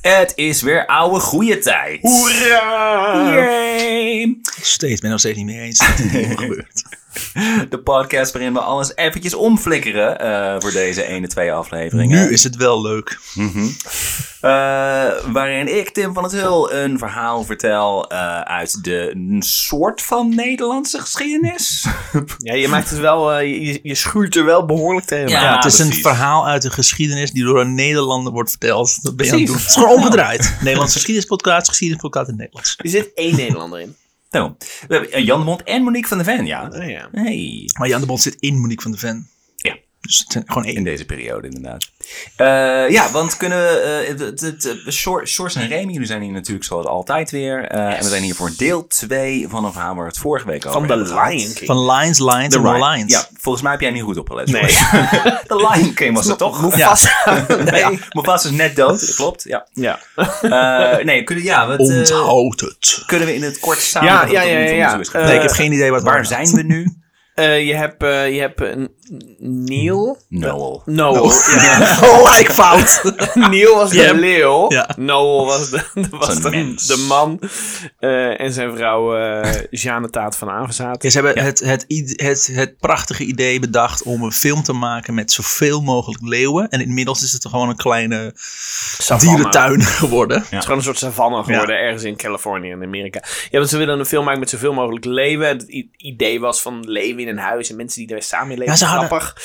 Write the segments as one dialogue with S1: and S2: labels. S1: Het is weer oude goede tijd.
S2: Hoera!
S1: Yay!
S2: Steeds, ben nog steeds niet meer eens dat het opnieuw gebeurt.
S1: De podcast waarin we alles eventjes omflikkeren eh, voor deze ene, twee afleveringen.
S2: Nu is het wel leuk.
S1: Eh, waarin ik, Tim van het Hul, een verhaal vertel eh, uit de een soort van Nederlandse geschiedenis.
S3: Ja, je maakt het wel, eh, je, je schuurt er wel behoorlijk tegen.
S1: Ja.
S2: Ja, het is
S1: precies.
S2: een verhaal uit de geschiedenis die door een Nederlander wordt verteld. Dat ben je aan het
S1: Precies.
S2: doen. Het is gewoon omgedraaid. Nederlandse geschiedenispodcast, geschiedenispodcast in het Nederlands.
S3: Er zit één Nederlander in.
S1: Nou, we hebben eh, Jan de Mond en Monique van der Ven, ja.
S3: Oh, ja.
S1: Hey.
S2: Maar Jan de Bond zit in Monique van de Ven.
S1: Ja.
S2: Dus het zijn gewoon
S1: In
S2: één.
S1: deze periode, inderdaad. Eh, ja, want kunnen we. eh, het- het- het- Sjor- Sjors en Remy, jullie zijn hier natuurlijk zoals altijd weer. eh, En we zijn hier voor deel 2 van een verhaal waar we het vorige week over
S3: Van de
S1: hebben gehad.
S3: Lion King.
S2: Van Lions, Lions en
S1: Lion-
S2: Lions.
S1: Ja, volgens mij heb jij niet goed opgelet. Nee. de Lion King was het toch?
S3: Mufasa.
S1: Nee. Ja, Mufasa is net dood, dat klopt. Ja.
S3: Ja.
S1: Eh, nee, kunnen, ja, wat, eh,
S2: Onthoud het.
S1: kunnen we in het kort samenvatten?
S3: Ja, ja, ja,
S1: wat er
S3: ja,
S1: nu toe is gebeurd?
S2: Nee, ik
S3: eh,
S2: heb geen idee wat
S1: Waar zijn we nu?
S3: Eh, je hebt, eh, je hebt een Neil.
S1: Noel.
S3: Noel. Ja.
S2: Gelijk fout.
S3: Neil was
S2: Ja.
S3: de leeuw.
S2: Ja.
S3: Noel was de, was
S1: een
S3: de,
S1: mens.
S3: de man. Eh, en zijn vrouw eh Jeanne Taat van Avenzaat.
S2: Ja, ze hebben het, het, id- het, het prachtige idee bedacht om een film te maken met zoveel mogelijk leeuwen. En inmiddels is het gewoon een kleine
S3: Savanne.
S2: dierentuin geworden.
S3: Het is gewoon een soort savanne geworden, ergens in Californië in Amerika. Ja, want ze willen een film maken met zoveel mogelijk leeuwen. En Het i- idee was van leeuwen in een huis en mensen die daar samen in leven.
S2: Ja, ze hadden-
S3: Grappig.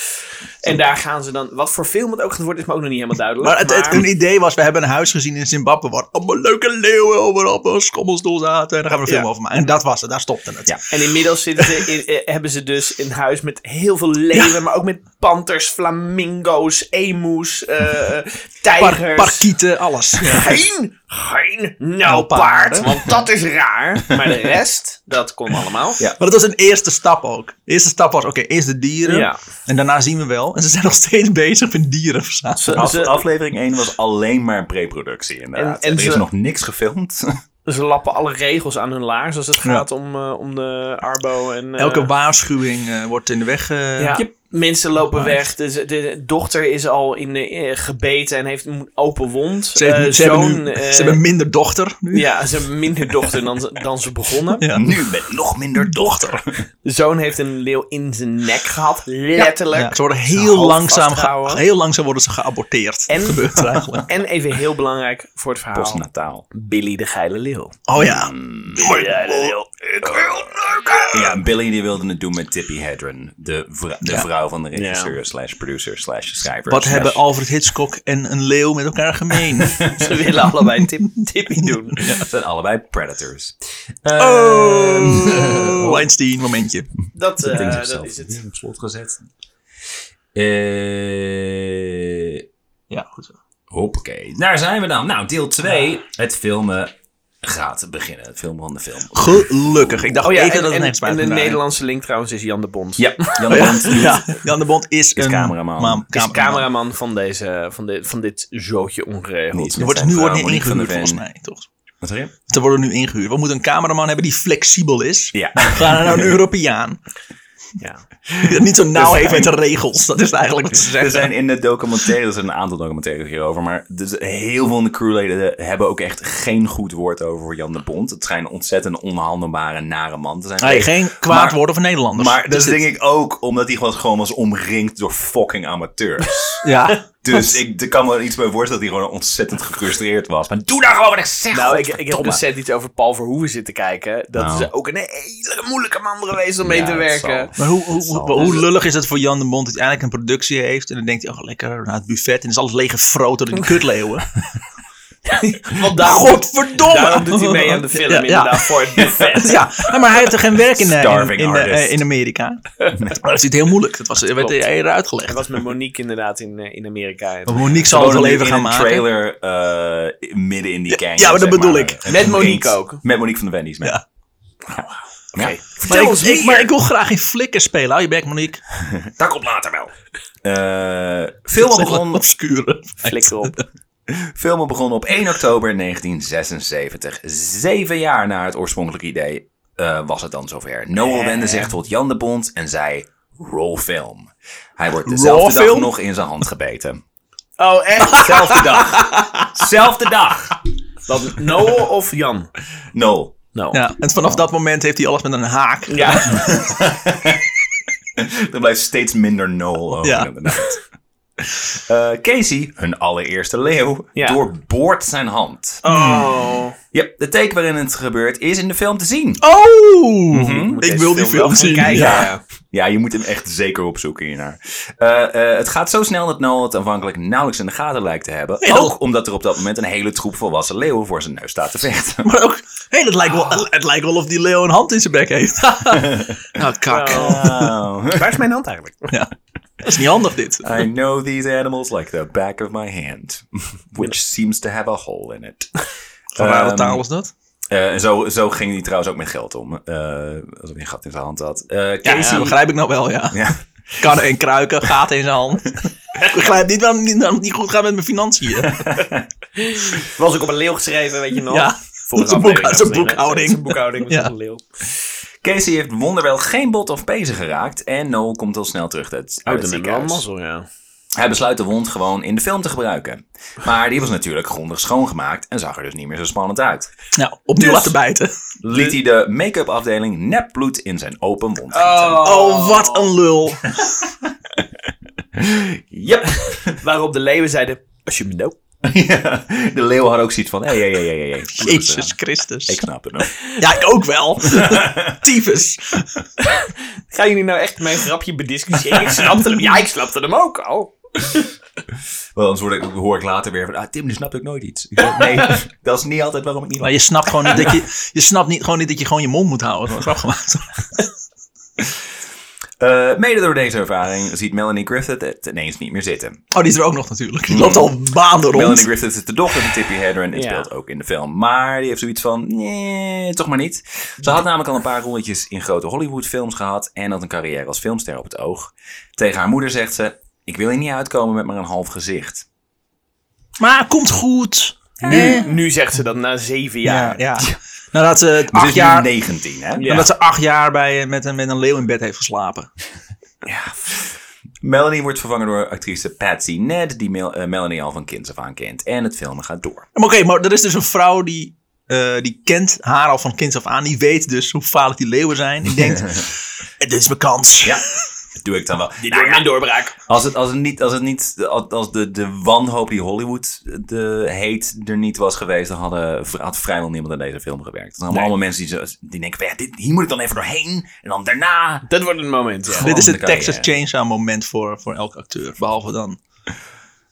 S3: En daar gaan ze dan... Wat voor film het ook gaat worden, is me ook nog niet helemaal duidelijk.
S2: Maar het, het, een idee was, we hebben een huis gezien in Zimbabwe waar allemaal leuke leeuwen overal op een schommelsdoel zaten. En daar gaan we een film
S3: Ja.
S2: over maken. En dat was het, daar stopte het.
S1: Ja.
S3: En inmiddels zitten ze in, eh, hebben ze dus een huis met heel veel leeuwen, maar ook met panters, flamingo's, emus, eh, eh,
S2: Par-
S3: tijgers.
S2: parkieten, alles. Ja.
S3: geen,
S2: Nou,
S3: geen nijlpaard, want dat is raar. Maar de rest, dat kon allemaal.
S1: Ja.
S2: Maar dat was een eerste stap ook. De eerste stap was, oké, eerst de dieren.
S3: Ja.
S2: En daarna zien we wel. En ze zijn nog steeds bezig met dieren verzamelen.
S3: Ze,
S1: Af-
S3: ze-
S1: aflevering 1 was alleen maar pre-productie, inderdaad.
S3: Dus, eh, En- en
S1: er is
S3: ze-
S1: nog niks gefilmd.
S3: Dus ze lappen alle regels aan hun laars als het gaat om, eh, om de Arbo. En, eh,
S2: Elke waarschuwing eh, wordt in de weg. eh,
S3: ja, Mensen lopen
S2: Nice.
S3: weg. De, de dochter is al in de, eh, gebeten en heeft een open wond.
S2: Ze, heeft-
S3: Eh,
S2: ze, hebben
S3: zoon,
S2: nu,
S3: eh,
S2: ze hebben minder dochter nu.
S3: Ja, ze hebben minder dochter dan, ze- dan ze begonnen.
S2: Ja.
S1: Nu met nog minder dochter.
S3: De zoon heeft een leeuw in zijn nek gehad, letterlijk.
S2: Ja, ze worden
S3: Zijn
S2: heel
S3: hoofd
S2: langzaam,
S3: vastgehouden.
S2: ge- heel langzaam worden ze geaborteerd.
S3: En-
S2: Dat gebeurt er eigenlijk.
S3: En even heel belangrijk voor het verhaal.
S1: Postnataal.
S3: Billy de geile leeuw.
S2: Oh ja.
S3: Mm.
S1: Ik wil Ja, Billy die wilde het doen met Tippi Hedren. De, vrou- de vrouw van de regisseur slash producer slash schrijver.
S2: Wat
S1: slash-
S2: hebben Alfred Hitchcock en een leeuw met elkaar gemeen?
S3: Ze willen allebei een tip, tippie doen.
S1: Het zijn allebei predators.
S2: oh. Weinstein, momentje.
S3: Dat, eh,
S1: Ding
S3: dat
S1: zichzelf
S3: is
S1: weer
S3: het.
S1: Op slot gezet. Eh...
S2: Ja, goed zo.
S1: Hoppakee. Daar zijn we dan. Nou, deel 2. Het filmen gaat beginnen. Het filmen van de film.
S2: Gelukkig. Ik dacht
S3: Oh ja,
S2: even
S3: en,
S2: dat het
S3: en,
S2: nergens
S3: en
S2: buiten
S3: de
S2: draaide.
S3: Nederlandse link trouwens is Jan de Bond.
S1: Ja, Jan de Bond doet-
S2: Ja, Jan de Bond is, een
S1: cameraman.
S2: maam-
S1: Is
S3: Is
S2: cameraman.
S3: cameraman van, deze, van, dit van dit zootje ongeregeld.
S1: Niet.
S2: Er wordt,
S1: Zijn
S2: nu
S1: vrouw
S2: wordt niet
S1: Monique van der
S2: ingehuurd
S1: Ven.
S2: volgens mij, toch?
S1: Wat zeg je?
S2: Ze worden nu ingehuurd. We moeten een cameraman hebben die flexibel is.
S1: Ja.
S2: We gaan naar een Europeaan.
S3: Ja.
S2: Die dat niet zo nauw heeft met de regels. Dat is eigenlijk wat ze
S1: Er
S2: zeggen.
S1: zijn in de documentaire, er zijn een aantal documentaires hierover, maar er zijn heel veel van de crewleden hebben ook echt geen goed woord over voor Jan de Bond. Het schijnt een ontzettend onhandelbare, nare man te zijn.
S2: Hey,
S1: geweest.
S2: geen kwaad
S1: Maar-
S2: woorden voor Nederlanders.
S1: Maar dat is
S2: Dus dit-
S1: denk ik ook omdat hij gewoon, gewoon was omringd door fucking amateurs.
S2: Ja.
S1: dus ik ik kan me er iets bij voorstellen dat hij gewoon ontzettend gefrustreerd was. Maar doe daar gewoon wat ik zeg!
S3: Nou, ik, ik heb
S1: godverdomme.
S3: recent iets over Paul Verhoeven zitten kijken. Dat
S1: Nou.
S3: is ook een hele moeilijke man geweest om mee
S1: Ja,
S3: te
S1: dat
S3: werken.
S1: zal.
S2: Maar hoe, hoe, hoe,
S1: Zal.
S2: hoe lullig is het voor Jan de Bond dat hij eigenlijk een productie heeft. En dan denkt hij, oh lekker, naar het buffet. En dan is alles leeggefroten door die kutleeuwen.
S3: Want
S1: Nou,
S3: daarom,
S2: Godverdomme!
S3: daarom doet hij mee aan de film,
S2: Ja, ja.
S3: inderdaad, voor het buffet.
S2: Ja, nou, maar hij heeft er geen werk in, eh, in,
S1: Starving
S2: in, eh,
S1: artist.
S2: in Amerika. Maar dat is niet heel moeilijk. Dat was, eh, werd
S3: Klopt.
S2: eerder
S3: Hij
S2: uitgelegd.
S3: was met Monique inderdaad in, eh, in Amerika. En-
S2: Monique zal
S1: Gewoon
S2: het wel even
S1: in
S2: gaan
S1: een
S2: maken.
S1: trailer eh, midden in die canyon.
S2: Ja, maar dat
S1: zeg
S2: bedoel ik.
S1: En
S3: Met Monique
S1: omringd-
S3: ook.
S1: Met Monique van de Wendy's. mee.
S2: Ja.
S1: Ja.
S2: Maar ik,
S3: ons
S2: ik-
S3: meer.
S2: maar ik wil graag in flikker spelen. Hou je bek, Monique.
S1: Dat komt later wel. Eh, filmen, begon,
S2: obscure.
S3: Flikker op.
S1: filmen begon op 1 oktober 1976. Zeven jaar na het oorspronkelijke idee eh, was het dan zover. Noel wende zich tot Jan de Bond en zei... Roll film. Hij wordt dezelfde
S2: Roll
S1: dag
S2: film?
S1: nog in zijn hand gebeten.
S3: Oh, echt? Zelfde dag. Zelfde dag. Dat Noah of Jan?
S1: No.
S3: No.
S2: Ja, en vanaf dat moment heeft hij alles met een haak.
S3: Ja.
S1: Er blijft steeds minder Noel over,
S2: Ja.
S1: inderdaad. Eh, Casey, hun allereerste leeuw,
S3: Ja.
S1: doorboort zijn hand.
S3: Oh.
S1: Ja, de take waarin het gebeurt is in de film te zien.
S2: Oh!
S3: Mhm. Moet
S2: Ik
S3: deze
S2: wil die
S3: wel
S2: film
S3: gaan
S2: zien.
S3: Kijken.
S2: Ja.
S3: Ja.
S1: Ja, je moet hem echt zeker opzoeken hiernaar. Eh, eh, het gaat zo snel dat Noel het aanvankelijk nauwelijks in de gaten lijkt te hebben.
S2: Ja.
S1: Ook omdat er op dat moment een hele troep volwassen leeuwen voor zijn neus staat te vechten.
S2: Maar ook, hé, dat lijkt wel, het lijkt wel of die leeuw een hand in zijn bek heeft. nou, kak. Oh.
S1: Wow.
S3: Oh, Waar is mijn hand eigenlijk?
S2: Ja. Dat is niet handig, dit.
S1: I know these animals like the back of my hand. Which seems to have a hole in it.
S2: Van ware
S1: Ehm,
S2: taal is dat?
S1: Eh, en zo, zo ging hij trouwens ook met geld om. Eh als hij een gat in zijn hand had. Eh,
S2: Ja,
S1: Casey,
S2: ja, begrijp ik nou wel, ja.
S1: Ja.
S2: Kannen en kruiken, gaten in zijn hand. ik begrijp niet waarom het niet- niet goed gaat met mijn financiën.
S3: Was ook op een leeuw geschreven, weet je nog?
S2: Ja.
S3: Vorige
S2: Dat is een
S3: aflevering
S2: boek- dat is een
S3: was het, hè?
S2: boekhouding.
S3: Dat is een boekhouding met
S2: Ja.
S3: een leeuw.
S1: Casey heeft wonderwel geen bot of pezen geraakt. En Noel komt al snel terug uit, uit
S3: Oh,
S1: het
S3: dan hebben we wel
S1: ziekenhuis.
S3: mazzel, ja.
S1: Hij besluit de wond gewoon in de film te gebruiken. Maar die was natuurlijk grondig schoongemaakt en zag er dus niet meer zo spannend uit.
S2: Nou, opnieuw
S1: Dus-
S2: laten bijten.
S1: Liet hij de make-up afdeling nepbloed in zijn open wond gieten.
S3: Oh.
S2: Oh, wat een lul.
S1: Yep.
S3: Oh, Waarop de leeuwen zeiden, als je me nou.
S1: Ja, de leeuw had ook zoiets van, hé, hé, hé, hé, hé.
S2: Jezus
S1: Ik
S2: Christus.
S1: snap het nog.
S2: Ja, ik ook wel. Tyfus.
S3: Gaan jullie nou echt mijn grapje bediscussiëren? Ik snapte hem. Ja, ik snapte hem ook al.
S1: Want anders word ik, hoor ik later weer van, ah, Tim, nu snap ik nooit iets. Ik zeg, nee, dat is niet altijd waarom ik niet
S2: Maar je snapt gewoon niet dat je, je, snapt niet, gewoon niet dat je gewoon je mond moet houden. Dat is wel gemaakt.
S1: Eh, mede door deze ervaring ziet Melanie Griffith het ineens niet meer zitten.
S2: Oh, die is er ook nog natuurlijk.
S1: Mm.
S2: Die loopt al baanden
S1: Melanie
S2: rond.
S1: Griffith is de dochter van Tippi Hedren en
S3: Ja.
S1: speelt ook in de film. Maar die heeft zoiets van, nee, toch maar niet. Ze had namelijk al een paar rolletjes in grote Hollywoodfilms gehad en had een carrière als filmster op het oog. Tegen haar moeder zegt ze, ik wil hier niet uitkomen met maar een half gezicht. Dus
S2: Maar komt goed.
S3: Nu, nu zegt ze dat na zeven
S2: Ja,
S3: jaar.
S2: ja. Nadat ze het
S1: Ze
S2: acht
S1: is Dus nu
S2: jaar,
S1: 19, hè?
S3: Ja.
S2: nadat ze acht jaar bij, eh, met, een, met een leeuw in bed heeft geslapen.
S1: Melanie wordt vervangen door actrice Patsy Ned, die Mel- eh, Melanie al van kinds af aan kent. En het filmen gaat door.
S2: Maar Oké, maar er is dus een vrouw die, eh, die kent haar al van kinds af aan. Die weet dus hoe gevaarlijk die leeuwen zijn. Die denkt, dit is mijn kans.
S1: Ja, dat doe ik dan wel. Nou,
S3: Dit wordt mijn doorbraak.
S1: Als het, als het niet, als het niet, als de, de wanhoop die Hollywood de, heet er niet was geweest, dan hadden, had vrijwel niemand aan deze film gewerkt. Het zijn allemaal, allemaal mensen die, zo, die denken, van, ja, dit, hier moet ik dan even doorheen. En dan daarna.
S3: Dat wordt het moment, ja.
S2: Dit is het
S1: Gewoon de
S2: Texas
S1: carrière.
S2: Chainsaw moment voor, voor elke acteur. Behalve dan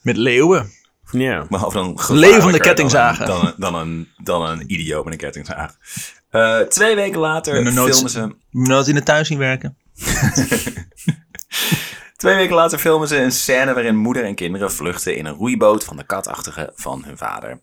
S2: met leeuwen.
S3: Ja.
S1: Maar of dan
S2: Levende
S1: gevaarlijker
S2: kettingzagen.
S1: Dan, een- dan, een, dan, een, dan een idioot met een kettingzaag. Eh, twee weken later
S2: En een nood-
S1: filmen ze...
S2: Nadat in de thuis zien werken.
S1: Twee weken later filmen ze een scène waarin moeder en kinderen vluchten in een roeiboot van de katachtige van hun vader.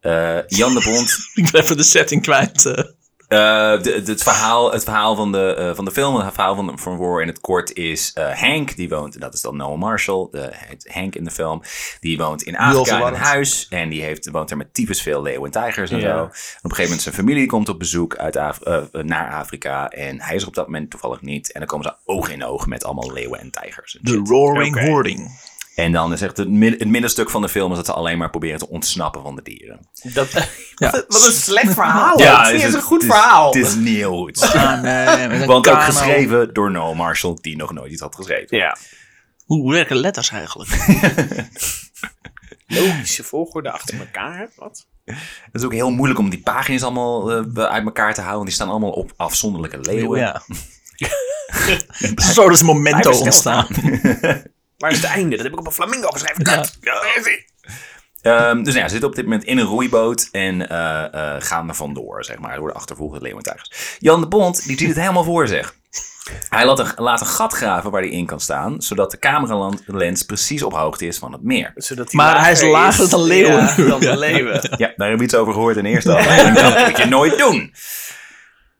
S1: Eh, Jan de Bond,
S2: Ik ben even de setting kwijt. eh.
S1: eh, de- de- het, verhaal, het verhaal van de, eh, van de film, het verhaal van, van War in het kort is eh, Hank, die woont, dat is dan Noah Marshall, de, het Hank in de film, die woont in Afrika in een
S2: verwarrend.
S1: huis en die heeft, woont er met typisch veel leeuwen en tijgers en
S3: Ja.
S1: zo. En op een gegeven moment zijn familie komt op bezoek uit Af- eh, naar Afrika en hij is er op dat moment toevallig niet en dan komen ze oog in oog met allemaal leeuwen en tijgers. en
S2: The
S1: shit.
S2: Roaring
S3: Oké.
S2: Hoarding.
S1: En dan is echt het, min- het middenstuk van de film is dat ze alleen maar proberen te ontsnappen van de dieren.
S3: Dat,
S2: Ja.
S3: wat, een- wat een slecht verhaal.
S1: Ja,
S3: het is,
S1: het-
S3: een goed
S1: het is-
S3: verhaal.
S1: Het is niet heel goed.
S2: Ah, nee, met een
S1: Want ook
S2: kano.
S1: geschreven door Noel Marshall, die nog nooit iets had geschreven.
S3: ja.
S2: Hoe werken letters eigenlijk?
S3: Logische volgorde achter elkaar. Wat?
S1: Het is ook heel moeilijk om die pagina's allemaal eh, uit elkaar te houden. Want die staan allemaal op afzonderlijke leeuwen.
S2: Ja. Zo dus momento
S1: Blijven
S2: ontstaan.
S3: Waar is het einde? Dat heb ik op een flamingo geschreven. Kut. Ja. daar is hij.
S1: Ehm, dus nou ja, ze zitten op dit moment in een roeiboot en eh, eh, gaan er vandoor, zeg maar. Ze worden achtervolgd door leeuwentuigers. Jan de Bond, die ziet het helemaal voor zich. Hij laat een, laat een gat graven waar hij in kan staan, zodat de cameralens precies op hoogte is van het meer.
S3: Zodat
S2: Maar hij is lager dan leeuwen.
S3: Ja, dan
S2: Ja.
S3: de leeuwen.
S1: Ja, daar hebben we iets over gehoord in de eerste aflevering. Dat moet je nooit doen.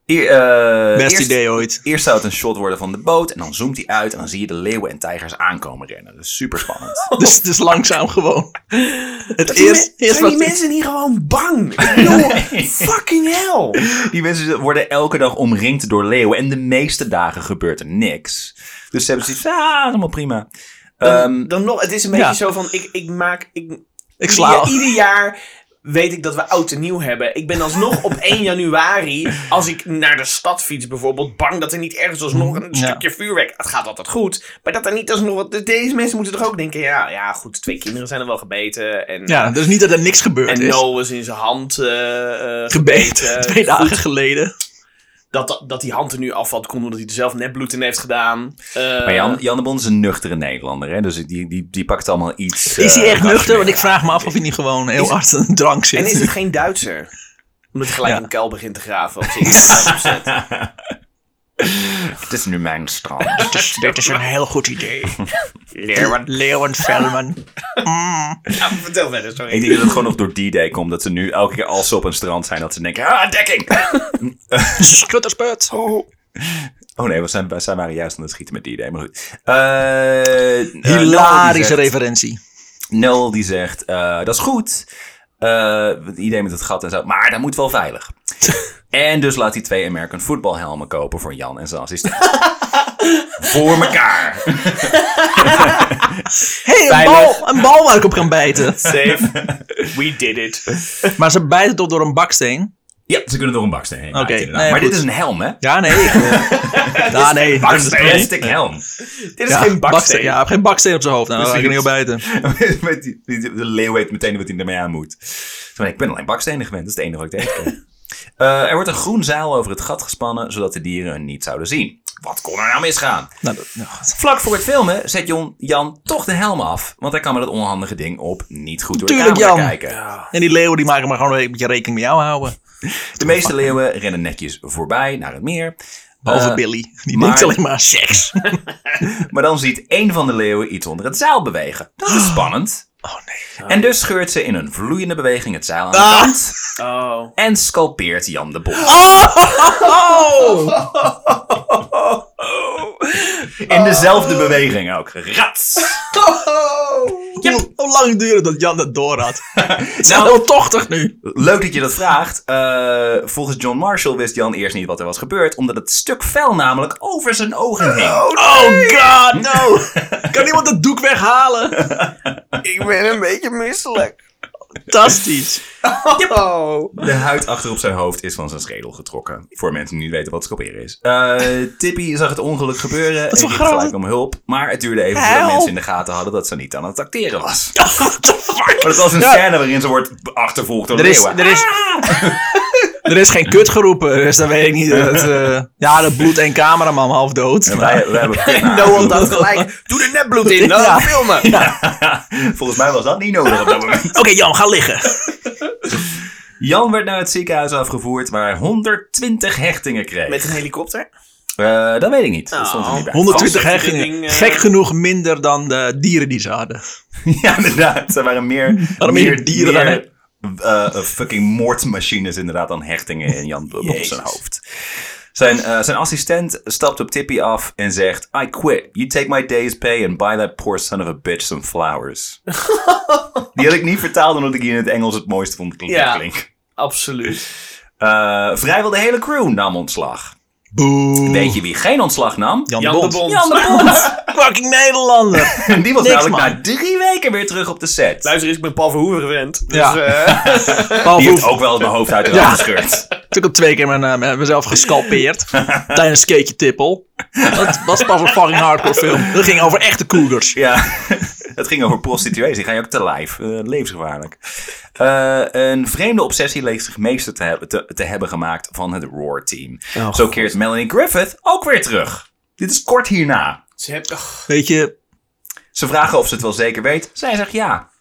S1: Eer- eh,
S2: Best
S1: eerst,
S2: idee ooit.
S1: Eerst zou het een shot worden van de boot en dan zoomt hij uit en dan zie je de leeuwen en tijgers aankomen rennen. Dat is super spannend.
S2: Dus het is langzaam gewoon. Het
S3: Die
S2: eerst,
S3: me-
S2: eerst
S3: zijn
S2: wat
S3: die mensen hier gewoon bang? Ik bedoel, fucking hell.
S1: Die mensen worden elke dag omringd door leeuwen en de meeste dagen gebeurt er niks. Dus ze hebben zoiets, ah, dat is allemaal prima. Eh,
S3: Dan,
S1: Ehm,
S3: dan nog, het is een beetje
S2: ja.
S3: zo van, ik, ik maak... Ik,
S2: Ik
S3: ieder,
S2: sla.
S3: ieder jaar weet ik dat we oud en nieuw hebben. Ik ben alsnog op 1 januari, als ik naar de stad fiets bijvoorbeeld, bang dat er niet ergens alsnog een
S2: Ja.
S3: stukje vuurwerk... Het gaat altijd goed, maar dat er niet alsnog... wat- dus Deze mensen moeten toch ook denken, ja, ja goed, twee kinderen zijn er wel gebeten. En,
S2: Ja, dus niet dat er niks gebeurd
S3: en
S2: is.
S3: Noah is in zijn hand eh, eh,
S2: Gebeten,
S3: gebeten.
S2: twee dagen geleden.
S3: dat, dat, dat die hand er nu afvalt, komt omdat hij er zelf net bloed in heeft gedaan. Eh,
S1: Maar Jan, Jan de Bond is een nuchtere Nederlander, hè? dus die, die, die pakt allemaal iets.
S2: Is
S1: eh,
S2: hij echt nuchter?
S1: rationeel
S2: Want ik
S1: aan.
S2: vraag me af of hij niet gewoon heel
S3: Is-
S2: hard aan een drank zit.
S3: En is het geen Duitser? Omdat hij gelijk
S2: Ja.
S3: een kuil begint te graven. Of zoiets.
S1: Het is nu mijn strand.
S2: Dit is een heel goed idee.
S3: Leeuwen.
S2: Leeuwen Velman.
S3: Ja, vertel verder, sorry.
S1: ik denk dat het gewoon nog door D-Day komt, dat ze nu elke keer als ze op een strand zijn, dat ze denken, ah, dekking!
S2: Schuttersput.
S1: Oh nee, we zijn, we zijn waren juist aan het schieten met D-Day, maar goed. Eh, eh, Noel die
S2: Hilarische
S1: zegt-
S2: referentie.
S1: Nel die zegt, eh, dat is goed. Eh, want iedereen met het gat en zo. Maar dat moet wel veilig. en dus laat hij twee American football helmen kopen voor Jan en zijn assistent. voor elkaar.
S2: Hé, hey, een
S3: Veilig.
S2: bal! Een bal waar ik op kan bijten.
S3: Safe. We did it.
S2: Maar ze bijten toch door een baksteen?
S1: Ja, ze kunnen door een baksteen heen.
S2: Oké,
S1: inderdaad.
S2: nee,
S1: maar
S2: goed.
S1: dit is een helm, hè?
S2: Ja, nee. ik, eh, ja, nee.
S1: Een plastic helm.
S3: Dit is
S2: Ja,
S3: geen baksteen.
S2: Ja, hij heeft geen baksteen op zijn hoofd. Nou, dan ga ik er niet op bijten.
S1: Met die- die- de leeuw weet meteen wat hij ermee aan moet. Zo van, ik ben alleen bakstenen gewend, dat is het enige wat ik tegenkom. Eh, er wordt een groen zaal over het gat gespannen, zodat de dieren hun niet zouden zien. Wat kon er nou misgaan?
S2: Nou, dat- nou, goed.
S1: Vlak voor het filmen zet Jon, Jan toch de helm af. Want hij kan met dat onhandige ding op niet goed door
S2: Tuurlijk,
S1: de camera
S2: Jan.
S1: kijken.
S2: En die leeuwen die maken maar gewoon een beetje rekening met jou houden.
S1: De meeste leeuwen rennen netjes voorbij naar het meer.
S2: Behalve
S1: Eh,
S2: Billy. Die
S1: maar-
S2: denkt alleen maar aan seks.
S1: Maar dan ziet één van de leeuwen iets onder het zeil bewegen. Dat
S2: Ah.
S1: is spannend.
S2: Oh nee.
S1: En dus scheurt ze in een vloeiende beweging het zeil aan de
S2: Ah.
S1: kant.
S3: Oh.
S1: En scalpeert Jan de Bond.
S2: Oh!
S1: In dezelfde beweging ook. Rats!
S2: Hoe, hoe lang duurde dat Jan dat door had? Het is heel tochtig nu.
S1: Leuk dat je dat vraagt. Eh, volgens John Marshall wist Jan eerst niet wat er was gebeurd, omdat het stuk vel namelijk over zijn ogen hing.
S2: Oh god, no! Kan iemand dat doek weghalen?
S3: Ik ben een beetje misselijk.
S2: Fantastisch.
S3: Oh.
S1: De huid achter op zijn hoofd is van zijn schedel getrokken. Voor mensen die niet weten wat scalperen is. Eh, Tippy zag het ongeluk gebeuren en
S2: is wel
S1: riep
S2: groot.
S1: gelijk om hulp. Maar het duurde even voordat
S2: Help.
S1: mensen in de gaten hadden dat ze niet aan het acteren was.
S2: What the fuck?
S1: Maar het was een
S2: Ja.
S1: scène waarin ze wordt achtervolgd door
S2: Er is,
S1: leeuwen.
S2: er, is, er is geen kut geroepen, dus dat weet ik niet. Dat, eh, ja, dat bloed en cameraman half dood.
S1: En wij, wij hebben kut naar
S3: Noah had gelijk. Doe er net bloed in. Dan
S2: Ja.
S3: filmen.
S1: Volgens mij was dat niet nodig op dat moment.
S2: Oké, Jan, ga liggen.
S1: Jan werd naar het ziekenhuis afgevoerd waar hij 120 hechtingen kreeg.
S3: Met een helikopter?
S1: Eh, dat weet ik niet. Dat stond er
S3: Oh.
S1: niet bij.
S2: 120
S3: Vast,
S2: hechtingen.
S3: ding, eh.
S2: Gek genoeg minder dan de dieren die ze hadden.
S1: Ja, inderdaad. Er waren meer,
S2: Waarom meer dieren dan
S1: meer, eh, eh, fucking moordmachines inderdaad dan hechtingen in Jan Bob op
S3: Jezus.
S1: zijn hoofd. Zijn, eh, zijn assistent stapt op Tippy af en zegt... I quit. You take my day's pay and buy that poor son of a bitch some flowers. Die had ik niet vertaald omdat ik hier in het Engels het mooiste vond klinken.
S3: Ja.
S1: klinken.
S3: Absoluut.
S1: Eh, vrijwel de hele crew nam ontslag.
S2: Boe.
S1: Weet je wie geen ontslag nam?
S2: Jan,
S3: Jan de Bond.
S1: Jan de Bond.
S2: Fucking Nederlander.
S1: En die was
S2: Niks,
S1: namelijk
S2: man.
S1: na drie weken weer terug op de set.
S3: Luister, eens, ik ben Paul Verhoeven gewend. Dus,
S2: Ja.
S3: eh,
S2: Paul
S1: Die heeft
S2: Hoef.
S1: ook wel eens mijn hoofd uit de
S2: Ja.
S1: raam gescheurd.
S2: Ik heb twee keer mijn, eh, mijn- mezelf gescalpeerd. tijdens Skeetje Tippel. Dat was pas een fucking hardcore film. Dat ging over echte cougars.
S1: Ja, het ging over prostituees. Die ga je ook te lijf. Eh, levensgevaarlijk. Eh, een vreemde obsessie leek zich meester te hebben, te, te hebben gemaakt van het Roar-team.
S2: Oh,
S1: Zo keert Melanie Griffith ook weer terug. Dit is kort hierna.
S3: ze hebben... oh,
S2: Weet je,
S1: Ze vragen of ze het wel zeker weet. Zij zegt ja.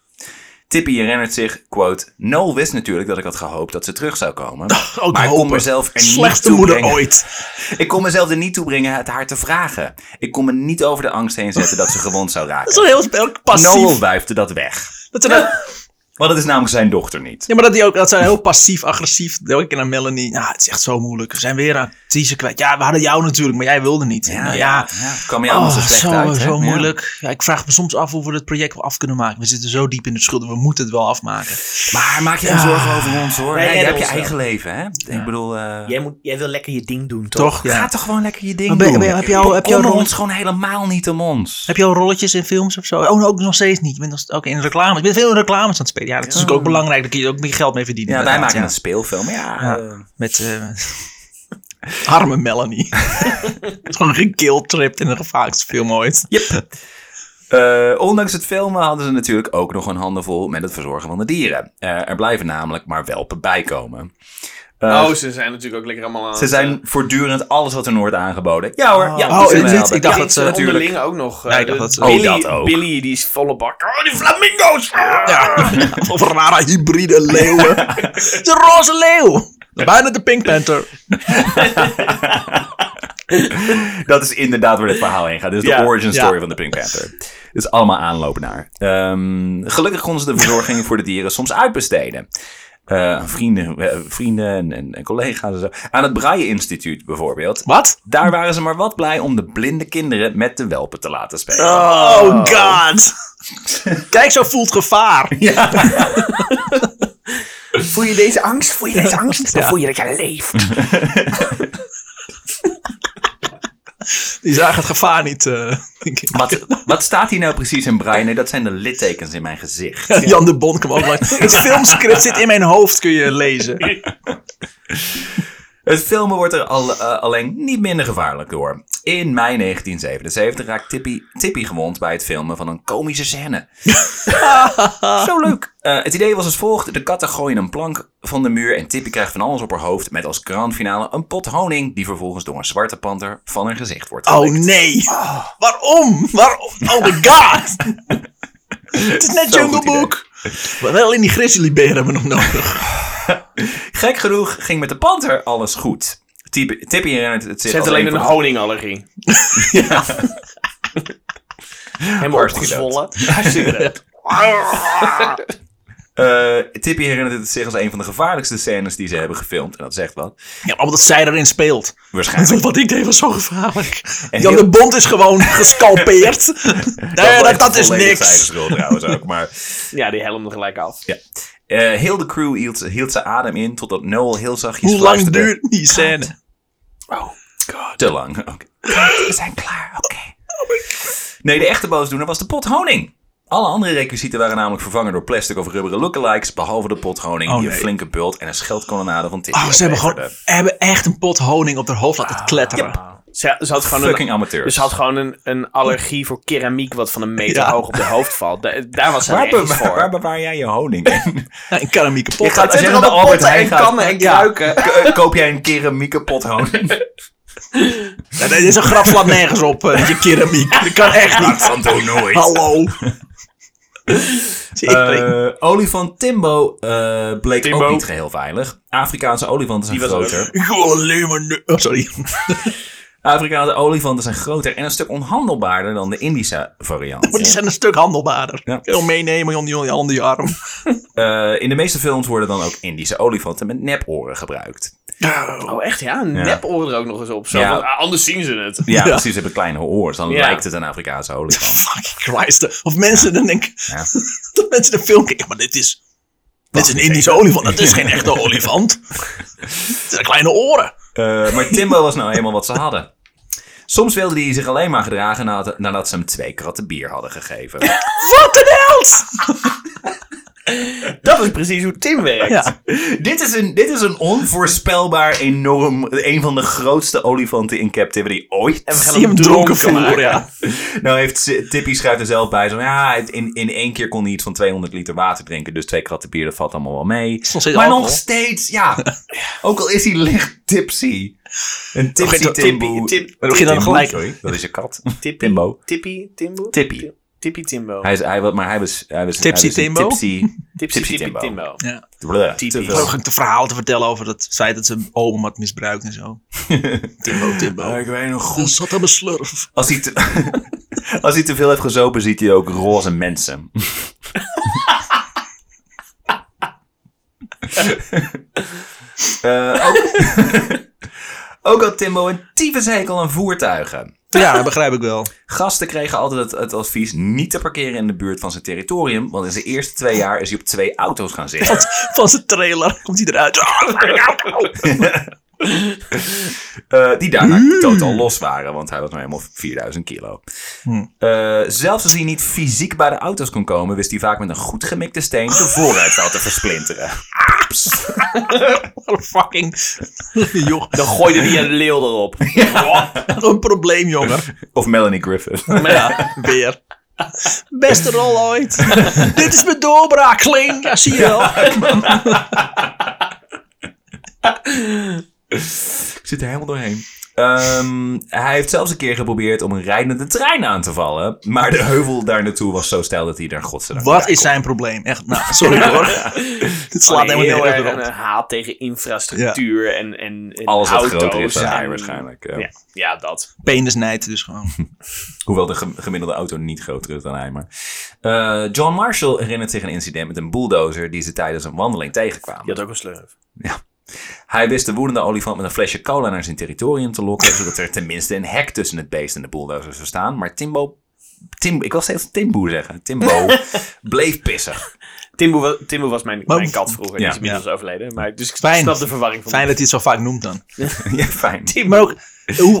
S1: Tippy herinnert zich, quote... Noel wist natuurlijk dat ik had gehoopt dat ze terug zou komen.
S2: ook
S1: maar ik kon
S2: Oh, hopen.
S1: mezelf er niet
S2: slechtste
S1: toe
S2: moeder
S1: brengen.
S2: ooit.
S1: Ik kon mezelf er niet toe brengen het haar te vragen. Ik kon me niet over de angst heen zetten dat ze gewond zou
S2: Dat is
S1: raken.
S2: een heel spel. Passief.
S1: Noel wuifde dat weg.
S2: Dat ze dat-
S1: Want dat is namelijk zijn dochter niet.
S2: Ja, maar dat, die ook, dat zijn heel passief-agressief. Elke keer naar Melanie. Nou, het is echt zo moeilijk. We zijn weer aan teaser kwijt. Ja, we hadden jou natuurlijk, maar jij wilde niet. Nou,
S1: het kwam je allemaal
S2: Oh,
S1: zo slecht
S2: zo,
S1: uit. hè?
S2: zo
S1: Ja.
S2: moeilijk. Ja. ik vraag me soms af hoe we dit project wel af kunnen maken. We zitten zo diep in de schulden, we moeten het wel afmaken.
S1: Maar maak je geen
S2: Ja.
S1: zorgen over ons hoor.
S3: Wij
S1: Jij
S3: redden
S1: hebt je
S3: ons wel.
S1: eigen leven, hè? Ik bedoel, eh,
S3: Jij, moet, jij wil lekker je ding doen, toch?
S2: Toch? Ja.
S1: ga toch gewoon lekker je ding
S2: Maar ben-
S1: doen.
S2: ben- heb je al- heb je al
S1: Bekommer
S2: rond-
S1: ons gewoon helemaal niet om ons.
S2: Heb je al rolletjes in films of zo? Oh, ook nog steeds niet. Je bent nog- ook in reclames. Je bent veel in reclames aan het spelen. Ja, dat is natuurlijk ook belangrijk. Daar kun je ook meer geld mee verdienen.
S1: Ja, wij
S2: inderdaad,
S1: maken een speelfilm. Ja,
S2: Ja.
S1: eh,
S2: Met eh, arme Melanie. Het is gewoon een guilt trip in een gevaarlijkste film ooit.
S1: Yep. Eh, ondanks het filmen hadden ze natuurlijk ook nog een handenvol met het verzorgen van de dieren. Eh, er blijven namelijk maar welpen bijkomen.
S3: Oh, ze zijn natuurlijk ook lekker allemaal aan
S1: Ze zijn voortdurend alles wat er nooit aangeboden. Ja hoor.
S2: Oh.
S1: ja,
S2: Oh,
S1: dat zijn
S2: dit-
S1: welpen.
S2: ik dacht
S1: Ja,
S2: dat ze-
S1: ja, natuurlijk.
S3: Onderling ook nog. eh,
S2: Nee, ik dacht
S3: de-
S2: dat ze-
S1: Oh,
S3: Billy,
S1: dat ook.
S3: Billy die is volle bak. Oh, die flamingo's!
S2: Ja. of rare hybride leeuwen. de roze leeuw. Bijna de Pink Panther.
S1: Dat is inderdaad waar dit verhaal heen gaat. Dit is
S3: Ja,
S1: de origin story
S2: ja.
S1: van de Pink Panther. Dit is allemaal aanlopen naar. Ehm, gelukkig konden ze de verzorging voor de dieren soms uitbesteden. Eh, aan vrienden, eh, vrienden en, en, en collega's en zo. Aan het Braille Instituut bijvoorbeeld.
S2: Wat?
S1: Daar waren ze maar wat blij om de blinde kinderen met de welpen te laten spelen.
S2: Oh, god. Kijk, zo voelt gevaar.
S3: Voel je deze angst? Voel je deze angst? Dan voel je dat je leeft.
S2: Die zagen het gevaar niet. eh, denk ik.
S1: Wat, wat staat hier nou precies in Braille? Nee, dat zijn de littekens in mijn gezicht.
S2: Jan de Bon kwam ook langs. Het filmscript zit in mijn hoofd, kun je lezen.
S1: Het filmen wordt er al, eh, alleen niet minder gevaarlijk door. In mei 1977 raakt Tippy, Tippy gewond bij het filmen van een komische scène. Zo leuk! Eh, het idee was als volgt. De katten gooien een plank van de muur en Tippy krijgt van alles op haar hoofd... met als grand finale een pot honing... die vervolgens door een zwarte panter van haar gezicht wordt
S2: Oh
S1: gelikt.
S2: nee. Waarom? Waarom? Oh my god. Het is net
S1: Zo'n
S2: Jungle
S1: goed idee.
S2: Book. Maar wel in die grizzlybeer hebben we nog nodig.
S1: Gek genoeg ging met de panter alles goed. Tippy, Tippy herinnert het zich
S3: Ze
S1: als
S3: heeft alleen
S1: een
S3: een
S1: van de-
S3: honingallergie. Helemaal
S1: Hartstikke dood.
S3: opgezwollen. Hartstikke dood.
S1: Eh, Tippy herinnert het zich als een van de gevaarlijkste scènes die ze hebben gefilmd. En dat zegt wat.
S2: Ja, omdat zij erin speelt.
S1: Waarschijnlijk.
S2: Wat ik deed was zo gevaarlijk.
S1: En
S2: Jan
S1: heel-
S2: de Bond is gewoon gescalpeerd. Nee, Eh, dat, dat is
S1: volledig zijn
S2: niks.
S1: schuld trouwens ook. Maar,
S3: Ja, die helm er gelijk af.
S1: ja. Eh, heel de crew hield, hield zijn adem in totdat Noel heel zachtjes
S2: Hoe lang
S1: fluisterde,
S2: duurt die scène?
S1: Oh, God. Te lang. Oké. We zijn klaar. Oké. Nee, de echte boosdoener was de pot honing. Alle andere requisieten waren namelijk vervangen door plastic of rubberen lookalikes, behalve de pot honing,
S2: Oh,
S1: die een
S2: nee.
S1: flinke bult en een scheldkolonnade van Tippy
S2: Oh, ze hebben gewoon
S1: opleverde.
S2: hebben echt een pot honing op haar hoofd
S1: Ah.
S2: laten kletteren.
S3: Ze, ze had gewoon
S1: Fucking
S3: een...
S1: amateurs.
S3: Dus ze had gewoon een, een allergie voor keramiek wat van een meter
S2: Ja.
S3: hoog op de hoofd valt. Da- daar was ze
S1: waar,
S3: ergens
S1: bewaar-
S3: voor.
S1: waar bewaar jij je honing in?
S2: Ja, Nou, een keramieke pot.
S1: Je gaat- als jij naar de Albert Heijn gaat- Ja. K- eh, Koop jij een keramieke pot honing?
S2: Ja, nee, deze grap slaat nergens op, eh, je keramiek. Dat kan echt niet.
S1: van toen nooit.
S2: Hallo. Tering.
S1: Eh, olifant Timbo eh, bleek
S3: Timbo.
S1: ook niet geheel veilig. Afrikaanse olifanten zijn
S3: Die was er
S1: groter.
S2: Ik wil alleen maar... nu- Oh, sorry.
S1: Afrikaanse olifanten zijn groter en een stuk onhandelbaarder dan de Indische
S2: Maar die
S1: variant.
S2: zijn een stuk handelbaarder.
S1: Ja.
S2: Ja. Kun je wel meenemen onder je, onder je arm.
S1: Eh, in de meeste films worden dan ook Indische olifanten met neporen gebruikt.
S3: Oh, echt ja? Een nepoor er ook nog eens op. Zo
S1: Ja.
S3: van, ah, anders zien ze het.
S1: Ja,
S2: Ja.
S1: precies. Ze hebben kleine oren, dan
S3: Ja.
S1: lijkt het een Afrikaanse olifant.
S2: Fucking Christ. Of mensen dan denken...
S1: Ja.
S2: Dat mensen de film kijken. Maar dit is... Dit is een Indische olifant. Dat is geen echte olifant. Het zijn kleine oren.
S1: Eh, maar Timbo was nou eenmaal wat ze hadden. Soms wilde hij zich alleen maar gedragen nadat, nadat ze hem twee kratten bier hadden gegeven.
S2: Wat een held!
S3: Dat is precies hoe Tim werkt.
S2: Ja.
S1: dit, is een, dit is een onvoorspelbaar enorm... een van de grootste olifanten in captivity ooit.
S3: En we gaan
S2: Zie hem dronken voeren,
S3: maken.
S2: ja.
S1: Nou heeft Z- Tippy schrijft er zelf bij. Zo, ja, in, in één keer kon hij iets van 200 liter water drinken. Dus twee kratten bier, dat valt allemaal wel mee.
S2: nog steeds
S1: maar nog
S2: alcohol.
S1: steeds, ja. ook al is hij licht tipsy. Een tipsy
S2: Oké,
S1: Timbo.
S3: Tippy, Tip-
S1: Wat
S2: begin dan
S1: Timbo,
S2: gelijk.
S1: Sorry, dat is je kat.
S3: Tippy,
S1: Timbo.
S3: Tippy, Timbo?
S1: Tippy.
S3: Ti- Tippy Timbo.
S1: Hij is, hij, wa- maar hij was, hij was,
S2: Tipsy
S1: hij was een
S2: Timbo?
S1: Tipsy,
S3: Tipsy,
S1: Tipsy
S3: Tippy
S1: Timbo.
S3: Timbo.
S2: Ja.
S1: Bleh,
S3: Typisch.
S1: te
S2: Ik
S1: veel.
S2: heb ook een verhaal te vertellen over het feit dat ze oma had misbruikt en zo. Timbo, Timbo.
S1: Ik weet nog
S2: Goed zat aan mijn slurf.
S1: Als hij, te, als hij te veel heeft gezopen, ziet hij ook roze mensen. Eh, ook, ook had Timbo een tyfushekel aan voertuigen.
S2: Ja, dat begrijp ik wel.
S1: Gasten kregen altijd het, het advies niet te parkeren in de buurt van zijn territorium, want in zijn eerste twee jaar is hij op twee auto's gaan zitten.
S2: Van zijn trailer komt hij eruit. Ah,
S1: Eh, die daarna
S3: Mm.
S1: totaal los waren, want hij was nou helemaal 4000 kilo.
S3: Hm.
S1: Eh, zelfs als hij niet fysiek bij de auto's kon komen, wist hij vaak met een goed gemikte steen de vooruitval te versplinteren.
S2: Wat een fucking... Joch,
S3: Dan gooide hij een leeuw erop.
S2: wat een probleem, jongen.
S1: Of Melanie Griffith.
S3: Maar ja,
S2: Weer. Beste rol ooit. Dit is mijn doorbraak, Kling. Ja, zie je wel.
S1: Ik zit er helemaal doorheen. Ehm, hij heeft zelfs een keer geprobeerd om een rijdende trein aan te vallen. Maar de heuvel daar naartoe was zo stijl dat hij daar godzijdank
S2: Wat
S1: niet
S2: is zijn probleem? Echt, nou, sorry hoor. Dit slaat
S3: Alleen
S2: helemaal
S3: heel erg
S2: nergens
S3: een
S2: op.
S3: haat tegen infrastructuur en, en, en
S1: bij kon. Alles wat
S3: auto's.
S1: groter is dan hij
S3: en-
S1: waarschijnlijk. ja.
S3: Ja, ja, dat.
S2: Penisnijd dus gewoon.
S1: Hoewel de gem- gemiddelde auto niet groter is dan hij. Maar. Eh, John Marshall herinnert zich een incident met een bulldozer die ze tijdens een wandeling tegenkwam.
S3: Je had ook een slurf.
S1: Hij wist de woedende olifant met een flesje cola naar zijn territorium te lokken. zodat er tenminste een hek tussen het beest en de bulldozer zou staan. Maar Timbo. Tim, ik wil steeds Timbo zeggen. Timbo bleef pissig.
S3: Timbo was, Timbo was mijn,
S2: Maar-
S3: mijn kat vroeger.
S1: Ja.
S3: die is inmiddels overleden. Maar, dus ik
S2: Fijn.
S3: snap de verwarring van
S2: Fijn dat hij het zo vaak noemt dan.
S1: ja, fijn.
S2: Maar ook, hoe,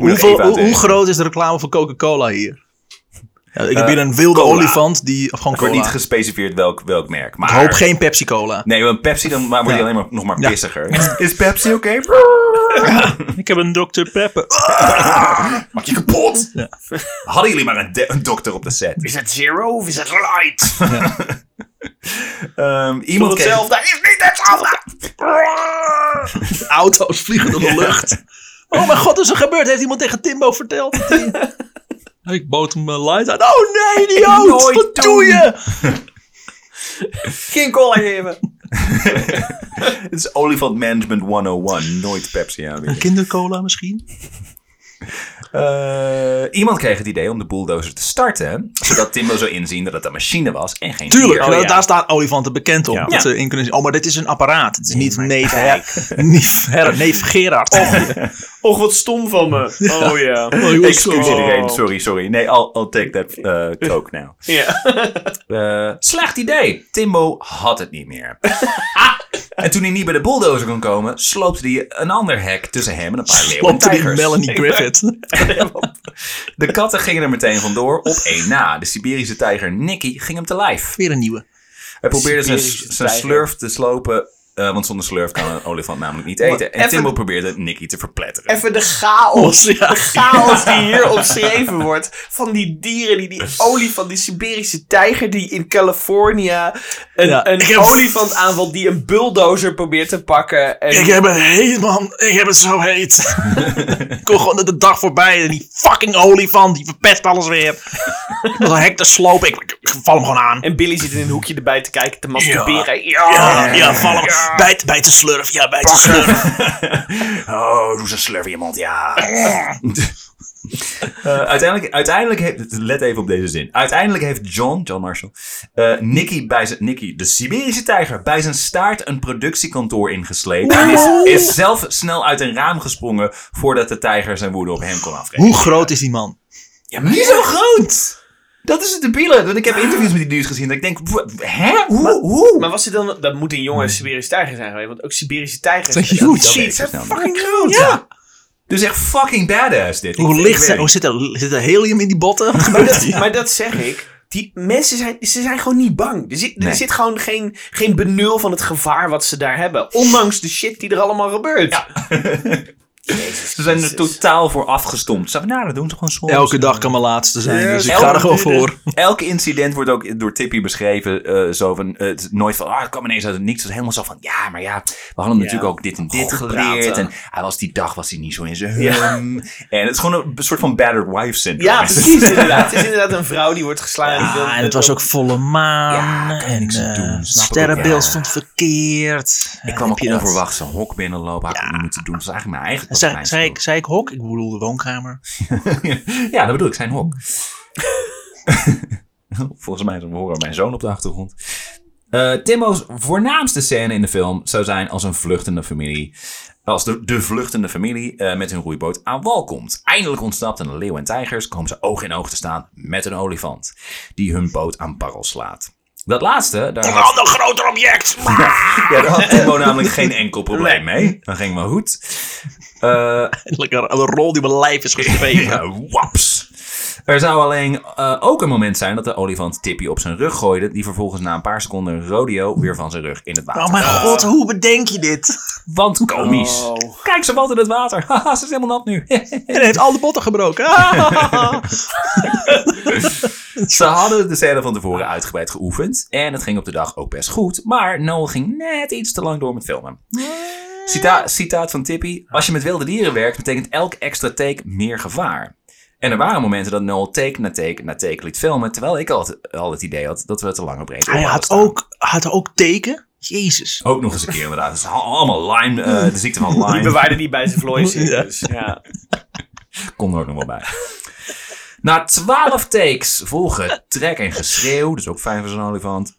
S1: Moet ik
S2: hoeveel-
S1: even
S2: hoe, hoe
S1: uitrekenen.
S2: groot is de reclame voor Coca-Cola hier? Ja, ik
S1: Eh,
S2: heb hier een wilde
S1: cola.
S2: olifant die... Of gewoon
S1: Er wordt
S2: cola.
S1: niet gespecificeerd welk, welk merk. Maar,
S2: Ik hoop geen Pepsi-Cola.
S1: Nee, want Pepsi, dan maar wordt hij
S2: Ja.
S1: alleen maar, nog maar
S2: Ja.
S1: pissiger. Is Pepsi oké?
S2: Ik heb een Dr. Pepper.
S1: Maak je kapot! Hadden jullie maar een, de- een dokter op de set.
S3: Is het zero of is het light?
S1: Ehm, iemand kreeg-
S3: is niet hetzelfde.
S2: Auto's vliegen door de lucht. Oh mijn god, is er gebeurd? Heeft iemand tegen Timbo verteld? ik bood hem mijn light uit. Oh nee, idioot!
S1: Nooit
S2: wat
S1: doen.
S2: doe je?
S3: Geen cola geven.
S1: Het is Olifant Management 101. Nooit Pepsi aanbieden.
S2: Kindercola misschien?
S1: Eh, iemand kreeg het idee om de bulldozer te starten. Zodat Timbo zou inzien dat het een machine was en geen
S2: Tuurlijk,
S1: dier.
S2: daar-
S3: ja.
S2: daar staan olifanten bekend op.
S3: Ja.
S2: Dat
S3: Ja.
S2: ze in kunnen zien. Oh, maar dit is een apparaat. Het is niet neef, Her- neef, Her- neef Gerard.
S1: Oh,
S3: Och, wat stom van me. Oh ja.
S1: Excuus
S3: Oh.
S1: iedereen, sorry, sorry. Nee, I'll, I'll take that eh, coke now.
S3: Ja.
S1: Eh, slecht idee. Timbo had het niet meer. en toen hij niet bij de bulldozer kon komen, sloopte hij een ander hek tussen hem en een paar leeuwen en
S2: Klopt die
S1: tijgers.
S2: Melanie Griffith.
S1: De katten gingen er meteen vandoor op één na. De Siberische tijger Nicky ging hem te lijf.
S2: Weer een nieuwe.
S1: Hij probeerde zijn,
S3: Siberische
S1: zijn
S3: tijger.
S1: slurf te slopen, eh, want zonder slurf kan een olifant namelijk niet eten. En
S3: even-
S1: Timbo probeerde Nicky te verpletteren.
S3: Even de chaos.
S2: Ja.
S3: De chaos die hier omschreven wordt. Van die dieren, die, die olifant, die Siberische tijger die in Californië een,
S2: Ja.
S3: een
S2: Ik heb-
S3: olifant aanvalt die een bulldozer probeert te pakken. En
S2: Ik heb het heet, man. Ik heb het zo heet. ik kon gewoon de dag voorbij en die fucking olifant, die verpest alles weer. Dat een hek te slopen, ik, ik- ik val hem gewoon aan.
S3: En Billy zit in een hoekje erbij te kijken, te masturberen. Ja.
S2: Ja, ja, val hem. Bijt, bijt de slurf, ja, bijt de slurf.
S1: Oh, doe zo'n slurf in je mond, ja. Eh, uiteindelijk, uiteindelijk heeft, let even op deze zin. Uiteindelijk heeft John, John Marshall, eh, Nicky, bij zijn, Nicky, de Siberische tijger, bij zijn staart een productiekantoor ingesleept. En is, is zelf snel uit een raam gesprongen voordat de tijger zijn woede op hem kon afgeven.
S2: Hoe groot is die man?
S1: Ja, maar niet zo groot! Dat is het debiele. Want ik heb interviews met die dudes gezien. Dat ik denk, w- hè? Hoe? hoe?
S3: Maar was het dan... Dat moet een jonge Siberische tijger zijn geweest. Want ook Siberische tijgers...
S2: Dat is
S1: Dat-
S2: Hmm. huge.
S1: dat weet ik
S3: Shit,
S1: zo snel
S3: zijn
S1: niet.
S3: fucking groot.
S1: Ja. Dus echt fucking badass dit. Ik-
S2: Hoe
S1: ik
S2: licht
S1: weet
S2: zijn? Hoe
S1: het
S2: zit er, zit er helium in die botten? Wat
S3: Maar
S2: gebeurt
S3: dat,
S2: hier?
S3: maar dat zeg ik. Die mensen zijn, ze zijn gewoon niet bang. Er zit, er
S1: Nee.
S3: zit gewoon geen, geen benul van het gevaar wat ze daar hebben. Ondanks de shit die er allemaal gebeurt.
S1: Ze zijn er totaal voor afgestompt. Ze van, nou, dat doen ze gewoon soms.
S2: Elke dag kan mijn laatste zijn, dus ik
S1: elke
S2: ga er gewoon
S1: duur-
S2: voor.
S1: Elk incident wordt ook door Tippy beschreven. eh, zo van, eh, het is nooit van, ah, het kwam ineens uit het niets. Het is helemaal zo van, ja, maar ja, we hadden hem natuurlijk ook dit en dit
S3: Goed
S1: geleerd.
S3: praten.
S1: En hij was die dag was hij niet zo in zijn hum. En het is gewoon een soort van battered wife syndrome.
S3: Ja, precies inderdaad. Het is inderdaad een vrouw die wordt geslagen. die wil-
S2: Ah, en het was ook volle maan.
S1: Ja, kan je
S2: en
S1: niks aan
S2: eh,
S1: doen, snap ik ook,
S2: sterrenbeeld
S1: ja.
S2: stond verkeerd.
S1: Ik kwam ook
S2: je dat?
S1: onverwachts een hok binnenlopen. Had ik niet moeten doen. Dat was eigenlijk mijn eigen
S2: En Zei,
S1: mijn
S2: zei,
S1: schuld.
S2: ik, zei ik hok? Ik bedoel de woonkamer.
S1: ja, dat bedoel ik, zijn hok. Volgens mij is- horen mijn zoon op de achtergrond. Eh, Eh, Timbo's voornaamste scène in de film zou zijn als een vluchtende familie. Als de, de vluchtende familie eh, met hun roeiboot aan wal komt. Eindelijk ontsnapt een leeuw en tijgers komen ze oog in oog te staan met een olifant. Die hun boot aan barrel slaat. Dat laatste, daar had
S2: Een groter object!
S1: ja, daar had Timbo namelijk geen enkel probleem mee. Dat ging wel goed. Eh,
S2: Eindelijk een, een rol die op mijn lijf is geschreven.
S1: ja, Eh, waps. Er zou alleen eh, ook een moment zijn dat de olifant Tippy op zijn rug gooide. Die vervolgens na een paar seconden rodeo weer van zijn rug in het water.
S2: Oh mijn god, hoe bedenk je dit?
S1: Want komisch.
S3: Oh.
S1: Kijk, ze valt in het water. Haha, ze is helemaal nat nu.
S2: En hij heeft al de botten gebroken.
S1: ze hadden de scène van tevoren uitgebreid geoefend. En het ging op de dag ook best goed. Maar Noel ging net iets te lang door met filmen. Cita citaat van Tippy. Als je met wilde dieren werkt, betekent elk extra take meer gevaar. En er waren momenten dat Noel take na take na take liet filmen. Terwijl ik al het, al het idee had dat we te lang op breed
S2: hij had ook, had ook teken. Jezus.
S1: Ook nog eens een keer inderdaad. Het is allemaal Lyme, eh, de ziekte van
S3: Die
S1: Lyme.
S3: bewaarde die bij zijn vlooien zit,
S2: Ja.
S3: dus, ja.
S1: Kom er ook nog wel bij. Na twaalf takes volgen trek en geschreeuw, dus ook fijn voor zo'n olifant,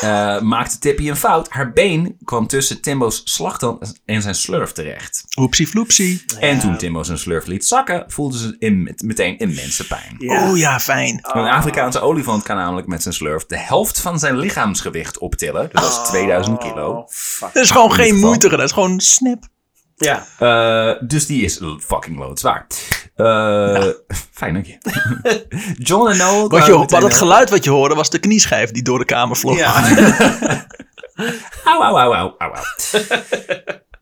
S1: eh, maakte Tippy een fout. Haar been kwam tussen Timbo's slagtand en zijn slurf terecht.
S2: Oepsie floepsie.
S1: En toen Timbo zijn slurf liet zakken, voelde ze in, meteen immense pijn.
S2: Oh ja, fijn.
S1: Een Afrikaanse olifant kan namelijk met zijn slurf de helft van zijn lichaamsgewicht optillen. Dus dat is 2000 kilo.
S3: Oh, fuck.
S2: Dat is gewoon
S1: in ieder
S2: geen
S1: geval.
S2: moeite gedaan. Dat is gewoon snap.
S3: Ja.
S1: Eh, dus die is l- fucking loodzwaar. Eh, Fijn, dank je. John en Noel...
S2: Wat je,
S1: kwamen meteen
S2: wat het
S1: wel-
S2: geluid wat je hoorde was de knieschijf die door de kamer vloog.
S1: Auw, auw, auw, auw, auw, auw.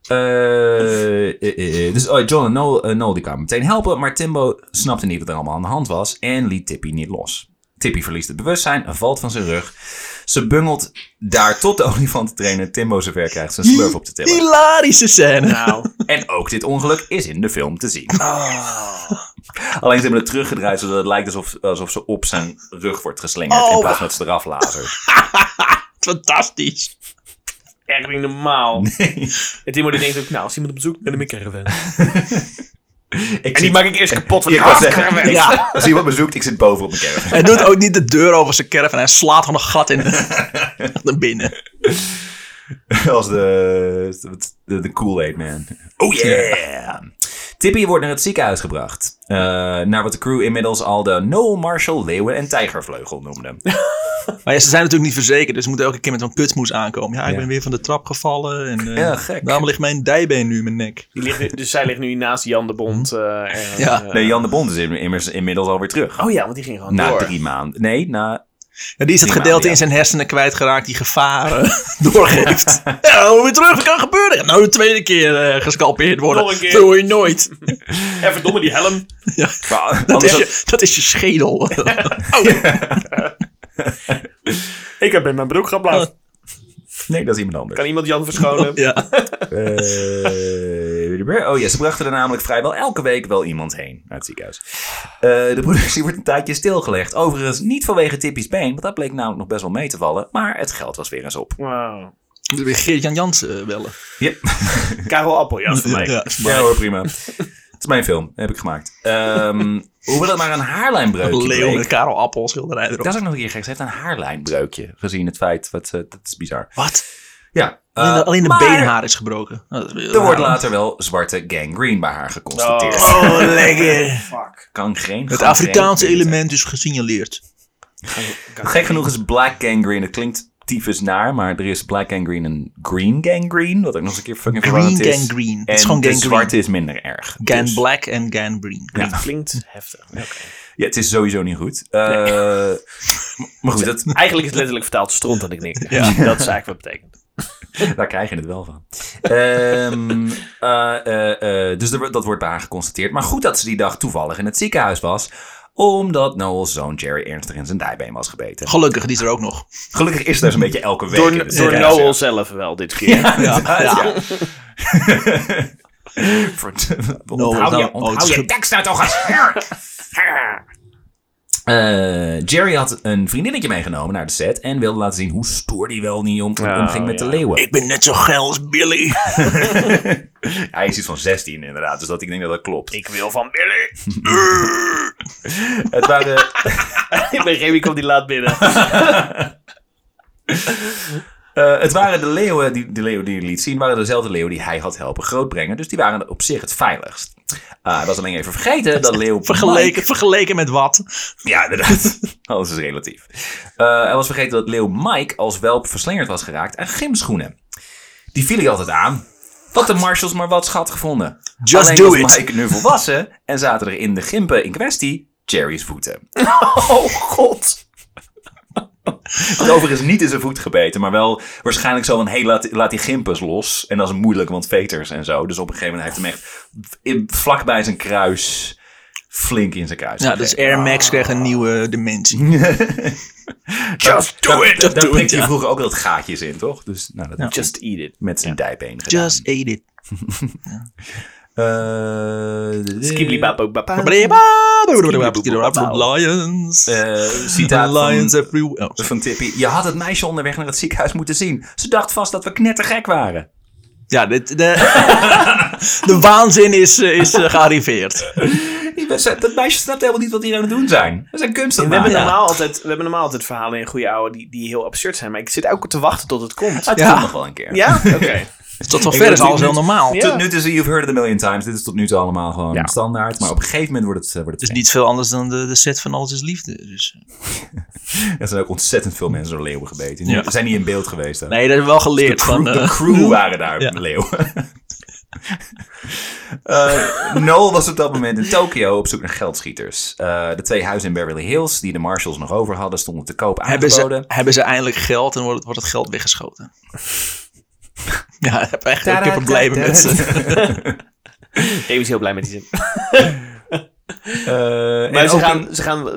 S1: Eh, eh, eh, dus oh, John en Noel, eh, Noel die kwamen meteen helpen, maar Timbo snapte niet wat er allemaal aan de hand was en liet Tippy niet los. Tippy verliest het bewustzijn en valt van zijn rug. Ze bungelt daar tot de olifantentrainer Timbo zover krijgt zijn slurf op te tillen.
S2: Hilarische scène.
S3: Nou.
S1: En ook dit ongeluk is in de film te zien. Alleen ze hebben het teruggedraaid zodat het lijkt alsof, alsof ze op zijn rug wordt geslingerd
S2: Oh.
S1: in plaats van dat ze eraf lazert.
S2: Fantastisch.
S3: Echt niet normaal. En Timo die denkt ook, nou, als iemand op bezoek ben ik een caravan.
S1: Ik
S3: En die
S1: zie-
S3: maak ik eerst kapot van
S1: Ik
S3: de
S1: was
S3: caravan.
S1: zeggen, ja. als iemand me zoekt, ik zit boven op mijn caravan.
S2: Hij doet ook niet de deur over zijn kerf en hij slaat gewoon een gat in naar binnen.
S1: Als de, de, de Kool-Aid Man. Oh yeah! Tippy wordt naar het ziekenhuis gebracht. Eh, naar wat de crew inmiddels al de Noel Marshall Leeuwen en Tijgervleugel noemde.
S2: Maar ja, ze zijn natuurlijk niet verzekerd, dus ze moeten elke keer met zo'n kutmoes aankomen. Ja, ik ben weer van de trap gevallen en eh,
S1: Ja, gek.
S2: daarom ligt mijn dijbeen nu in mijn nek.
S3: Die ligt nu- dus zij ligt nu naast Jan de Bond. eh, en,
S2: Ja.
S3: eh,
S1: Nee, Jan de Bond is in- immers inmiddels alweer terug.
S3: Oh ja, want die ging gewoon
S1: na
S3: door.
S1: drie maanden. Nee, na...
S2: Ja, die is het
S1: Prima,
S2: gedeelte
S1: ja.
S2: in zijn hersenen kwijtgeraakt die gevaren doorgeeft. Ja, hoe weer terug, wat kan gebeuren? Nou, de tweede keer eh, gescalpeerd worden.
S3: Nog een keer.
S2: Dat hoor je nooit.
S3: En verdomme die helm.
S1: Maar
S2: Dat,
S1: anders
S2: is
S1: had-
S2: je, dat is je schedel. Oh,
S3: Ik heb in mijn broek geblazen.
S1: Nee, dat is iemand anders.
S3: Kan iemand Jan verschonen?
S2: ja.
S1: Eh, oh ja, ze brachten er namelijk vrijwel elke week wel iemand heen naar het ziekenhuis. Eh, de productie wordt een tijdje stilgelegd. Overigens niet vanwege Tippy's been, want dat bleek namelijk nog best wel mee te vallen. Maar het geld was weer eens op.
S3: Wow.
S2: Moeten we Geert-Jan Jansen eh, bellen.
S1: Yep.
S3: Karel Appel, ja, voor mij.
S2: Ja,
S1: Ja hoor, prima. Het is mijn film, heb ik gemaakt. Ehm hoewel het maar een haarlijnbreukje
S2: Leeuw met
S1: bleek.
S2: Karel Appel schilderij erop.
S1: Dat is ook nog een keer gek. Ze heeft een haarlijnbreukje, gezien het feit. Wat, eh, dat is bizar.
S2: Wat?
S1: Ja, eh,
S2: alleen de, alleen de
S1: maar
S2: beenhaar is gebroken. Nou, dat is weer-
S1: Er wordt later wel zwarte gangrene bij haar geconstateerd.
S2: Oh, lekker.
S3: Fuck.
S1: Kan geen
S2: Het
S1: gangrene
S2: Afrikaanse
S1: zijn.
S2: element is gesignaleerd.
S1: Gek genoeg is black gangrene. Het klinkt tyfus naar, maar er is black gangrene en green gangrene. Wat ook nog eens een keer fucking
S2: Green
S1: verwarrend is.
S2: gangrene. Het
S1: En
S2: is gewoon
S1: de
S2: gangrene.
S1: zwarte is minder erg.
S2: Gan
S1: Dus-
S2: Black en Gan Green.
S3: Ja. Klinkt heftig. Oké.
S1: ja, het is sowieso niet goed. Eh, Maar goed, dat,
S3: Eigenlijk is het letterlijk vertaald stront dat ik niks. Dat is eigenlijk wat het betekent.
S1: daar krijg je het wel van. Ehm, eh, eh, eh, dus er wordt- dat wordt bij haar geconstateerd. Maar goed dat ze die dag toevallig in het ziekenhuis was omdat Noel's zoon Jerry ernstig in zijn dijbeen was gebeten.
S2: Gelukkig, die is er ook nog.
S1: Gelukkig is er zo'n beetje elke week. in
S3: Door,
S1: het
S3: door
S1: ziekenhuis.
S3: Noel zelf wel dit keer.
S1: Ja, inderdaad,
S2: ja.
S1: ja. Voor-
S2: nou,
S1: onthoud je,
S2: oh, het
S1: onthoud
S2: is
S1: je
S2: ge-
S1: tekst nou toch eens. Eh, Jerry had een vriendinnetje meegenomen naar de set en wilde laten zien hoe stoer die wel niet om,
S3: Oh,
S1: omging met
S3: ja.
S1: de leeuwen.
S2: Ik ben net zo geil als Billy.
S1: Hij is iets van 16 inderdaad, dus dat, ik denk dat dat klopt.
S3: Ik wil van Billy.
S1: Het waren,
S3: ik ben geen wie komt die laat binnen.
S1: Eh, het waren de leeuwen, die, de leeuwen die hij liet zien, waren dezelfde leeuwen die hij had helpen grootbrengen. Dus die waren op zich het veiligst. Ah, ik was alleen even vergeten dat leeuw Mike-
S2: Vergeleken, vergeleken met wat?
S1: Ja, inderdaad. Alles is relatief. Eh, hij was vergeten dat leeuw Mike als welp verslingerd was geraakt aan gymschoenen. Die viel hij altijd aan. Wat de marshals maar wat schat gevonden.
S2: Just
S1: Alleen
S2: do
S1: was
S2: it.
S1: Mike nu volwassen en zaten er in de gimpen in kwestie Jerry's voeten.
S3: Oh god.
S1: Het overigens niet in zijn voet gebeten, maar wel waarschijnlijk zo van, hey, laat, laat die gimpus los. En dat is moeilijk, want veters en zo. Dus op een gegeven moment heeft hij hem echt in, vlakbij zijn kruis, flink in zijn kruis.
S2: Ja, dus
S1: gegeven.
S2: Air Max kreeg een nieuwe dimensie.
S1: Just
S2: do it,
S1: Daar
S2: do it,
S1: prikt hij
S2: ja.
S1: vroeger ook altijd gaatjes in, toch? Dus nou, dat heeft hij
S3: Just eat it.
S1: met zijn dijbeen gedaan.
S2: Just eat it.
S1: Eh,
S3: Skiblibabobaba.
S2: Lions.
S1: eh, citaat van-
S2: Lions everywhere. Oh,
S1: van Tippy. Je had het meisje onderweg naar het ziekenhuis moeten zien. Ze dacht vast dat we knettergek waren.
S2: Ja, dit, de, de waanzin is, eh, is eh, gearriveerd.
S1: Die mensen- Dat meisje snapt helemaal niet wat die aan het doen zijn. We zijn kunst aan
S3: We
S1: het
S3: hebben,
S1: maken.
S3: normaal altijd, we hebben normaal altijd verhalen in goede ouwe die, die heel absurd zijn. Maar ik zit ook te wachten tot het komt.
S1: Ah, het
S2: Ja.
S1: komt nog wel een keer.
S3: Ja? Oké.
S2: Tot wel
S1: Ik
S2: verder
S1: weet
S2: is alles
S1: niet-
S2: heel normaal.
S3: Ja.
S1: Tot nu toe, is- you've heard it a million times. Dit is tot nu toe allemaal gewoon
S3: Ja.
S1: standaard. Maar op een gegeven moment wordt het... eh, wordt
S2: Het
S1: het
S2: is niet veel anders dan de, de set van Alles is Liefde. Dus.
S1: Er zijn ook ontzettend veel mensen door leeuwen gebeten.
S2: Ja.
S1: Ze zijn niet in beeld geweest. Ook.
S2: Nee, dat is wel geleerd.
S1: De crew,
S2: van,
S1: de
S2: eh,
S1: crew waren daar
S2: Ja.
S1: leeuwen. Eh, Noel was op dat moment in Tokio op zoek naar geldschieters. Eh, de twee huizen in Beverly Hills, die de Marshalls nog over hadden, stonden te koop
S2: hebben,
S1: aangeboden.
S2: ze, hebben ze eindelijk geld en wordt het, wordt het geld weggeschoten. ja, daar heb ik echt ook
S1: Tada,
S2: weer problemen
S1: tada.
S2: met ze.
S3: Dave is heel blij met die zin.
S1: Eh,
S3: Maar
S1: en
S3: ze
S1: ook
S3: gaan,
S1: in-
S3: ze gaan eh,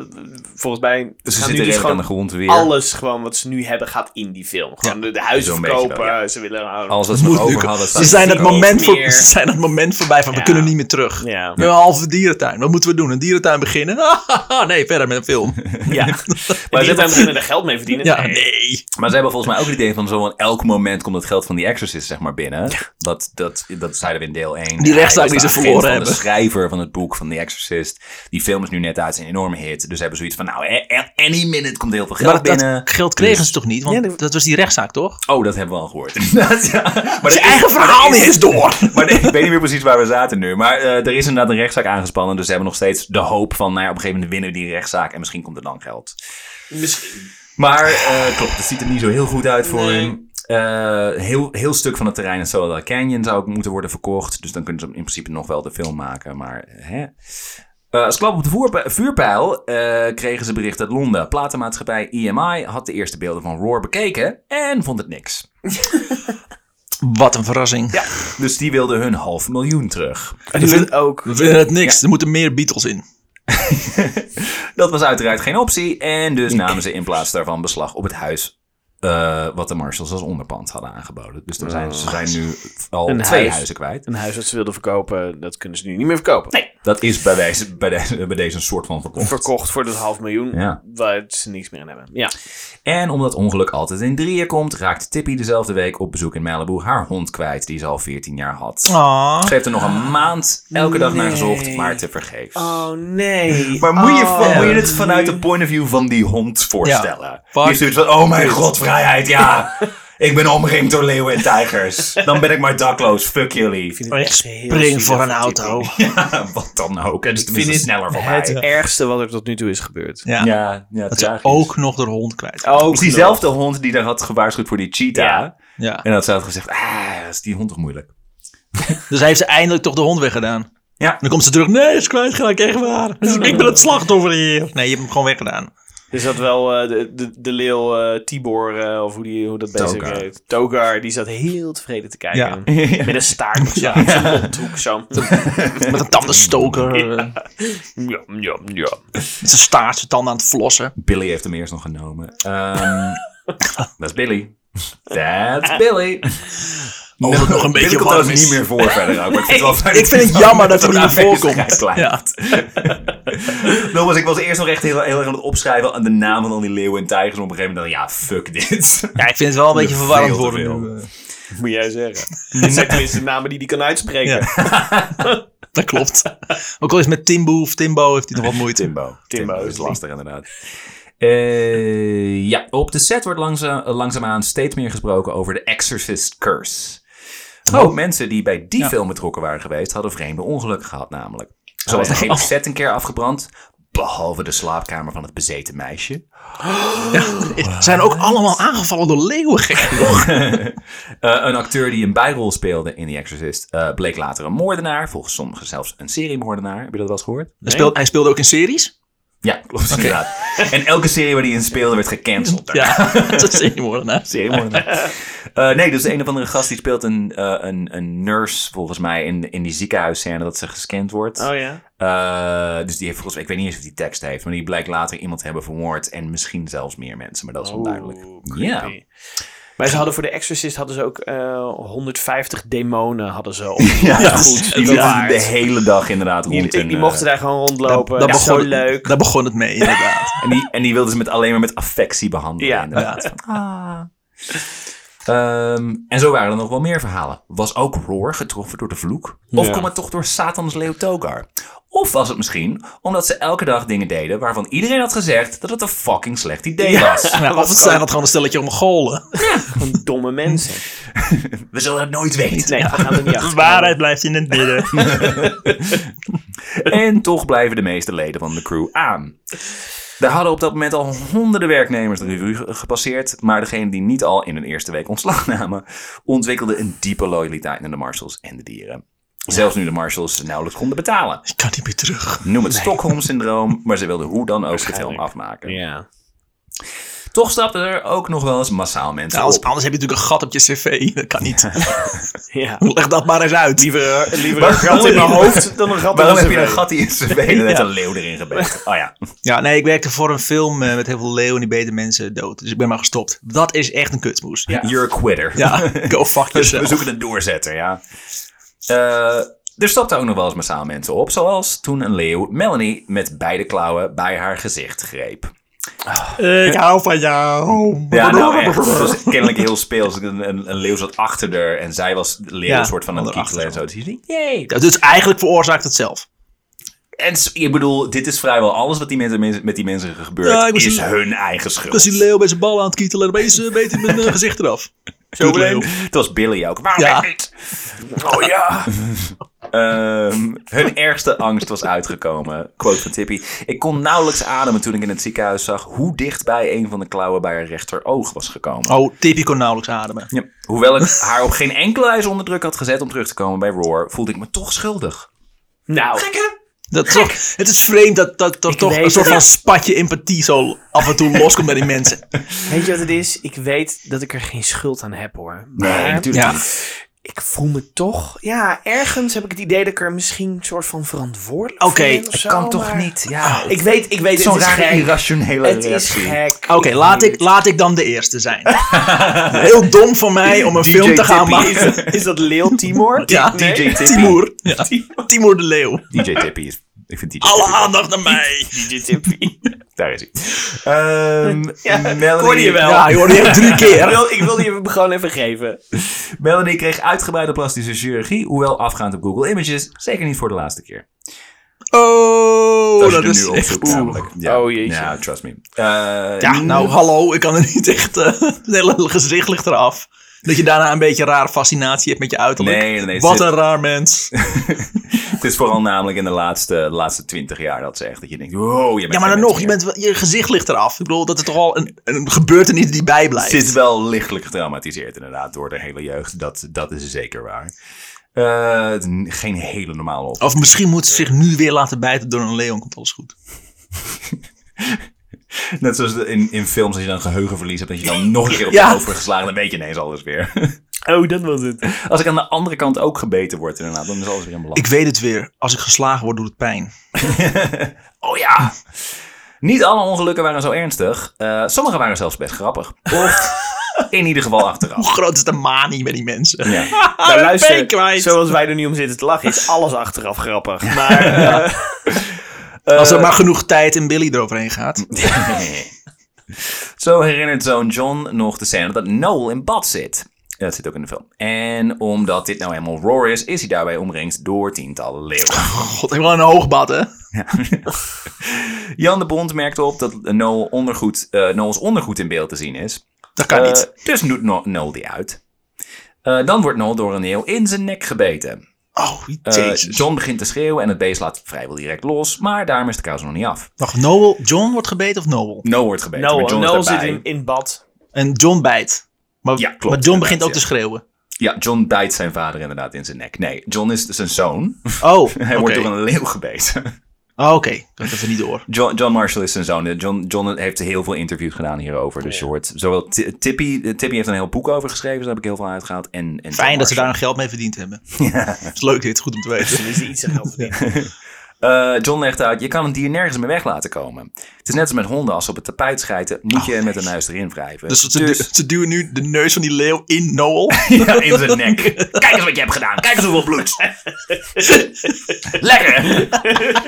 S3: volgens mij.
S1: ze
S3: gaan
S1: zitten
S3: nu
S1: redelijk
S3: dus
S1: aan de
S3: gewoon
S1: grond weer.
S3: alles gewoon wat ze nu hebben gaat in die film. Gewoon de, de huizen
S1: Zo'n beetje
S3: verkopen.
S1: wel,
S3: Ze willen.
S1: Alles wat ze nog over hadden. staat
S2: Ze zijn,
S1: hier
S2: dat
S1: ook.
S2: moment
S3: niet
S2: voor,
S3: meer.
S2: ze zijn dat moment voorbij van
S3: Ja.
S2: we kunnen niet meer terug.
S3: Ja.
S2: We hebben een halve dierentuin. Wat moeten we doen? Een dierentuin beginnen? nee, verder met een film.
S3: ja. maar
S1: hebben-
S3: ze beginnen er geld mee verdienen.
S2: Ja,
S3: Nee.
S2: nee.
S1: Maar ze hebben volgens mij ook het idee van zo'n elk moment komt het geld van die Exorcist zeg maar binnen. Dat, dat, dat zeiden we in deel 1.
S2: Die rechtszaak die ze verloren
S1: De
S2: hebben.
S1: schrijver van het boek van The Exorcist. Die film is nu net uit, is een enorme hit. Dus hebben zoiets van, nou, a- a- any minute komt heel veel geld
S2: Maar dat,
S1: binnen.
S2: dat geld kregen
S1: Dus-
S2: ze toch niet? Want
S3: Ja, dat-
S2: dat was die rechtszaak, toch?
S1: Oh, dat hebben we al gehoord. inderdaad, ja. Maar dat
S2: Je
S1: is-
S2: eigen verhaal niet eens door.
S1: Maar nee, ik weet niet meer precies waar we zaten nu. Maar eh, er is inderdaad een rechtszaak aangespannen. Dus ze hebben nog steeds de hoop van, nou ja, op een gegeven moment winnen we die rechtszaak. En misschien komt er dan geld.
S3: Misschien.
S1: Maar eh, klopt, het ziet er niet zo heel goed uit voor
S3: Nee.
S1: hem. Eh, heel, heel stuk van het terrein in Solar Canyon zou ook moeten worden verkocht. Dus dan kunnen ze in principe nog wel de film maken. Maar hè. Eh, als klap op de voorpe- vuurpijl eh, kregen ze bericht uit Londen. Platenmaatschappij EMI had de eerste beelden van Roar bekeken en vond het niks.
S2: Wat een verrassing.
S1: Ja. Dus die wilden hun half miljoen terug.
S3: En die willen ook.
S2: We vinden het niks. Er moeten meer Beatles in.
S1: Dat was uiteraard geen optie. En dus namen ze in plaats daarvan beslag op het huis. eh, wat de Marshalls als onderpand hadden aangeboden. Dus er zijn, ze zijn nu al
S3: Een
S1: twee
S3: huis.
S1: huizen kwijt.
S3: Een huis dat ze wilden verkopen, dat kunnen ze nu niet meer verkopen. Nee.
S1: Dat is bij deze, bij deze, bij deze een soort van verkocht.
S3: Verkocht voor dat half miljoen,
S1: Ja.
S3: waar ze niks meer aan hebben. Ja.
S1: En omdat ongeluk altijd in drieën komt, raakt Tippy dezelfde week op bezoek in Malibu haar hond kwijt, die ze al 14 jaar had. Ze heeft er nog een maand elke dag naar
S3: Nee.
S1: gezocht, maar te vergeef.
S3: Oh nee.
S1: Maar moet je,
S3: Oh.
S1: moet je het vanuit de point of view van die hond voorstellen?
S2: Fuck.
S1: Je is zoiets van, oh mijn god, vrijheid, ja. ik ben omringd door leeuwen en tijgers. Dan ben ik maar dakloos, fuck jullie.
S3: Ik vind het
S2: Ik
S3: echt heel
S2: spring
S3: zielig
S2: voor een
S3: Tippy.
S2: auto.
S1: Ja, wat dan ook. Het is tenminste
S3: het
S1: sneller voor
S3: Het
S1: mij.
S3: ergste wat er tot nu toe is gebeurd.
S2: Ja.
S1: Ja, ja,
S2: Dat ze
S1: tragisch.
S2: ook nog de hond kwijt.
S3: Ook
S1: Dus diezelfde hond die daar had gewaarschuwd voor die cheetah.
S3: Ja.
S2: Ja.
S1: En dat ze had gezegd, ah, dat is die hond toch moeilijk.
S2: Dus hij heeft ze eindelijk toch de hond weggedaan.
S1: Ja.
S2: Dan komt ze terug. Nee, is kwijtgeraakt. Echt waar. Dus ik ben het slachtoffer hier. Nee, je hebt hem gewoon weggedaan.
S3: Is dat wel eh, de, de, de leeuw eh, Tibor, eh, of hoe, die, hoe dat bezig
S1: Togar.
S3: heet? Togar, die zat heel tevreden te kijken. Met een staart op zijn
S2: Ja.
S3: op zijn mondhoek zo.
S2: Met een tandenstoker. eh,
S3: Njam, njam, njam.
S2: Met zijn staart, zijn tanden aan het flossen.
S1: Billy heeft hem eerst nog genomen. Ehm, dat is Billy. That's Billy.
S2: Oh, dat het nog een beetje
S1: Billy komt
S2: warm
S1: trouwens
S2: is.
S1: niet meer voor verder ook. Maar ik vind het, wel fijn
S2: ik vind het
S1: hij
S2: jammer
S1: wel
S2: dat hij
S1: met
S2: niet
S1: zo'n
S2: meer
S1: aanwezigheid
S2: voorkomt.
S1: klaar
S2: Ja.
S1: Nogmaals, ik was eerst nog echt heel, heel erg aan het opschrijven aan de naam van al die leeuwen en tijgers. En op een gegeven moment dacht ik, ja, fuck dit.
S2: Ja, ik vind het wel een beetje
S1: Veel
S2: verwarrend
S1: te
S2: worden.
S1: veel.
S2: nu, eh.
S3: Moet jij zeggen. Dit zijn tenminste de namen die hij kan uitspreken.
S2: Dat klopt. Ook al is met Timbo of Timbo heeft hij nog wat moeite.
S1: Timbo.
S3: Timbo is
S1: lastig inderdaad. Eh, ja, op de set wordt langzaam, langzaamaan steeds meer gesproken over de Exorcist Curse. Een hoop mensen die bij die film betrokken waren geweest, hadden vreemde ongelukken gehad namelijk. Zo was de hele set een keer afgebrand, behalve de slaapkamer van het bezeten meisje.
S2: Zijn ook allemaal aangevallen door leeuwen gek.
S1: Eh, een acteur die een bijrol speelde in The Exorcist eh, bleek later een moordenaar, volgens sommigen zelfs een seriemoordenaar. Heb je dat wel eens gehoord?
S2: Hij speelde, hij speelde ook in series.
S1: Ja, klopt inderdaad. En elke serie waar hij in speelde werd gecanceld. daarna.
S2: Ja, dat is een moordenaar.
S1: Seriemoordenaar. Eh, nee, dus de een of andere gast die speelt een, eh, een, een nurse, volgens mij, in, in die ziekenhuisscène dat ze gescand wordt.
S3: Oh ja.
S1: Eh, dus die heeft volgens mij, ik weet niet eens of die tekst heeft, maar die blijkt later iemand te hebben vermoord en misschien zelfs meer mensen, maar dat is onduidelijk. Ja.
S3: Oh, creepy. Maar ze hadden voor de Exorcist hadden ze ook eh 150 demonen hadden ze op.
S1: Ja,
S3: goed.
S1: Die
S3: Dat
S1: liepen
S3: waard.
S1: de hele dag inderdaad rond.
S3: Die, die,
S1: en,
S3: die
S1: eh,
S3: mochten daar gewoon rondlopen. Dat,
S2: Daar
S3: is zo leuk.
S2: Daar begon het mee, inderdaad.
S1: En die, en die wilden ze met, alleen maar met affectie behandelen.
S3: Ja. Ah.
S1: inderdaad. Ehm, en zo waren er nog wel meer verhalen. Was ook Roar getroffen door de vloek? Of
S3: Ja.
S1: kwam het toch door Satans leeuw Togar? Of was het misschien omdat ze elke dag dingen deden waarvan iedereen had gezegd dat het een fucking slecht idee was?
S2: Ja, of het zijn dat gewoon een stelletje om golen.
S3: Gewoon domme mensen.
S1: We zullen het nooit weten.
S3: Nee, we gaan er niet achter.
S2: blijft in het midden.
S1: En toch blijven de meeste leden van de crew aan. Er hadden op dat moment al honderden werknemers de revue ge- gepasseerd, maar degenen die niet al in hun eerste week ontslag namen, ontwikkelden een diepe loyaliteit naar de marshals en de dieren. Zelfs nu de marshals ze nauwelijks konden betalen.
S2: Ik kan niet meer terug.
S1: Noem het Stockholm-syndroom, maar ze wilden hoe dan ook de film afmaken.
S3: Ja.
S1: Toch stapten er ook nog wel eens massaal mensen
S2: Nou, anders,
S1: op.
S2: anders heb je natuurlijk een gat op je cv. Dat kan niet.
S3: ja.
S2: Leg dat maar eens uit.
S3: Liever, eh, liever een gat in mijn hoofd dan een gat in
S1: Waarom
S3: mijn
S1: heb je een
S3: cv?
S1: gat in zijn benen en net een leeuw erin gebeten? Oh ja.
S2: Ja, nee, ik werkte voor een film eh, met heel veel leeuwen die beten mensen dood. Dus ik ben maar gestopt. Dat is echt een kutmoes. Ja,
S1: You're a quitter.
S2: go fuck
S1: We
S2: yourself.
S1: zoeken een doorzetter, ja. Eh, er stapten ook nog wel eens massaal mensen op. Zoals toen een leeuw Melanie met beide klauwen bij haar gezicht greep.
S2: Ik hou van jou.
S1: Ja, nou echt. Het was kennelijk heel speels. Een, een, een leeuw zat achter haar en zij was de leeuw
S2: Ja,
S1: een soort van aan het
S2: erachter
S1: kietelen en zo. Dus je ziet-
S2: Ja, dus eigenlijk veroorzaakt het zelf.
S1: En s- ik bedoel, dit is vrijwel alles wat die mensen, mensen- met die mensen gebeurt.
S2: Ja, ik was-
S1: is hun eigen
S2: Ik was
S1: schuld.
S2: Dus die leeuw bij zijn bal aan het kietelen en opeens eh, beet hij mijn eh, gezicht eraf.
S1: Zo bleef- Het was Billy ook. Waarom
S2: Ja.
S1: ik niet? Oh ja. Ehm, hun ergste angst was uitgekomen. Quote van Tippy. Ik kon nauwelijks ademen toen ik in het ziekenhuis zag hoe dichtbij een van de klauwen bij haar rechteroog was gekomen.
S2: Oh, Tippy kon nauwelijks ademen.
S1: Ja. Hoewel ik haar op geen enkele wijze onder druk had gezet om terug te komen bij Roar, voelde ik me toch schuldig.
S3: Nou,
S2: Dat is toch- het is vreemd dat, dat, dat toch
S3: weet
S2: een soort
S3: het.
S2: van spatje empathie zo af en toe loskomt bij die mensen.
S3: weet je wat het is? Ik weet dat ik er geen schuld aan heb hoor.
S1: Nee,
S3: Maar
S1: natuurlijk
S2: Ja.
S1: niet.
S3: ik voel me toch... Ja, ergens heb ik het idee dat ik er misschien een soort van verantwoordelijk
S2: Oké,
S3: voor ben of
S1: Het
S3: zo,
S1: kan toch
S3: maar-
S1: niet? Ja.
S3: Ik weet, ik weet,
S1: Zo'n
S3: het is
S1: raar
S3: gek.
S1: irrationele
S3: Het is
S1: reactie.
S3: gek.
S2: Oké, laat, ik, laat ik dan de eerste zijn. Heel dom van mij om een
S1: DJ
S2: film te gaan
S1: Tippy.
S2: maken.
S3: Is, is dat Leel Timor?
S2: Ja,
S1: DJ Tippy.
S2: Timur. Ja. Timur de Leeuw.
S1: DJ Tippy is... Ik vind DJ
S2: Alle
S1: Tippy-
S2: aandacht naar mij.
S3: DJ Tippy.
S1: Daar is hij. Ehm Melanie...
S3: hoorde je wel.
S2: Ja, je hoorde hem drie
S3: ik,
S2: keer.
S3: wil, ik wilde je hem gewoon even geven.
S1: Melanie kreeg uitgebreide plastische chirurgie, hoewel afgaand op Google Images, zeker niet voor de laatste keer.
S2: Oh,
S1: Als je
S2: dat
S1: er
S2: is
S1: nu
S2: echt...
S1: opzoekt, namelijk. Ja,
S3: Oh, jeetje.
S1: Ja, trust me. Eh,
S2: Ja, nou hallo, ik kan er niet echt... eh, het hele gezicht ligt eraf. Dat je daarna een beetje raar fascinatie hebt met je uiterlijk.
S1: Nee, nee, nee,
S2: Wat
S1: zit-
S2: een raar mens.
S1: Het is vooral namelijk in de laatste, de laatste 20 jaar dat ze echt, dat je denkt, wow, je bent
S2: Ja, maar
S1: geen mens
S2: dan nog, je,
S1: meer.
S2: bent, wel- je gezicht ligt eraf. Ik bedoel, dat is toch al een, een gebeurtenis die bijblijft.
S1: Ze is wel lichtelijk getraumatiseerd inderdaad door de hele jeugd. Dat, dat is zeker waar. Eh, het is n- geen hele normale op.
S2: Of misschien moet ze zich nu weer laten bijten door een leeuw. Komt alles goed.
S1: Net zoals de- in, in films als je dan geheugenverlies hebt, dat je dan nog een keer op je
S2: Ja.
S1: hoofd wordt geslagen, dan weet je ineens alles weer.
S3: Oh, dat was het.
S1: als ik aan de andere kant ook gebeten word inderdaad, dan is alles weer in balans.
S2: Ik weet het weer. Als ik geslagen word, doet het pijn.
S1: Oh ja. Niet alle ongelukken waren zo ernstig. Eh, sommige waren zelfs best grappig. Of in ieder geval achteraf.
S2: Hoe groot is de manie met die mensen?
S1: Ja.
S3: Nou,
S2: ben
S3: luister,
S2: kwijt.
S3: zoals wij er nu om zitten te lachen, is alles achteraf grappig. Maar eh,
S1: Eh,
S2: Als er maar genoeg tijd en Billy eroverheen gaat.
S1: zo herinnert zoon John nog de scène dat Noel in bad zit. Ja, Dat zit ook in de film. En omdat dit nou helemaal Roar is, is hij daarbij omringd door tientallen leeuwen.
S2: God, ik wil een hoogbad, hè?
S1: Ja. Jan de Bond merkte op dat Noel ondergoed, eh, Noel's ondergoed in beeld te zien is.
S2: Dat kan
S1: Eh,
S2: niet.
S1: Dus doet No- Noel die uit. Eh, dan wordt Noel door een heel in zijn nek gebeten.
S2: Oh,
S1: Eh,
S2: jezus.
S1: John begint te schreeuwen en het beest laat vrijwel direct los. Maar daarom is de kous nog niet af.
S2: Wacht, Noel, John wordt gebeten of Noel?
S1: Noel wordt gebeten. maar
S3: Noel,
S1: John is
S3: Noel zit
S1: daarbij.
S3: in, in bad.
S2: En John bijt. Maar,
S1: Ja, klopt,
S2: maar John begint
S1: inderdaad,
S2: ook te schreeuwen.
S1: Ja, John bijt zijn vader inderdaad in zijn nek. Nee, John is zijn zoon.
S2: Oh,
S1: Hij
S2: oké.
S1: wordt door een leeuw gebeten.
S2: Oh, oké. Ik had even niet door.
S1: John, John Marshall is zijn zoon. Eh, John, John heeft heel veel interviews gedaan hierover. Dus je hoort zowel Ti- Tippy... eh, Tippy heeft een heel boek over geschreven. Dus daar heb ik heel veel uitgehaald. En, en John
S2: Fijn dat ze
S1: Marshall.
S2: daar nog geld mee verdiend hebben. Dat is leuk dit, goed om te weten.
S3: Tenminste, iets aan geld verdienen.
S1: Eh, John legt uit, je kan een dier nergens meer weg laten komen. Het is net als met honden. Als ze op het tapijt schijten, moet je hem met een neus erin wrijven.
S2: Oh, Dus ze, ze duwen nu de neus van die leeuw in Noel.
S1: Ja, in zijn nek. Kijk eens wat je hebt gedaan. Kijk eens hoeveel bloed. Lekker.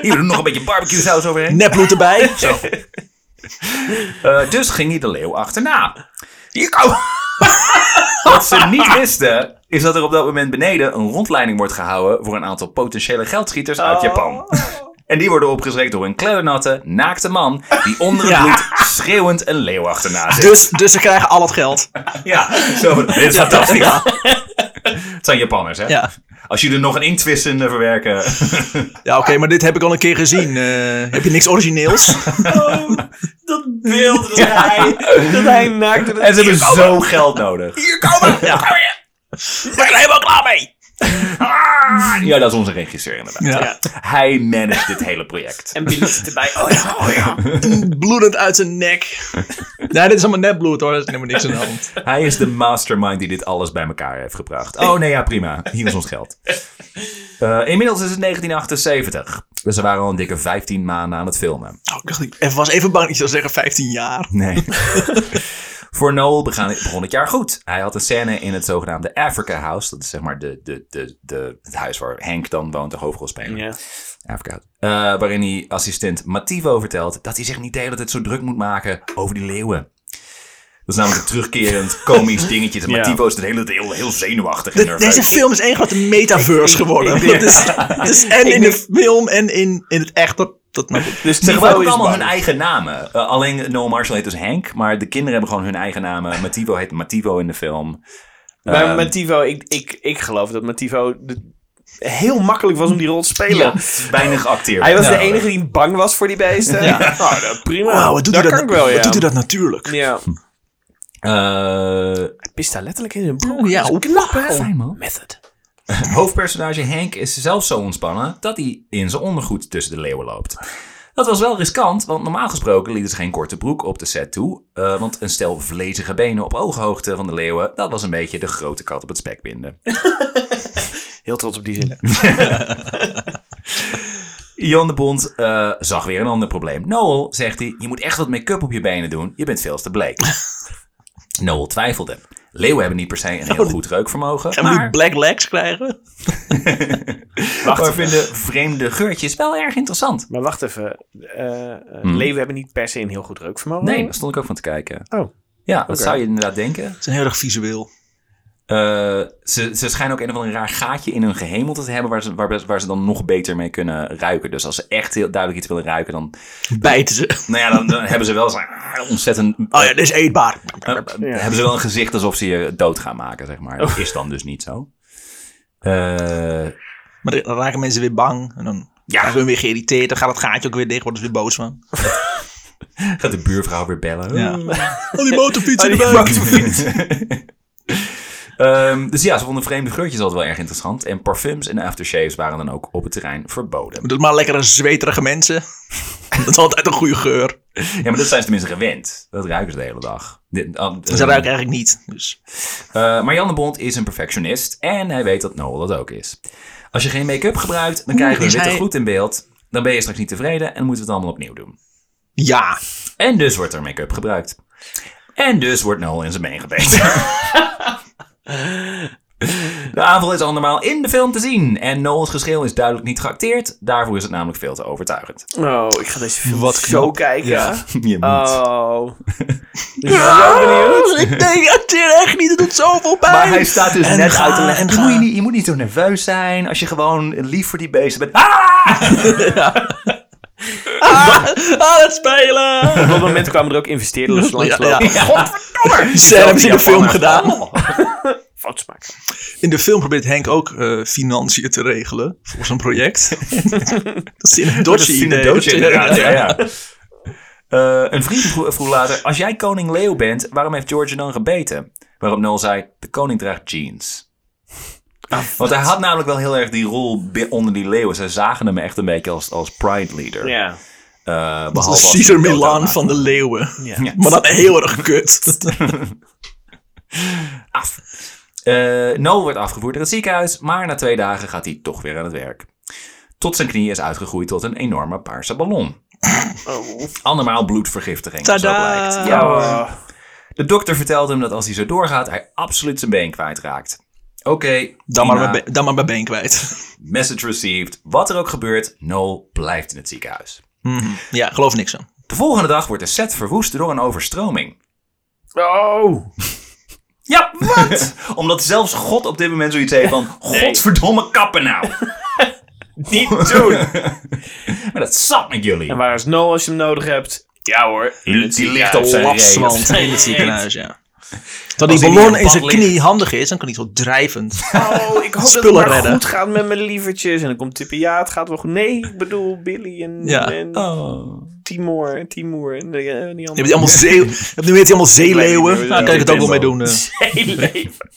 S1: Hier, doe nog een beetje barbecue saus overheen.
S2: Nepbloed erbij.
S1: Zo. Eh, dus ging hij de leeuw achterna. Hier komen- Wat ze niet wisten, is dat er op dat moment beneden een rondleiding wordt gehouden voor een aantal potentiële geldschieters uit Japan. En die worden opgeschrikt door een kleddernatte, naakte man die onder het
S2: Ja.
S1: bloed schreeuwend een leeuw achterna zit.
S2: Dus, dus ze krijgen al het geld.
S1: Ja, zo, dit is fantastisch. Het zijn Japanners, hè?
S2: Ja,
S1: Als jullie er nog een inktwist in eh, verwerken.
S2: ja oké, maar dit heb ik al een keer gezien. Eh, heb je niks origineels?
S3: Oh, dat beeld dat hij, dat hij naakt...
S1: en ze hebben zo geld nodig.
S2: Hier komen! Ja. Ik ben er helemaal klaar mee!
S1: Ja, dat is onze regisseur inderdaad.
S2: Ja.
S1: Hij managt dit hele project.
S3: En Billy zit erbij. Oh ja, oh ja.
S2: Bloedend uit zijn nek. Nee, dit is allemaal nepbloed hoor, er is helemaal niks aan de hand.
S1: Hij is de mastermind die dit alles bij elkaar heeft gebracht. Oh nee, ja prima. Hier is ons geld. Eh, inmiddels is het 1978. Dus ze waren al een dikke 15 maanden aan het filmen.
S2: Oh, ik dacht, ik even- was even bang dat je zou zeggen 15 jaar.
S1: Nee. Voor Noel begaan- begon het jaar goed. Hij had een scène in het zogenaamde Africa House. Dat is zeg maar de, de, de, de, het huis waar Henk dan woont, de hoofdrolspeler.
S3: Ja.
S1: Africa House. Eh, waarin hij assistent Mativo vertelt dat hij zich niet de hele tijd zo druk moet maken over die leeuwen. Dat is namelijk een terugkerend komisch dingetje.
S3: Ja.
S1: Mativo is de hele tijd heel, heel zenuwachtig en nerveus.
S2: Deze film is één grote metaverse geworden.
S3: ik-
S2: Het is, het is en in de film en in, in het echt. Dat, dat, nou, maar goed.
S3: Dus
S1: Ze
S3: Tivo
S1: gebruiken
S3: is
S1: allemaal
S3: bang.
S1: hun eigen namen. Eh, alleen Noel Marshall heet dus Henk, maar de kinderen hebben gewoon hun eigen namen. Mativo heet Mativo in de film.
S3: Maar met Tivo, ik, ik, ik geloof dat met Tivo de- heel makkelijk was om die rol te spelen.
S1: Weinig acteer.
S3: Hij was de
S1: Nou,
S3: enige die bang was voor die beesten. Nou, dat- prima.
S2: Wauw, wat doet,
S3: dat
S2: hij
S3: kan
S2: dat, nou?
S3: ik wel, ja.
S2: wat doet hij dat natuurlijk?
S3: Ja.
S1: eh,
S3: Hij pist daar letterlijk in zijn broek.
S2: Oh, ja,
S3: Dat is knap, hè? Method.
S1: Het hoofdpersonage Henk is zelf zo ontspannen dat hij in zijn ondergoed tussen de leeuwen loopt. Dat was wel riskant, want normaal gesproken lieten ze geen korte broek op de set toe. eh, want een stel vlezige benen op ooghoogte van de leeuwen, dat was een beetje de grote kat op het spek binden.
S3: Heel trots op die zin.
S1: Jan de Bond eh, zag weer een ander probleem. Noel, zegt hij, je moet echt wat make-up op je benen doen, je bent veel te bleek. Noel twijfelde. Leeuwen hebben niet per se een heel goed reukvermogen,
S2: Gaan we nu
S1: maar,
S2: black legs krijgen?
S1: maar vinden vreemde geurtjes wel erg interessant.
S3: Maar wacht even. eh, eh, Leeuwen hebben niet per se een heel goed reukvermogen.
S1: Nee, daar stond ik ook van te kijken.
S3: Oh.
S1: Ja, dat
S3: Oké.
S1: zou je inderdaad denken.
S2: Ze zijn heel erg visueel.
S1: Eh, ze, ze schijnen ook een of ander raar gaatje in hun gehemelte te hebben... Waar ze, waar, waar ze dan nog beter mee kunnen ruiken. Dus als ze echt heel duidelijk iets willen ruiken... dan,
S2: Bijten ze.
S1: nou ja, dan, dan hebben ze wel zo'n ontzettend...
S2: Oh ja, dit is eetbaar.
S1: eh, Hebben ze wel een gezicht alsof ze je dood gaan maken, zeg maar. Dat is dan dus niet zo. Eh,
S2: Maar dan raken mensen weer bang. En dan raken hun weer geïrriteerd. Dan gaat het gaatje ook weer dicht. Worden ze weer boos van.
S1: gaat de buurvrouw weer bellen?
S2: Mm. Al die motorfietsen
S3: Oh, die
S2: erbij.
S1: Ehm, dus ja, ze vonden vreemde geurtjes altijd wel erg interessant. En parfums en aftershaves waren dan ook op het terrein verboden.
S2: Doe maar lekkere zweterige mensen. Dat is altijd een goede geur.
S1: Ja, maar dat zijn ze tenminste gewend. Dat ruiken ze de hele dag. Dit- ah,
S2: Ze
S1: eh,
S2: ruiken eigenlijk niet. Dus.
S1: eh, maar Jan de Bond is een perfectionist en hij weet dat Noel dat ook is. Als je geen make-up gebruikt, dan krijgen we een
S2: is
S1: witte
S2: hij-
S1: gloed in beeld. Dan ben je straks niet tevreden en moeten we het allemaal opnieuw doen.
S2: Ja.
S1: En dus wordt er make-up gebruikt. En dus wordt Noel in zijn been gebeten. De aanval is andermaal in de film te zien. En Noel's geschreeuw is duidelijk niet geacteerd. Daarvoor is het namelijk veel te overtuigend.
S3: Oh, ik ga deze film
S2: Wat
S3: zo
S2: knap.
S3: kijken.
S2: Ja.
S1: Je moet.
S3: Oh. Ik ben zo benieuwd.
S2: Nee, acteer echt niet. Het doet zoveel pijn.
S1: Maar hij staat dus
S2: En
S1: net
S2: ga,
S1: uit te leggen.
S2: en
S1: Je
S2: ga.
S1: moet, je, niet, je moet niet zo nerveus zijn als je gewoon lief voor die beesten bent. Ah!
S2: Aan het spelen!
S3: Op dat moment kwamen er ook investeerders langs
S2: Ja,
S3: lopen.
S2: ja. Godverdomme! Ze hebben ze in de film gedaan.
S3: Oh. Foto's maken.
S2: In de film probeert Henk ook eh, financiën te regelen voor zijn project. dat is in een
S1: Dat is
S2: dodge idee.
S1: Doodje, inderdaad. Ja, ja. Eh, een vriend vroeg, vroeg later: Als jij koning Leo bent, waarom heeft George je dan gebeten? Waarop Noel zei: De koning draagt jeans. Want hij had namelijk wel heel erg die rol bi- onder die leeuwen. Zij zagen hem echt een beetje als, als pride leader.
S3: Ja.
S1: Eh, behalve
S2: Dat
S1: als
S2: is
S1: hij
S2: Caesar
S1: dood
S2: Milan
S1: aanmaakte.
S2: van de leeuwen.
S1: Ja.
S2: Maar dan heel erg kut.
S1: af. Eh, Noel wordt afgevoerd naar het ziekenhuis, maar na twee dagen gaat hij toch weer aan het werk. Tot zijn knie is uitgegroeid tot een enorme paarse ballon.
S3: Oh.
S1: Andermaal bloedvergiftiging. of Zo
S2: Tadaa.
S1: blijkt. Ja, hoor. de dokter vertelt hem dat als hij zo doorgaat, hij absoluut zijn been kwijtraakt. Oké,
S2: Dan maar,
S1: prima.
S2: mijn been- dan maar mijn been kwijt.
S1: message received. Wat er ook gebeurt, Noel blijft in het ziekenhuis.
S2: Ja, geloof niks aan.
S1: De volgende dag wordt de set verwoest door een overstroming.
S3: Oh.
S1: Ja, wat? Omdat zelfs God op dit moment zoiets heeft van... Godverdomme kappen nou!
S3: Niet doen.
S1: Maar dat zat met jullie.
S3: En waar is Noel als je hem nodig hebt? Ja hoor.
S1: Die, die ligt op zijn reet.
S2: Lapswand in het ziekenhuis, ja. Dat die
S1: hij niet
S2: ballon
S1: op
S2: in
S1: pad
S2: zijn
S1: ligt.
S2: knie handig is, dan kan hij zo drijvend.
S3: Oh, ik hoop
S2: Spullen
S3: dat het maar
S2: redden.
S3: goed gaat met mijn lievertjes. En dan komt Tippy, ja, het gaat wel goed. Nee, ik bedoel Billy en,
S2: Ja.
S3: en
S1: Oh.
S3: Timor en Timur en die, eh, die
S2: Je
S3: andere.
S2: hebt allemaal, zee, je hebt nu weet je allemaal zeeleeuwen.
S3: Ja,
S2: Nou, daar kan ik het ook wel mee doen. eh.
S3: Zeeleven.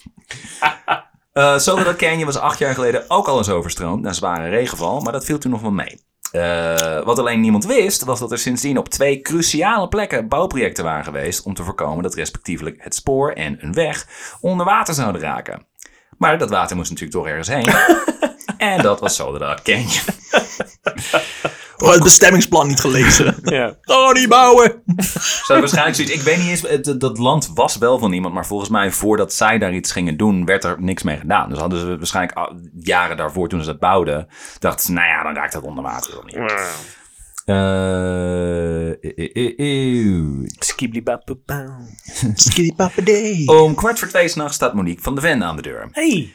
S1: Eh Soledad Canyon was acht jaar geleden ook al eens overstroomd na zware regenval, maar dat viel toen nog wel mee. Eh, wat alleen niemand wist, was dat er sindsdien op twee cruciale plekken bouwprojecten waren geweest om te voorkomen dat respectievelijk het spoor en een weg onder water zouden raken. Maar dat water moest natuurlijk toch ergens heen. en dat was Soledad Canyon.
S2: Oh, het bestemmingsplan niet gelezen.
S3: Ja.
S2: Oh, die bouwen!
S1: Ze hadden waarschijnlijk zoiets. Ik weet niet eens. het- het- dat land was wel van iemand. Maar volgens mij, voordat zij daar iets gingen doen, werd er niks mee gedaan. Dus hadden ze waarschijnlijk al- jaren daarvoor, toen ze dat bouwden, dachten ze: nou ja, dan raakt dat onder water wel niet. Eh, eh, eh, eeuw.
S3: Skiblibapoepa.
S2: Skitty papa day.
S1: Om kwart voor twee s'nachts staat Monique van de Ven aan de deur.
S3: Hey.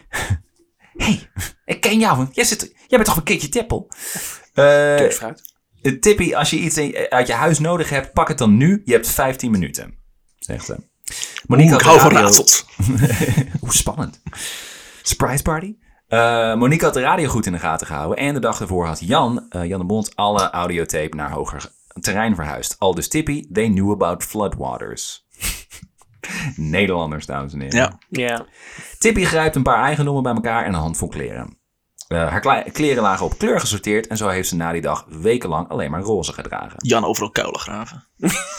S1: hey, ik ken jou. hè? Jij, zit, jij bent toch een keertje tippel? Eh Eh, Tippy, als je iets in- eh, uit je huis nodig hebt, pak het dan nu. Je hebt 15 minuten, zegt ze. Monique
S2: Ik
S1: had de
S2: hou van
S1: radio-
S2: raadsels.
S1: Hoe spannend. Surprise party. Eh, Monique had de radio goed in de gaten gehouden. En de dag ervoor had Jan, eh, Jan de Bond, alle audiotape naar hoger terrein verhuisd. Al dus Tippy, they knew about floodwaters. Nederlanders, dames en heren.
S2: Ja.
S3: Ja.
S1: Tippy grijpt een paar eigendommen bij elkaar en een handvol kleren. Eh, haar kle- kleren lagen op kleur gesorteerd en zo heeft ze na die dag wekenlang alleen maar roze gedragen.
S2: Jan overal kuilen graven.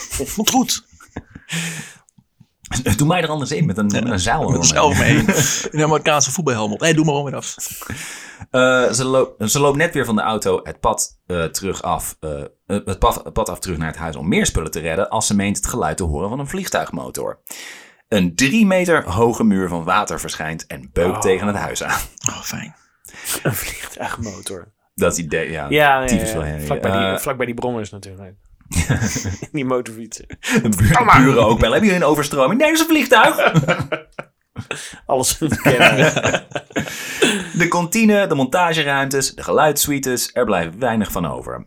S2: Vond goed.
S1: Doe mij er anders in met een, met een zeil.
S2: Met
S1: eromheen.
S2: zelf mee. In een Amerikaanse voetbalhelm op. Hé, doe maar gewoon weer af.
S1: Eh, ze, loopt, ze loopt net weer van de auto het pad eh, terug af. eh, het, pad, het pad af terug naar het huis om meer spullen te redden. als ze meent het geluid te horen van een vliegtuigmotor. Een drie meter hoge muur van water verschijnt en beukt tegen het huis aan.
S2: Oh, fijn.
S3: Een vliegtuigmotor.
S1: Dat idee, ja.
S3: Ja, ja,
S1: typisch
S3: ja.
S1: wel herrie.
S3: Vlakbij die,
S1: Eh,
S3: vlakbij die brommers natuurlijk. die motorfietsen.
S1: de buur- de buren ook wel. Hebben jullie een overstroming? Nee, dat is een vliegtuig.
S3: Alles ontkennen.
S1: De kantine, de montageruimtes, de geluidssuites, er blijft weinig van over.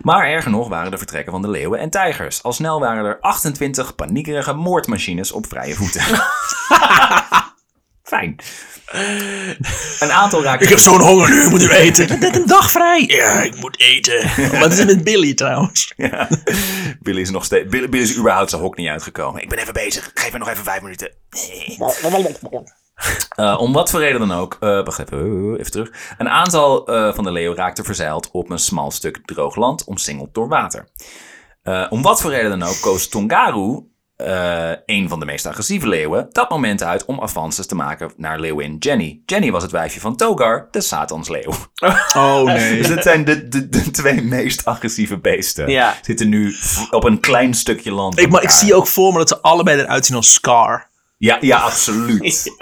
S1: Maar erger nog waren de vertrekken van de leeuwen en tijgers. Al snel waren er 28 paniekerige moordmachines op vrije voeten. Fijn. Een aantal
S2: Ik
S1: raakte...
S2: heb zo'n honger nu, ik moet u eten. Net een dag vrij. Ja, ik moet eten. Wat is het met Billy trouwens?
S1: Ja. Billy is nog steeds... Billy, Billy is überhaupt zijn hok niet uitgekomen. Ik ben even bezig. Geef me nog even vijf minuten. Eh, om wat voor reden dan ook. eh, wacht even, eh, even terug. Een aantal eh, van de leeuwen raakte verzeild op een smal stuk droog land, omsingeld door water. Eh, om wat voor reden dan ook koos Tongaru, eh, een van de meest agressieve leeuwen, dat moment uit om avances te maken naar leeuwin Jenny. Jenny was het wijfje van Togar, de Satansleeuw.
S2: Oh, nee.
S1: Dus dat zijn de, de, de twee meest agressieve beesten.
S3: Ja.
S1: Zitten nu v- op een klein stukje land.
S2: Ik, maar ik
S1: elkaar.
S2: zie ook voor me dat ze allebei eruit zien als Scar.
S1: Ja, ja, absoluut.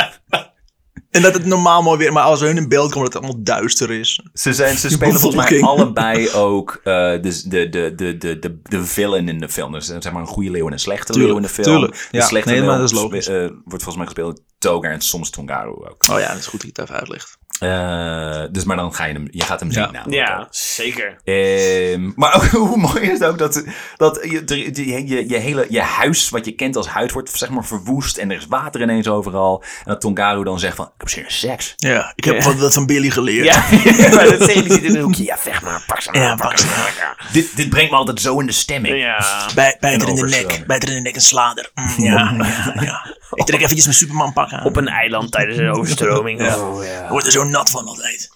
S2: En dat het normaal mooi weer, maar als we hun in beeld komen, dat het allemaal duister is.
S1: Ze, zijn, ze spelen volgens mij
S2: bevolking.
S1: allebei ook eh, de, de, de, de, de, de, de villain in de film. Dus eh, zeg maar een goede leeuw en een slechte
S2: Tuurlijk,
S1: leeuw in de film.
S2: tuurlijk.
S1: De
S2: Ja,
S1: slechte
S2: nee, maar
S1: leeuw
S2: dat is
S1: spe-
S2: logisch.
S1: eh, wordt volgens mij gespeeld door Togar en soms Tongaru ook.
S2: Oh ja, dat is goed dat je het even uitlegt.
S1: Eh, dus maar dan ga je hem, je gaat hem zien nou.
S2: Ja.
S1: namelijk ook.
S3: Ja, zeker.
S1: Ehm, maar ook, hoe mooi is het ook dat, dat je, er- je, je, je hele je huis, wat je kent als huid, wordt zeg maar verwoest. En er is water ineens overal. En dat Tongaru dan zegt van, ik heb zin in seks.
S2: Ja, ik heb
S3: Ja.
S2: van, dat van Billy geleerd.
S3: Ja, maar dat zeg je, die zit in een hoekje. Ja, vecht maar, pak ze maar,
S2: Ja,
S3: pak
S2: pak
S3: ze
S2: ze
S3: maar.
S1: Dit, dit brengt me altijd zo in de stemming.
S3: Ja.
S2: Bij, bijter
S1: En
S2: in de
S1: overstromen.
S2: nek. Bijter in de nek en slader. Mm, ja, ja, ja. Ik trek eventjes mijn Superman pak aan.
S3: Op een eiland tijdens een overstroming. Oh,
S2: Ik
S3: ja.
S2: word er zo nat van altijd.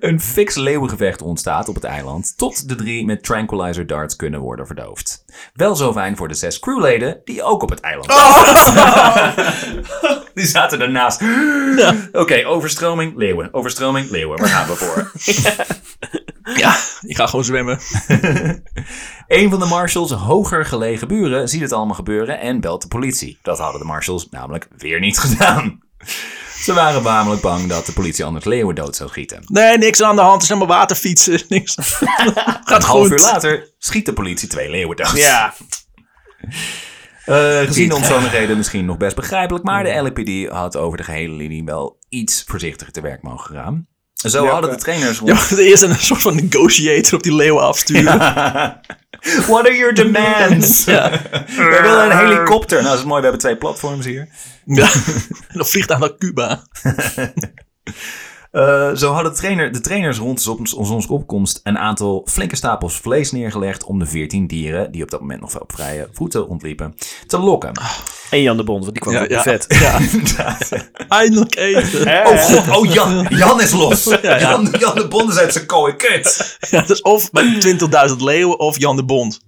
S1: Een fix leeuwengevecht ontstaat op het eiland, tot de drie met tranquilizer darts kunnen worden verdoofd. Wel zo fijn voor de zes crewleden die ook op het eiland zaten. Die zaten daarnaast. Oké, overstroming, leeuwen. Overstroming, leeuwen. Waar gaan we voor?
S2: Ja, ik ga gewoon zwemmen.
S1: Een van de marshals hoger gelegen buren ziet het allemaal gebeuren en belt de politie. Dat hadden de marshals namelijk weer niet gedaan. Ze waren namelijk bang dat de politie anders leeuwen dood zou schieten.
S2: Nee, niks aan de hand. Het is helemaal waterfietsen. Niks. Gaat
S1: Een half
S2: goed.
S1: uur later schiet de politie twee leeuwen dood.
S3: ja.
S1: Eh, gezien de omstandigheden misschien nog best begrijpelijk, maar de LAPD had over de gehele linie wel iets voorzichtiger te werk mogen gaan. Zo hadden de trainers
S2: Je mag eerst een soort van negotiator op die leeuwen afsturen.
S1: What are your demands? We willen een helikopter. Nou, dat is mooi. We hebben twee platforms hier.
S2: Ja. En dan vliegt aan naar Cuba.
S1: Eh, zo hadden de, trainer, de trainers rond zons- zonsopkomst een aantal flinke stapels vlees neergelegd om de 14 dieren, die op dat moment nog op vrije voeten ontliepen, te lokken.
S3: En Jan de Bond, want die kwam op de vet.
S2: ja. Eindelijk eten.
S1: Oh, god, oh Jan, Jan is los. Jan, Jan de Bond is uit zijn kooi. Kut.
S2: Ja, dat is of bij 20.000 leeuwen of Jan de Bond.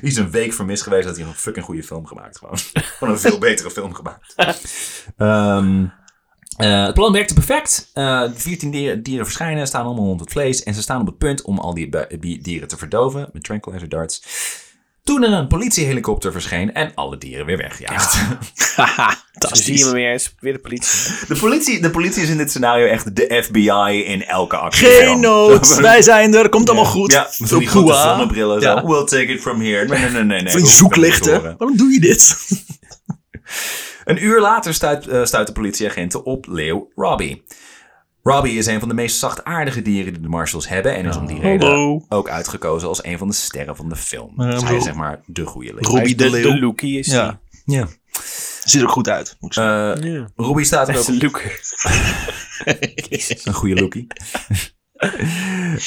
S1: Die is een week vermist geweest. Dat hij een fucking goede film gemaakt. Gewoon, gewoon een veel betere film gemaakt. Ehm, eh, het plan werkte perfect. Eh, de 14 dieren, dieren verschijnen, staan allemaal rond het vlees. En ze staan op het punt om al die, bu- die dieren te verdoven met tranquilizer darts. Toen er een politiehelikopter verscheen en alle dieren weer wegjaagd.
S2: Haha,
S3: Dus zie je
S2: fantastisch.
S3: hem weer eens, weer de politie.
S1: De, politie, de politie is in dit scenario echt de FBI in elke actie.
S2: Geen nood, wij zijn er, komt allemaal goed.
S1: Ja,
S2: Veel
S1: zo'n grote
S2: koeha.
S1: zonnebrillen.
S2: Ja.
S1: Zo. We'll take it from here. Nee, nee, nee. nee, nee.
S2: Van
S1: we
S2: die
S1: hoeven het niet te horen.
S2: zoeklichten. Waarom doe je dit?
S1: Een uur later stuit, eh, stuit de politieagenten op leeuw Robbie. Robbie is een van de meest zachtaardige dieren die de Marshals hebben. En is om die reden
S2: Hallo.
S1: ook uitgekozen als een van de sterren van de film. dus hij
S2: bedoel-
S1: is zeg maar de goede leeuw.
S2: Robbie de
S3: de,
S2: Leeuw.
S3: de Loekie is
S2: Ja.
S1: Ja.
S2: Ziet er ook goed uit. moet ik zeggen.
S3: die. Ja.
S1: Robbie staat er
S3: Dat
S1: ook
S3: is een Loek.
S1: Een goede lookie.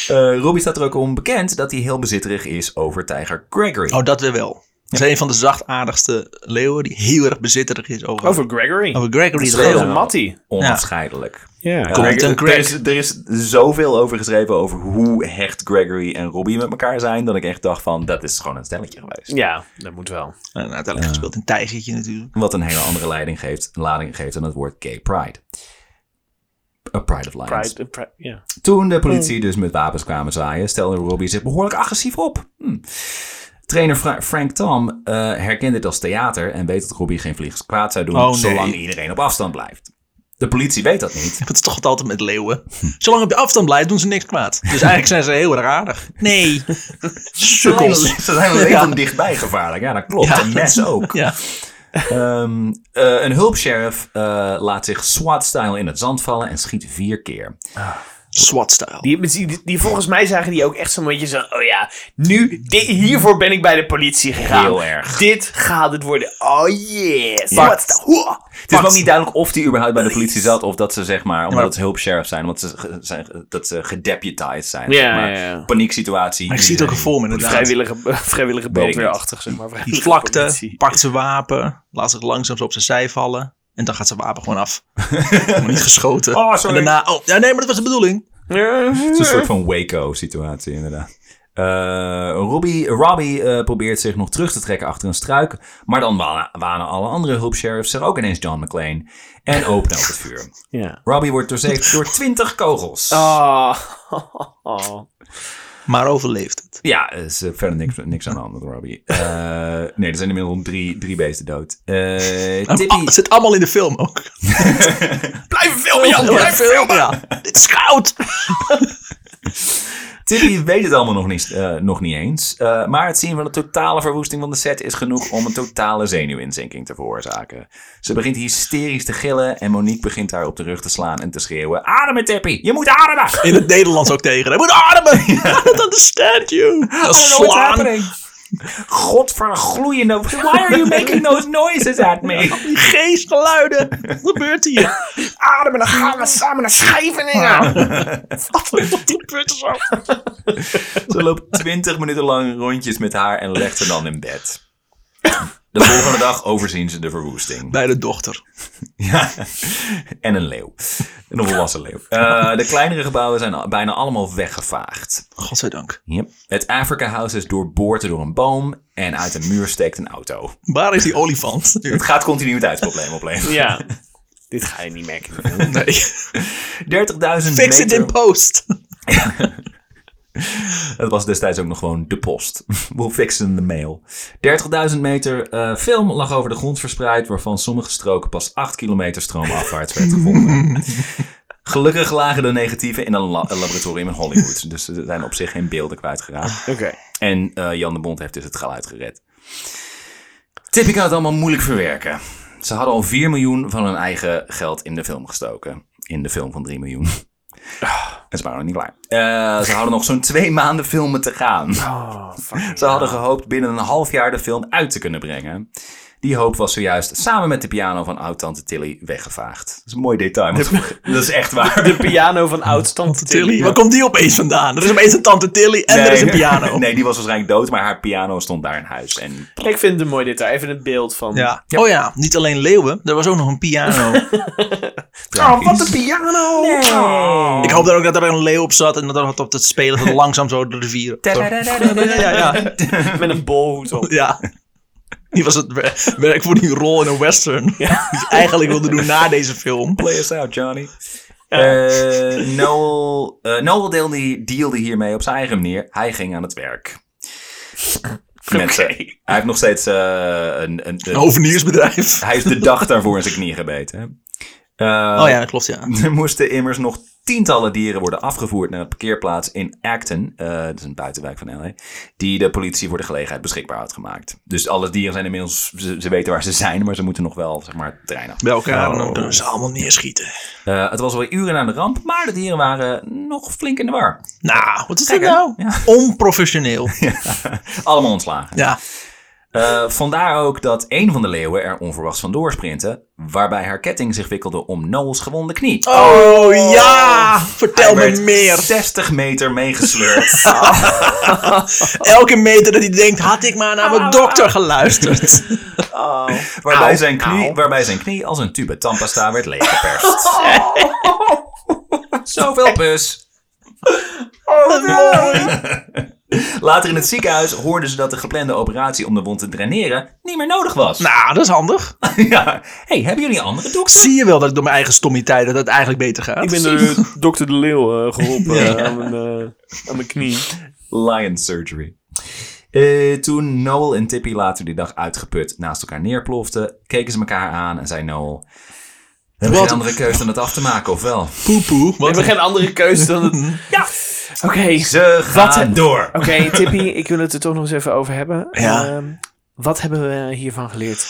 S1: Eh Robbie staat er ook om bekend dat hij heel bezitterig is over tijger Gregory.
S2: oh, dat weer wel. Dat is een van de zachtaardigste leeuwen die heel erg bezitterig is over,
S3: Over Gregory.
S2: over Gregory
S1: is
S2: de
S1: wel
S2: leeuw.
S3: Over Matty.
S1: Onafscheidelijk.
S3: Ja.
S1: Ja,
S2: Content
S1: er,
S2: Greg.
S1: er is, er is zoveel over geschreven over hoe hecht Gregory en Robbie met elkaar zijn. Dat ik echt dacht van, dat is gewoon een stelletje geweest.
S3: Ja, dat moet wel.
S2: En uiteindelijk gespeeld in Tijgertje natuurlijk.
S1: Wat een hele andere leiding geeft, lading geeft aan het woord gay pride. A pride of lions.
S3: Pride, eh, pride, ja.
S1: Toen de
S2: Hmm.
S1: politie dus met wapens kwamen zaaien, stelde Robbie zich behoorlijk agressief op. Hm. Trainer Fra- Frank Tam eh, herkent dit als theater en weet dat Robbie geen vliegers kwaad zou doen,
S2: Oh, nee.
S1: zolang iedereen op afstand blijft. De politie weet dat niet.
S2: Dat is toch altijd met leeuwen. Zolang op je afstand blijft, doen ze niks kwaad. Dus eigenlijk zijn ze heel erg aardig. Nee. Sukkels.
S1: Ze zijn alleen
S2: Ja.
S1: van dichtbij gevaarlijk. Ja, dat klopt.
S2: Ja.
S1: en mes ook.
S2: Ja.
S1: Ehm, eh, een hulpsheriff eh, laat zich SWAT-style in het zand vallen en schiet vier keer.
S2: SWAT-style.
S3: Die, die, die- volgens mij zagen die ook echt zo'n beetje zo... Oh ja, nu, di- hiervoor ben ik bij de politie gegaan.
S1: Heel erg.
S3: Dit gaat het worden. Oh yes.
S1: Ja.
S3: Wat de- Hoa.
S1: Het is me ook niet duidelijk of die überhaupt bij de politie zat. Of dat ze zeg maar, omdat ze hulpsheriff zijn. Omdat ze, ge- zijn, dat ze gedeputized zijn.
S3: Ja,
S1: zeg maar.
S3: ja, ja.
S1: Panieksituatie.
S2: Maar ik zie het ook een vorm inderdaad.
S3: Vrijwillige, vrijwillige
S1: Weet ik niet.
S3: brandweerachtig, zeg maar.
S2: Die
S3: Vrijwillige
S2: vlakte,
S3: politie.
S2: pakt zijn wapen, laat zich langzaam zo op zijn zij vallen. En dan gaat zijn wapen gewoon af. Maar niet geschoten.
S1: Oh, sorry.
S2: En daarna, oh, ja, nee, maar dat was de bedoeling.
S3: Ja.
S1: Het is een soort van Waco-situatie, inderdaad. Eh, Robbie, Robbie eh, probeert zich nog terug te trekken achter een struik. Maar dan wa- wanen alle andere hulpsheriffs zich ook ineens John McClane. En openen op het vuur.
S3: Ja.
S1: Robbie wordt doorzeefd door 20 kogels.
S3: Oh.
S2: Maar overleeft het.
S1: Ja, er is eh, verder niks, niks aan de hand met Robbie. Eh, nee, er zijn inmiddels drie, drie beesten dood. Eh
S2: Ah,
S1: Tippy,
S2: het zit allemaal in de film ook.
S3: Blijf filmen, Jan.
S2: Ja, film, ja. Dit is goud.
S1: Tippy weet het allemaal nog niet, eh, nog niet eens. eh, maar het zien van de totale verwoesting van de set is genoeg om een totale zenuwinzinking te veroorzaken. Ze begint hysterisch te gillen en Monique begint haar op de rug te slaan en te schreeuwen: Ademen, Tippy! Je moet ademen!
S2: In het Nederlands ook tegen. Hij moet ademen. I don't understand you. Dat
S1: I don't know what's
S2: slaan.
S1: happening. Godvergloeiende. Why are you making those noises at me?
S2: Die geestgeluiden. Wat gebeurt hier?
S3: Ademen, dan gaan we samen naar Scheveningen.
S2: Wat gebeurt er zo?
S1: Ze loopt 20 minuten lang rondjes met haar en legt ze dan in bed. De volgende dag overzien ze de verwoesting.
S2: Bij de dochter.
S1: Ja. En een leeuw. Een volwassen leeuw. Eh, de kleinere gebouwen zijn al- bijna allemaal weggevaagd.
S2: Godzijdank.
S1: Yep. Het Africa House is doorboord door een boom en uit een muur steekt een auto.
S2: Waar is die olifant?
S1: Het gaat continuïteitsprobleem opleveren.
S3: ja. Dit ga je niet merken.
S2: Nee.
S1: 30.000
S2: Fix it in
S1: meter.
S2: post.
S1: Het was destijds ook nog gewoon de post. We'll fix it in the mail. 30.000 meter eh, film lag over de grond verspreid, waarvan sommige stroken pas 8 kilometer stroomafwaarts werd gevonden. Gelukkig lagen de negatieven in een, la- een laboratorium in Hollywood. Dus er zijn op zich geen beelden kwijtgeraakt.
S3: Oké.
S1: En eh, Jan de Bond heeft dus het geluid gered. Tippy kan het allemaal moeilijk verwerken. Ze hadden al 4 miljoen van hun eigen geld in de film gestoken. In de film van 3 miljoen.
S2: Ah.
S1: En ze waren nog niet klaar. Eh, ze hadden nog zo'n twee maanden filmen te gaan.
S3: Oh, fuck.
S1: Ze hadden gehoopt binnen een half jaar de film uit te kunnen brengen. Die hoop was zojuist samen met de piano van oud-tante Tilly weggevaagd. Dat is een mooi detail. want dat is echt waar.
S3: De piano van oud-tante
S2: Tilly.
S3: Tilly.
S2: Waar komt die opeens vandaan? Er is opeens een tante Tilly en er is een piano.
S1: Nee, die was waarschijnlijk dood, maar haar piano stond daar in huis. En
S3: Ik vind het een mooi detail. Even het beeld van...
S2: Ja. Oh ja, niet alleen leeuwen. Er was ook nog een piano.
S1: tragisch.
S2: piano!
S1: Oh.
S2: Ik hoop dan ook dat er een leeuw op zat en dat er wat op het spelen dat het langzaam zo de rivier. Zo. Ja, ja, ja.
S3: Met een bolhoed op.
S2: ja. Die was het wer- werk voor die rol in een western. Die ik eigenlijk wilde doen na deze film.
S1: Play us out, Johnny. Eh, Noel, eh, Noel deelde, dealde hiermee op zijn eigen manier. Hij ging aan het werk. Met, eh,
S3: Oké.
S1: hij heeft nog steeds eh, een, een,
S2: Een
S1: een-
S2: hoveniersbedrijf.
S1: Hij heeft de dag daarvoor in zijn knie gebeten. hè. Eh,
S2: Oh ja, dat klopt ja.
S1: Er moesten immers nog tientallen dieren worden afgevoerd naar een parkeerplaats in Acton. eh, dat is een buitenwijk van LA. Die de politie voor de gelegenheid beschikbaar had gemaakt. Dus alle dieren zijn inmiddels, ze, ze weten waar ze zijn, maar ze moeten nog wel, zeg maar, treinen.
S2: Bij elkaar en Nou, dan
S1: Oh.
S2: kunnen ze allemaal neerschieten.
S1: Eh het was alweer uren na de ramp, maar de dieren waren nog flink in de war.
S2: Nou, wat is dat
S1: Kijk, hè?
S2: nou?
S1: Ja.
S2: Onprofessioneel.
S1: Allemaal ontslagen.
S2: Ja.
S1: Eh, vandaar ook dat een van de leeuwen er onverwachts vandoor sprintte, waarbij haar ketting zich wikkelde om Noel's gewonde knie.
S2: Oh ja! Vertel
S1: Hij
S2: me
S1: werd
S2: meer.
S1: 60 meter meegesleurd.
S2: Elke meter dat hij denkt, had ik maar naar mijn dokter geluisterd.
S1: Waarbij,
S3: Au,
S1: zijn knie,
S3: au.
S1: waarbij zijn knie als een tube tandpasta werd leeggeperst. Zoveel pus.
S2: Wat mooi.
S1: Later in het ziekenhuis hoorden ze dat de geplande operatie om de wond te draineren niet meer nodig was.
S2: Nou, dat is handig.
S1: ja. hey, hebben jullie een andere dokter?
S2: Zie je wel dat ik door mijn eigen stommiteit dat het eigenlijk beter gaat?
S3: Ik ben de dokter De Leeuw eh, geholpen eh, aan, mijn, eh, aan mijn knie.
S1: Lion surgery. Eh, toen Noel en Tippy later die dag uitgeput naast elkaar neerploften, keken ze elkaar aan en zei Noel... We hebben
S2: Wat-
S1: geen andere keuze dan het af te maken, of wel?
S2: poepoe.
S3: We
S2: Wat
S3: hebben geen andere keuze dan het... Ja. Oké.
S1: Ze gaan
S3: een-
S1: door.
S3: Oké, Tippy, ik wil het er toch nog eens even over hebben.
S2: Ja.
S3: Ehm, wat hebben we hiervan geleerd?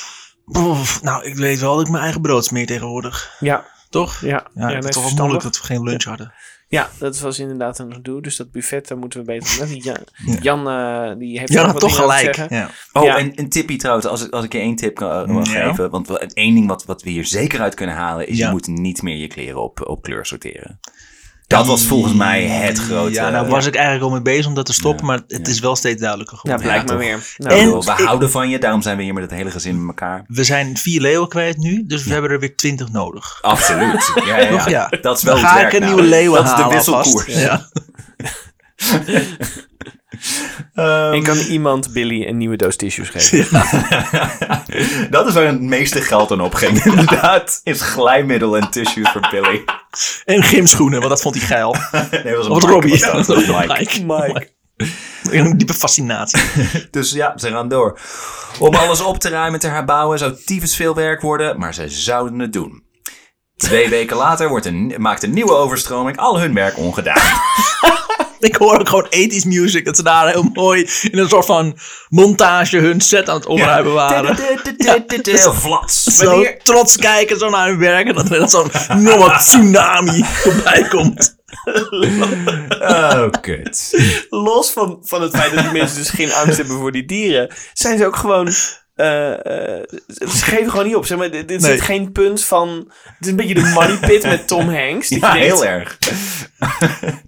S2: Oef, nou, ik weet wel dat ik mijn eigen brood smeer tegenwoordig.
S3: Ja,
S2: Toch?
S3: ja.
S2: Ja,
S3: nee,
S2: het is toch wel
S3: verstandig.
S2: moeilijk dat we geen lunch hadden.
S3: Ja, dat was inderdaad een gedoe. Dus dat buffet, daar moeten we beter op letten. Jan, Jan eh, die heeft
S2: Ja,
S3: ook
S2: dan
S3: wat
S2: toch
S3: dingen te
S2: gelijk.
S3: zeggen.
S2: Ja.
S1: Oh,
S3: Ja.
S1: en, en tippie trouwens, als ik, als ik je één tip kan, eh, mag
S2: Ja.
S1: geven. Want wel- het één ding wat, wat we hier zeker uit kunnen halen, is
S2: Ja.
S1: je moet niet meer je kleren op, op kleur sorteren. Dat was volgens mij het grote.
S2: Mm, Ja, nou was ik eigenlijk al mee bezig om dat te stoppen, maar het is wel steeds duidelijker
S3: Ja,
S2: geworden.
S3: blijkt
S1: Ja,
S3: maar
S1: toch.
S3: weer.
S1: Ik
S3: Nou,
S2: En-
S1: bedoel, we
S2: ik-
S1: houden van je, daarom zijn we hier met het hele gezin met elkaar.
S2: We zijn vier leeuwen kwijt nu, dus we hebben er weer twintig nodig.
S1: Absoluut. Ja, ja, ja.
S2: Toch? Ja.
S1: Dat is wel
S2: Dan
S1: het
S2: ga
S1: werk
S2: ik een nieuwe
S1: namelijk.
S2: leeuw
S1: Dat is de
S2: halen
S1: wisselkoers.
S2: alvast. Ja.
S3: en kan iemand Billy een nieuwe doos tissues geven?
S1: dat is waar het meeste geld aan opging. Inderdaad, is glijmiddel en tissues voor Billy.
S2: En gymschoenen, want dat vond hij geil.
S1: Nee, dat was een
S2: Of
S1: Mike,
S2: Robbie.
S1: was dat. Dat was een Mike.
S2: Mike. Mike. Een diepe fascinatie.
S1: Dus ja, ze gaan door. Om alles op te ruimen en te herbouwen zou tyfus veel werk worden, maar ze zouden het doen. Twee weken later wordt een, maakt een nieuwe overstroming al hun werk ongedaan.
S2: Ik hoor ook gewoon 80s music. Dat ze daar heel mooi in een soort van montage hun set aan het opruimen waren.
S1: Heel flats.
S2: Zo trots kijken zo naar hun werk en dat er dan zo'n enorme tsunami voorbij komt.
S1: Oh, kut.
S3: Los van, van het feit dat die mensen dus geen angst hebben voor die dieren, zijn ze ook gewoon. eh, eh, ze geven gewoon niet op. Zeg maar, dit dit
S2: Nee.
S3: zit geen punt van. Het is een beetje de money pit met Tom Hanks. Die
S1: Ja,
S3: denkt,
S1: heel erg.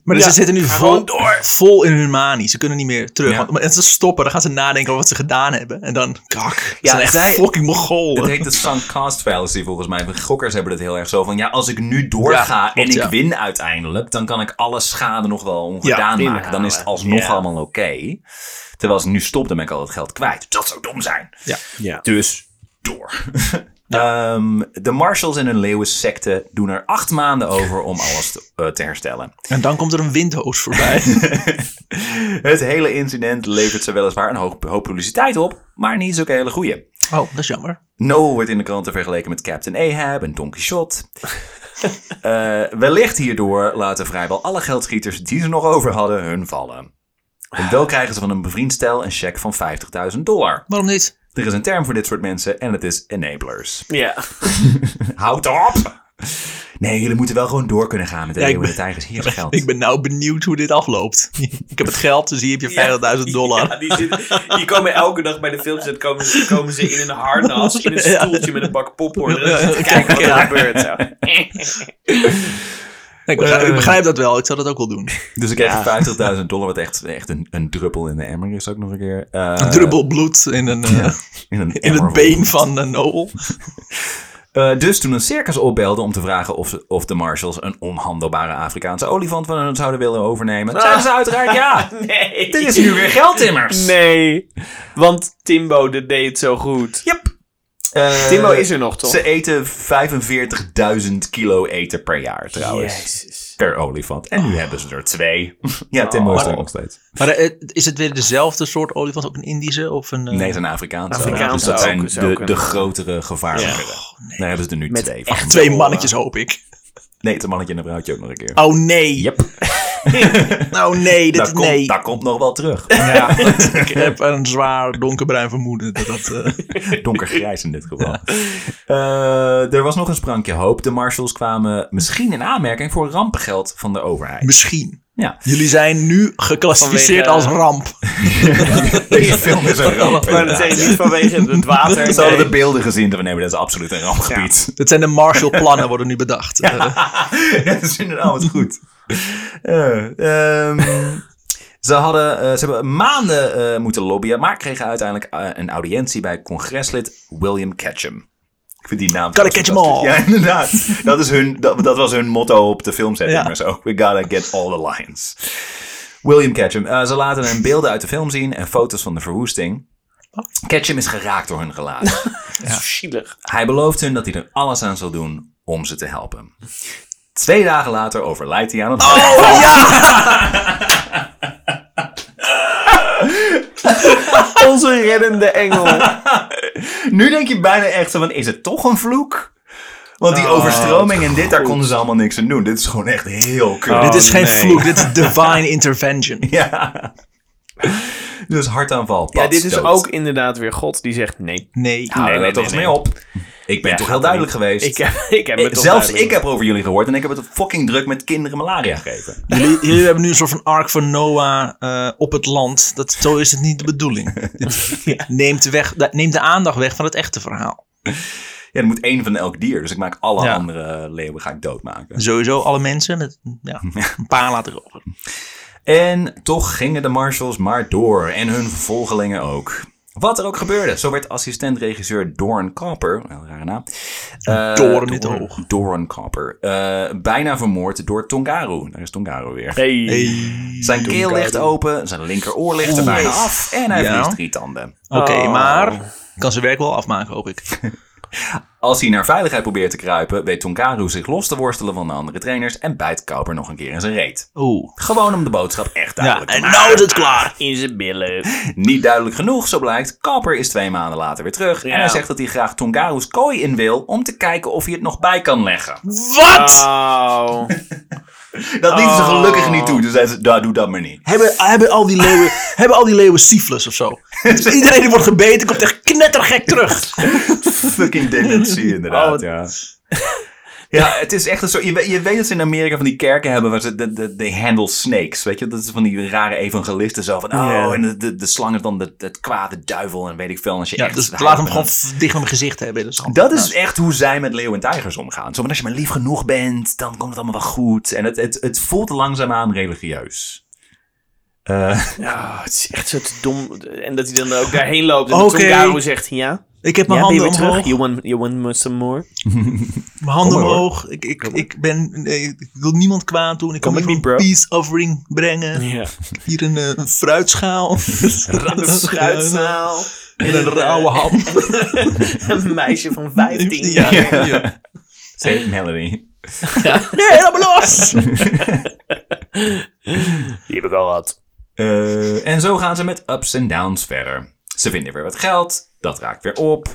S2: Maar dus
S3: Ja,
S2: ze zitten nu vol,
S3: gewoon door.
S2: vol in hun manie. Ze kunnen niet meer terug.
S1: Ja.
S2: Want, en ze stoppen, dan gaan ze nadenken over wat ze gedaan hebben. En dan, kak, ze
S1: Ja,
S2: zijn echt
S1: zij-
S2: fucking mogolen.
S1: Het heet de sunk cost fallacy volgens mij. Gokkers hebben dat heel erg zo van... Ja, als ik nu doorga
S2: Ja,
S1: en
S2: klopt,
S1: ik
S2: ja.
S1: win uiteindelijk... dan kan ik alle schade nog wel ongedaan
S3: Ja,
S1: maken. Dan is het alsnog
S3: inhalen. Ja.
S1: allemaal oké. Terwijl als ik nu stop, dan ben ik al het geld kwijt. Dat zou dom zijn.
S2: Ja.
S3: Ja.
S1: Dus door. Ehm, de marshals en hun leeuwensecte doen er acht maanden over om alles te, eh, te herstellen.
S2: En dan komt er een windhoos voorbij.
S1: Het hele incident levert ze weliswaar een hoop, hoop publiciteit op, maar niet zo'n hele goeie.
S2: oh, dat is jammer.
S1: Noel wordt in de kranten vergeleken met Captain Ahab en Don Quixote. Eh, wellicht hierdoor laten vrijwel alle geldschieters die ze nog over hadden hun vallen. En wel krijgen ze van een bevriend stel een cheque van 50.000 dollar.
S2: Waarom niet?
S1: Er is een term voor dit soort mensen en het is enablers.
S3: ja.
S1: Houd op! Nee, jullie moeten wel gewoon door kunnen gaan met de
S2: Ja, ik
S1: leeuwen en de tijgers. Hier is geld.
S2: Ik ben nou benieuwd hoe dit afloopt. ik heb het geld, dus hier heb je 50.000 dollar.
S3: Ja, die, zitten- die komen elke dag bij de filmset komen, ze- komen ze in een harnas, in een
S2: Ja.
S3: stoeltje met een bak popcorn. En dan
S2: Ja,
S3: zitten
S2: ja,
S3: kijken wat er
S2: ja.
S3: gebeurt. Zo.
S2: ik, begrijp, ik begrijp dat wel, ik zou dat ook wel doen.
S1: Dus ik krijg 50.000 dollar, wat echt, echt een, een druppel in de emmer is ook nog een keer. Eh,
S2: Een druppel bloed in, een, eh,
S1: In, een
S2: in
S1: emmer.
S2: het been van een Noel.
S1: Eh, dus toen een circus opbelde om te vragen of, ze- of de marshals een onhandelbare Afrikaanse olifant van hen zouden willen overnemen, zeiden ze uiteraard ja.
S3: Nee.
S1: Dit is nu weer geld, immers.
S3: Nee, want Timbo de deed het zo goed.
S1: Yep. Eh,
S3: Timbo is er nog, toch?
S1: Ze eten 45.000 kilo eten per jaar trouwens.
S3: Jezus.
S1: Per olifant. En nu hebben ze er twee. ja, Timbo is er nog steeds.
S2: Maar eh, is het weer dezelfde soort olifant, ook een Indische? Of een, eh,
S1: Nee, het zijn Afrikaanse.
S3: Afrikaanse
S1: dus dat
S3: ook,
S1: zijn
S3: is ook
S1: de,
S3: een-
S1: de grotere, gevaarlijkere. Daar hebben ze er nu twee van.
S2: Echt twee
S1: eh.
S2: mannetjes, hoop ik.
S1: Nee, het is een mannetje en een vrouwtje ook nog een keer.
S2: Oh nee.
S1: Yep.
S2: Oh nee, dit,
S1: Daar, komt,
S2: nee.
S1: daar komt nog wel terug.
S2: Ja, want ik heb een zwaar donkerbruin vermoeden. Dat, dat, eh,
S1: Donkergrijs in dit geval. Eh, er was nog een sprankje hoop. De marshals kwamen misschien in aanmerking voor rampengeld van de overheid.
S2: misschien.
S1: Ja.
S2: Jullie zijn nu geclassificeerd
S3: Vanwege- eh,
S2: als ramp.
S1: Deze film is een ramp.
S3: Maar dat is niet vanwege het water.
S1: Ze hadden
S3: nee.
S1: de beelden gezien van nee, maar dat is absoluut een rampgebied.
S2: Dat zijn de Marshallplannen worden nu bedacht. Eh,
S1: dat is inderdaad wat goed. Eh, ehm, ze, hadden, eh, ze hebben maanden eh, moeten lobbyen, maar kregen uiteindelijk eh, een audiëntie bij congreslid William Ketchum. Ik vind die naam.
S2: Gotta
S1: trouwens
S2: catch 'em
S1: fantastisch.
S2: all.
S1: Ja, inderdaad. Dat, is hun, dat, dat was hun motto op de filmsetting
S2: Ja.
S1: en zo. We gotta get all the lions. William Ketchum. Eh, ze laten hem beelden uit de film zien en foto's van de verwoesting. Ketchum is geraakt door hun gelaat.
S3: Zo zielig.
S1: Hij belooft hun dat hij er alles aan zal doen om ze te helpen. Twee dagen later overlijdt hij aan het oh,
S3: Onze reddende engel.
S1: Nu denk je bijna echt zo van, is het toch een vloek? Want
S3: Oh,
S1: die overstroming en dit, daar konden ze allemaal niks aan doen. Dit is gewoon echt heel kut.
S3: Oh.
S2: dit is geen
S3: nee.
S2: vloek, dit is divine intervention.
S1: Ja. Dus hartaanval, Nou,
S3: Ja,
S1: pats,
S3: dit is
S1: dood.
S3: ook inderdaad weer God die zegt nee.
S2: Nee. Ah.
S1: Hou
S3: Nee,
S1: er
S3: nee,
S1: toch
S3: nee,
S1: eens mee
S3: nee.
S1: op. Ik ben toch heel
S3: gaat
S1: duidelijk
S3: niet.
S1: geweest.
S3: Ik heb, ik heb het toch
S1: Eh, Zelfs
S3: duidelijk.
S1: ik heb over jullie gehoord en ik heb het fucking druk met kinderen malaria gegeven.
S2: Jullie, jullie hebben nu een soort van ark van Noah eh, op het land. Dat, zo is het niet de bedoeling. Dit neemt, weg, dat neemt de aandacht weg van het echte verhaal.
S1: Ja, er moet één van elk dier, dus ik maak alle
S2: Ja.
S1: andere leeuwen ga ik doodmaken.
S2: Sowieso alle mensen. Met, ja, een paar laten over.
S1: En toch gingen de marshals maar door en hun volgelingen ook. Wat er ook gebeurde, zo werd assistent-regisseur Doran Copper, wel een rare naam. eh,
S2: Doorn in het
S1: Doorn-
S2: oog.
S1: Doorn Copper. eh, bijna vermoord door Tongaru. Daar is Tongaru weer.
S3: Hey.
S1: Zijn keel ligt open, zijn linkeroor ligt er bijna af en hij
S2: Ja.
S1: verliest drie tanden.
S2: Oké,
S3: Oh.
S2: maar kan zijn werk wel afmaken, hoop ik.
S1: Als hij naar veiligheid probeert te kruipen, weet Tongaru zich los te worstelen van de andere trainers en bijt Copper nog een keer in zijn reet.
S2: Oeh.
S1: Gewoon om de boodschap echt
S2: Ja,
S1: duidelijk te
S2: en
S1: maken.
S2: nou is het klaar.
S3: In zijn billen.
S1: Niet duidelijk genoeg, zo blijkt. Kapper is twee maanden later weer terug. En hij zegt dat hij graag Tongaru's kooi
S3: Ah. Oh.
S1: in wil om te kijken of hij het nog bij kan leggen.
S2: Wat?
S3: Auw.
S1: Dat lieten
S2: Oh.
S1: ze gelukkig niet toe. Dus zeiden ze, "Nou, doe dat maar niet.
S2: Hebben, hebben, al die leeuwen, hebben al die leeuwen syphilis of zo? Dus iedereen die wordt gebeten komt echt knettergek terug.
S1: Fucking dementie,
S3: Oh,
S1: inderdaad.
S3: wat-
S1: ja. ja, het is echt een soort. Je weet, je weet dat ze in Amerika van die kerken hebben waar ze de, de, de handle snakes. Weet je, dat is van die rare evangelisten zo. Van, oh,
S2: Ja.
S1: en de, de, de slang is dan de- het kwade duivel en weet ik veel. En Als je
S2: Ja,
S1: echt
S2: dus
S1: houdt
S2: laat hem
S1: van
S2: gewoon f- dicht met mijn gezicht hebben. Nou, Dat is, allemaal-
S1: Dat is echt hoe zij met leeuwen en tijgers omgaan. Zo, van, als je maar lief genoeg bent, dan komt het allemaal wel goed. En het, het, het voelt langzaamaan religieus. Eh,
S3: Ja, het is echt zo te dom. En dat hij dan ook daarheen loopt. En
S2: Oké.
S3: dat Tom Garo zegt, ja,
S2: Ik heb
S3: ja
S2: mijn
S3: ben je
S2: handen
S3: weer
S2: omhoog.
S3: terug? You want, you want me some more?
S2: Mijn
S1: Kom
S2: handen
S1: maar, hoor.
S2: omhoog. Ik, ik, ik, ben, nee, ik wil niemand kwaad doen. Ik
S3: Kom
S2: kom
S3: met
S2: even
S3: me, bro.
S2: een peace offering brengen.
S3: Ja.
S2: Hier een, eh, een fruitschaal.
S3: Schuitzaal.
S2: En een rauwe
S1: Eh,
S2: ham.
S3: eh, Een meisje van 15
S2: Ja.
S3: jaar.
S2: ja.
S1: Say Melody.
S2: Nee, helemaal los!
S3: Die heb ik al gehad.
S1: Eh, en zo gaan ze met ups en downs verder. Ze vinden weer wat geld, dat raakt weer op.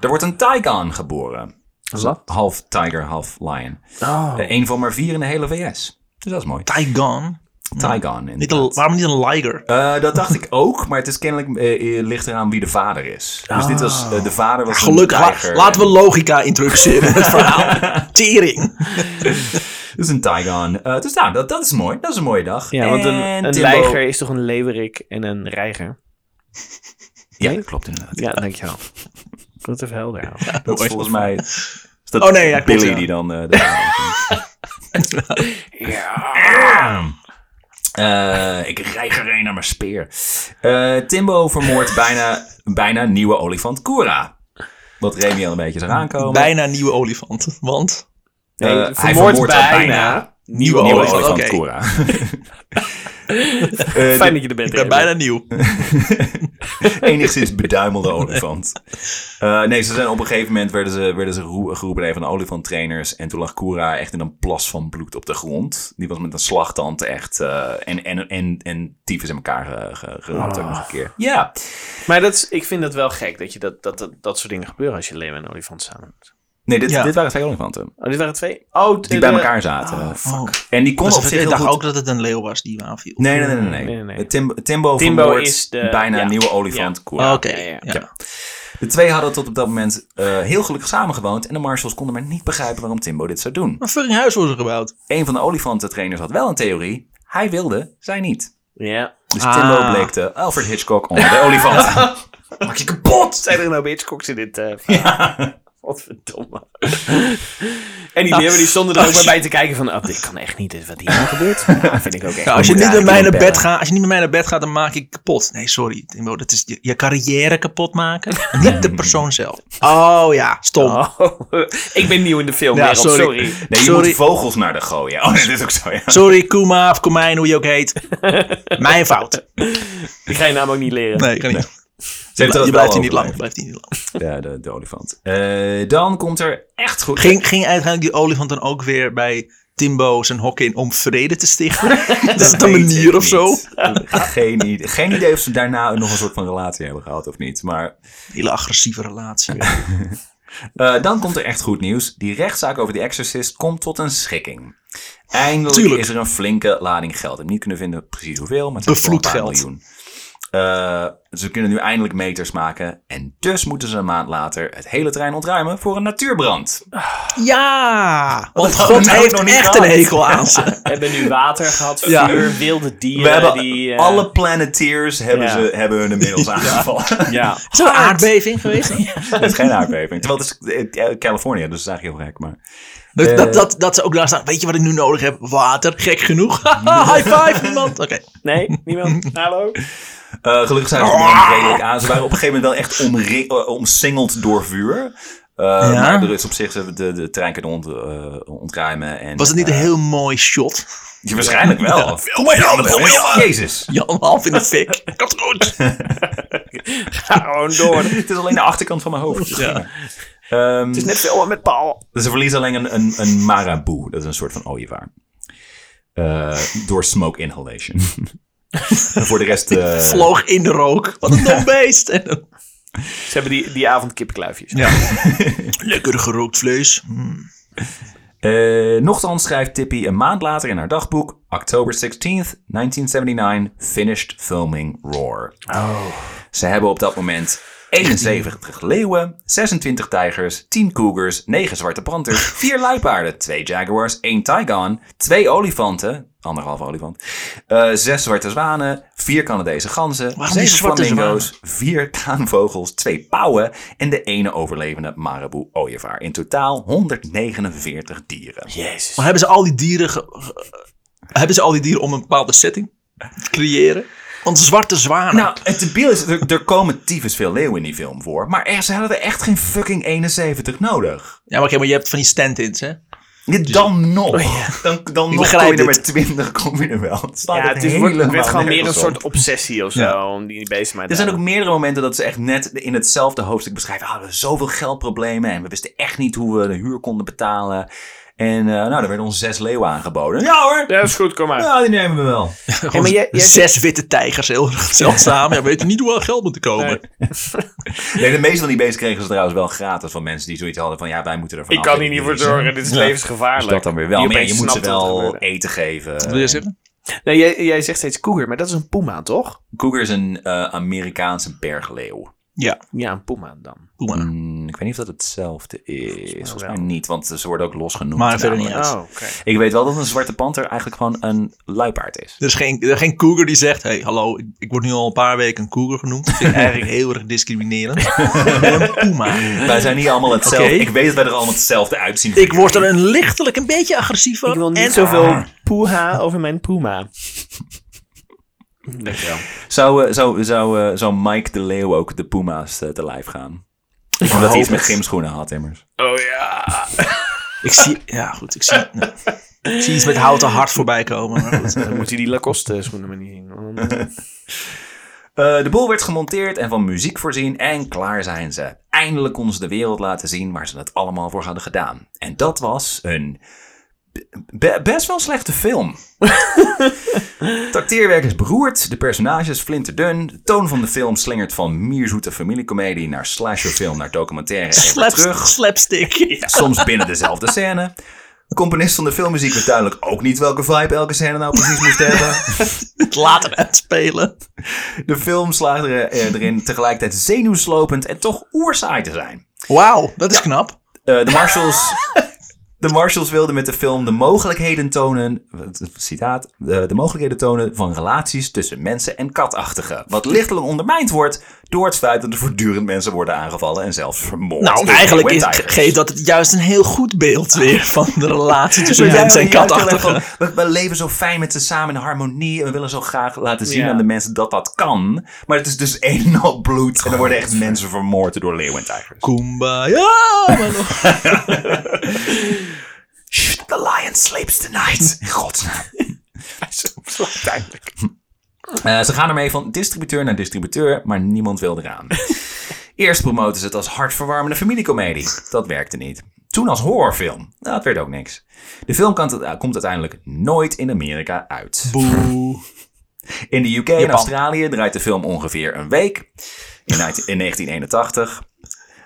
S1: Er wordt een Taikan geboren.
S3: Wat?
S1: Half tiger, half lion.
S3: Oh.
S1: Eh, Eén van maar vier in de hele VS. Dus dat is mooi.
S2: Taigan.
S1: Taikan.
S2: Niet
S1: inderdaad.
S2: een, waarom niet een liger?
S1: Eh, dat dacht ik ook, maar het is kennelijk eh, eh, ligt eraan wie de vader is. Dus dit was eh, de vader was
S2: Ah. Gelukkig.
S1: een
S2: la-
S1: tijger.
S2: laten we logica introduceren in het verhaal. Tering.
S1: Dit is een Taigon. Eh, dus nou, dat, dat is mooi. Dat is een mooie dag.
S3: Ja, want
S1: En
S3: een, een
S1: Timbo-
S3: leiger is toch een leeuwerik en een reiger?
S1: Ja, dat klopt inderdaad.
S3: Ja, dankjewel. Ik wil het even helder houden.
S1: Dat is volgens mij... is dat
S2: Oh, nee, ja, klopt,
S1: Billy
S2: ja.
S1: die dan... eh, de vader is.
S3: Ja.
S1: Ah! Eh, ik rijg er een naar mijn speer. Eh, Timbo vermoordt bijna, bijna nieuwe olifant Kura. Wat Remy al een beetje zag aankomen.
S2: Bijna nieuwe olifant. Want
S1: Eh,
S3: Nee,
S1: hij
S3: vermoord
S1: vermoordt
S3: bijna.
S1: bijna nieuwe,
S2: Nieuwe
S1: olifant, Eh,
S2: olifant, oké.
S1: Kura.
S3: Fijn dat je er bent.
S2: ik ben bijna nieuw.
S1: Enigszins beduimelde olifant. Eh, nee, ze zijn op een gegeven moment werden ze, werden ze geroe- geroepen door een van de olifanttrainers. En toen lag Kura echt in een plas van bloed op de grond. Die was met een slagtand echt. eh, en, en, en, en tyfus in elkaar ge- ge- geraakt ook nog
S2: Ah.
S1: een keer. Ja.
S3: Maar dat is, ik vind het wel gek dat, je dat, dat, dat, dat soort dingen gebeuren als je leeuw en een olifant samen hebt.
S1: Nee, dit,
S2: Ja.
S1: dit waren twee olifanten.
S3: Oh, dit waren twee? Oh,
S1: Die bij elkaar zaten.
S3: Ah.
S2: Oh.
S1: En die kon
S2: Dus
S1: op
S2: ik
S1: zich
S2: dacht
S1: heel goed...
S2: ook dat het een leeuw was die me aanviel.
S1: Nee, nee, nee, nee. nee.
S3: Nee, nee, nee.
S1: Tim- Timbo,
S3: Timbo
S1: vermoordt
S3: is de-
S1: bijna
S3: ja.
S1: een nieuwe olifant. Kura.
S2: Ah, Oké.
S3: Ja, ja,
S2: ja.
S1: De twee hadden tot op dat moment eh, heel gelukkig samengewoond. En de marshals konden maar niet begrijpen waarom Timbo dit zou doen.
S2: Een fucking huis worden gebouwd.
S1: Een van de olifantentrainers had wel een theorie. Hij wilde, zij niet.
S3: Ja.
S1: Dus
S2: Ah.
S1: Timbo bleek de Alfred Hitchcock onder de olifanten. Maak je kapot!
S3: Zijn er nou Hitchcocks in dit eh, verhaal? Wat verdomme. en die leeuwen die stonden er ook maar bij te kijken van... Oh, dit kan echt niet, dit, wat hier nou gebeurt. Ja, vind ik ook echt.
S2: Ja, Nou, als, je
S1: moet
S2: niet met
S1: eigenlijk
S2: mij naar
S1: iemand
S2: bed gaat, als je niet met mij naar bed gaat, dan maak ik je kapot. Nee, sorry, Timbo, dat is je, je carrière kapot maken. niet de persoon zelf. Oh ja, stom.
S3: Oh, ik ben nieuw in de film,
S2: Ja,
S3: Merel, sorry.
S2: sorry.
S1: Nee, je
S2: Sorry.
S1: moet vogels naar de gooien. Oh, nee, dit is ook zo, ja.
S2: Sorry, Kuma of Komijn, hoe je ook heet. mijn fout.
S3: Die ga je namelijk niet leren.
S2: Nee, kan niet.
S1: Ze heeft
S2: Je
S1: dat wel
S2: blijft hier niet lang.
S1: overleefd.
S2: Blijft hier niet lang.
S1: Ja, de, de olifant. Eh, dan komt er echt goed...
S2: Ging, ging uiteindelijk die olifant dan ook weer bij Timbo zijn hok in om vrede te stichten? dat is een
S1: weet ik
S2: manier of
S1: niet.
S2: zo.
S1: Geen idee, geen idee of ze daarna nog een soort van relatie hebben gehad of niet. Maar
S2: Hele agressieve relatie.
S1: eh, dan komt er echt goed nieuws. Die rechtszaak over The Exorcist komt tot een schikking. Eindelijk
S2: Tuurlijk.
S1: is er een flinke lading geld. Ik heb niet kunnen vinden precies hoeveel, maar het is
S2: Bevloed
S1: wel een paar
S2: geld.
S1: miljoen. Eh, ze kunnen nu eindelijk meters maken. En dus moeten ze een maand later het hele terrein ontruimen voor een natuurbrand.
S2: Ja, want
S1: hadden
S2: God
S1: we nou
S2: heeft
S1: nog niet
S2: echt
S1: gehad.
S2: een hekel aan ze.
S3: We hebben nu water gehad, vuur,
S2: Ja.
S3: wilde dieren.
S1: We hebben
S3: die, eh,
S1: alle planeteers hebben,
S3: ja.
S1: ze, hebben hun inmiddels aangevallen.
S3: Ja.
S2: Is er een aardbeving geweest?
S1: Het is geen aardbeving. Terwijl het is eh, Californië, dus dat is eigenlijk heel gek. Maar
S2: Dat, dat, dat, dat ze ook daar staan. Weet je wat ik nu nodig heb? Water. Gek genoeg. High five, niemand. Oké.
S3: Nee, niemand? Hallo?
S1: Eh, gelukkig zijn ze er nog
S2: Ah!
S1: redelijk aan. Ah, Ze waren op een gegeven moment wel echt omri- eh, omsingeld door vuur. Eh, Maar er is op zich, ze hebben de, de trein kunnen ont, eh, ontruimen. En,
S2: Was het niet een heel mooi shot?
S1: eh, ja, waarschijnlijk wel.
S2: Film mij dan, film mij dan.
S1: Jezus.
S2: Jan half in de fik. Komt goed.
S3: Ga Ah, gewoon door. Het
S1: Het is alleen de achterkant van mijn hoofd.
S2: Ja.
S1: Ehm,
S3: is net filmen met Paul.
S1: dus ze verliezen alleen een, een, een maraboe. Dat is een soort van ooievaar. Eh, door smoke inhalation. En voor de rest... eh,
S2: Vloog in de rook. Wat een dom beest. En dan-
S3: Ze hebben die, die avond kipkluifjes.
S2: Lekker gerookt vlees. Mm.
S1: Eh nochtans schrijft Tippy een maand later in haar dagboek... October 16th, 1979, finished filming Roar. Ze hebben op dat moment 71 leeuwen, 26 tijgers, 10 cougars, 9 zwarte panters, 4 luipaarden, 2 jaguars, 1 taigon, 2 olifanten, anderhalf olifant, eh 6 zwarte zwanen, 4 Canadese ganzen,
S2: Waarom die
S1: 7
S2: zwarte
S1: flamingo's, 4 kraanvogels, 2 pauwen en de ene overlevende marabou ooievaar. In totaal 149 dieren.
S3: Jezus.
S2: Maar hebben ze al die dieren. ge- ge- hebben ze al die dieren om een bepaalde setting te creëren? Want zwarte zwanen.
S1: Nou, het debiel is, er, er komen tyfus veel leeuwen in die film voor, maar er, ze hadden er echt geen fucking 71 nodig.
S2: ja, maar, oké, maar je hebt van die stand-ins, hè?
S1: Ja,
S3: Dus-
S1: dan nog.
S3: Oh,
S1: Dan, dan nog kom
S2: begrijp
S1: je er
S2: dit.
S1: met 20 kom je er wel. Het staat
S3: Ja,
S1: echt
S3: het is, wordt,
S1: helemaal
S3: het werd gewoon meer een
S1: nergens
S3: soort
S1: op.
S3: obsessie of zo.
S1: Ja.
S3: Om die bezig maar te
S1: Er zijn ook
S3: houden.
S1: meerdere momenten dat ze echt net in hetzelfde hoofdstuk beschrijven. Ah, we hadden zoveel geldproblemen en we wisten echt niet hoe we de huur konden betalen. En eh, nou, er werden ons zes leeuwen aangeboden. Ja hoor,
S3: Ja, dat is goed, kom maar.
S1: ja, die nemen we wel.
S3: Hey, maar jij, jij
S2: Zes witte tijgers, heel erg zeldzaam. Ja, we weten niet hoe we aan geld moeten komen.
S3: Nee.
S1: Nee, de meeste van die beesten kregen ze trouwens wel gratis van mensen die zoiets hadden van ja, wij moeten er vanaf.
S3: ik kan hier niet voor zorgen, dit is levensgevaarlijk.
S1: Dus dat dan weer wel.
S3: Die
S1: Maar ja,
S3: opeens
S1: je moet ze
S3: snapt wat er
S1: wel
S3: gebeurde.
S1: eten geven.
S2: Wat wil je zeggen?
S3: Nee, jij, jij zegt steeds koeger, maar dat is een poema, toch?
S1: Cougar is een eh, Amerikaanse bergleeuw.
S3: Ja, een poema dan.
S2: Doe maar.
S1: Mm, ik weet niet of dat hetzelfde is. Volgens mij
S3: wel.
S1: niet, want ze worden ook losgenoemd.
S2: Maar verder
S1: namelijk.
S2: niet
S3: Oh, oké.
S1: Ik weet wel dat een zwarte panter eigenlijk gewoon een luipaard is.
S2: Er is geen, er is geen cougar die zegt: hey, hallo, ik, ik word nu al een paar weken een cougar genoemd. Dat vind ik eigenlijk heel erg discriminerend. Een puma.
S1: Wij zijn niet allemaal hetzelfde.
S2: Oké.
S1: Ik weet dat wij er allemaal hetzelfde uitzien.
S2: Ik word er een lichtelijk een beetje agressief van.
S3: Ik wil niet
S2: en-
S3: zoveel poeha over mijn poema. Dankjewel.
S1: Zou, eh, zou, zou, eh, zou Mike de Leeuw ook de Puma's eh, te lijf gaan? Omdat hij iets met gymschoenen had, immers.
S3: Oh ja.
S2: Ik zie, ja goed, ik zie, nou, ik zie iets met houten hart voorbij komen. Maar goed.
S3: Dan moet hij die Lacoste schoenen maar niet zien.
S1: Eh, de boel werd gemonteerd en van muziek voorzien en klaar zijn ze. Eindelijk konden ze de wereld laten zien waar ze het allemaal voor hadden gedaan. En dat was een be- best wel slechte film. Het acteerwerk is beroerd, de personages flinterdun, de toon van de film slingert van mierzoete familiecomedie naar slasherfilm naar documentaire en weer
S2: Slaps-
S1: terug.
S2: slapstick.
S1: Soms binnen dezelfde scène. De componist van de filmmuziek wist duidelijk ook niet welke vibe elke scène nou precies moest hebben.
S2: Het later uitspelen.
S1: De film slaagt er, eh, erin tegelijkertijd zenuwslopend en toch oerzaai te zijn.
S2: Wauw, dat is knap.
S1: Eh, de Marshals. De Marshals wilden met de film de mogelijkheden tonen, het citaat, de, de mogelijkheden tonen van relaties tussen mensen en katachtigen. Wat lichtelijk ondermijnd wordt door het feit dat er voortdurend mensen worden aangevallen en zelfs vermoord.
S2: Nou,
S1: door
S2: eigenlijk
S1: Red
S2: is,
S1: Tigers.
S2: geeft dat het juist een heel goed beeld weer van de relatie tussen
S1: Ja,
S2: mens en
S1: ja, ja,
S2: katachtige.
S1: uitgelegd van, We, we leven zo fijn met ze samen in harmonie. En we willen zo graag laten zien
S3: Ja.
S1: aan de mensen dat dat kan. Maar het is dus één en al bloed. En er worden echt mensen vermoord door leeuwen en tijgers.
S2: Kumbaya. maar nog-
S1: Shh, the lion sleeps tonight. In godsnaam.
S3: Uiteindelijk.
S1: Eh, ze gaan ermee van distributeur naar distributeur, maar niemand wil eraan. Eerst promoten ze het als hartverwarmende familiecomedie. Dat werkte niet. Toen als horrorfilm. Dat werd ook niks. De film kan t- komt uiteindelijk nooit in Amerika uit.
S2: Boe.
S1: In de UK en Australië draait de film ongeveer een week. In, uit- in 1981.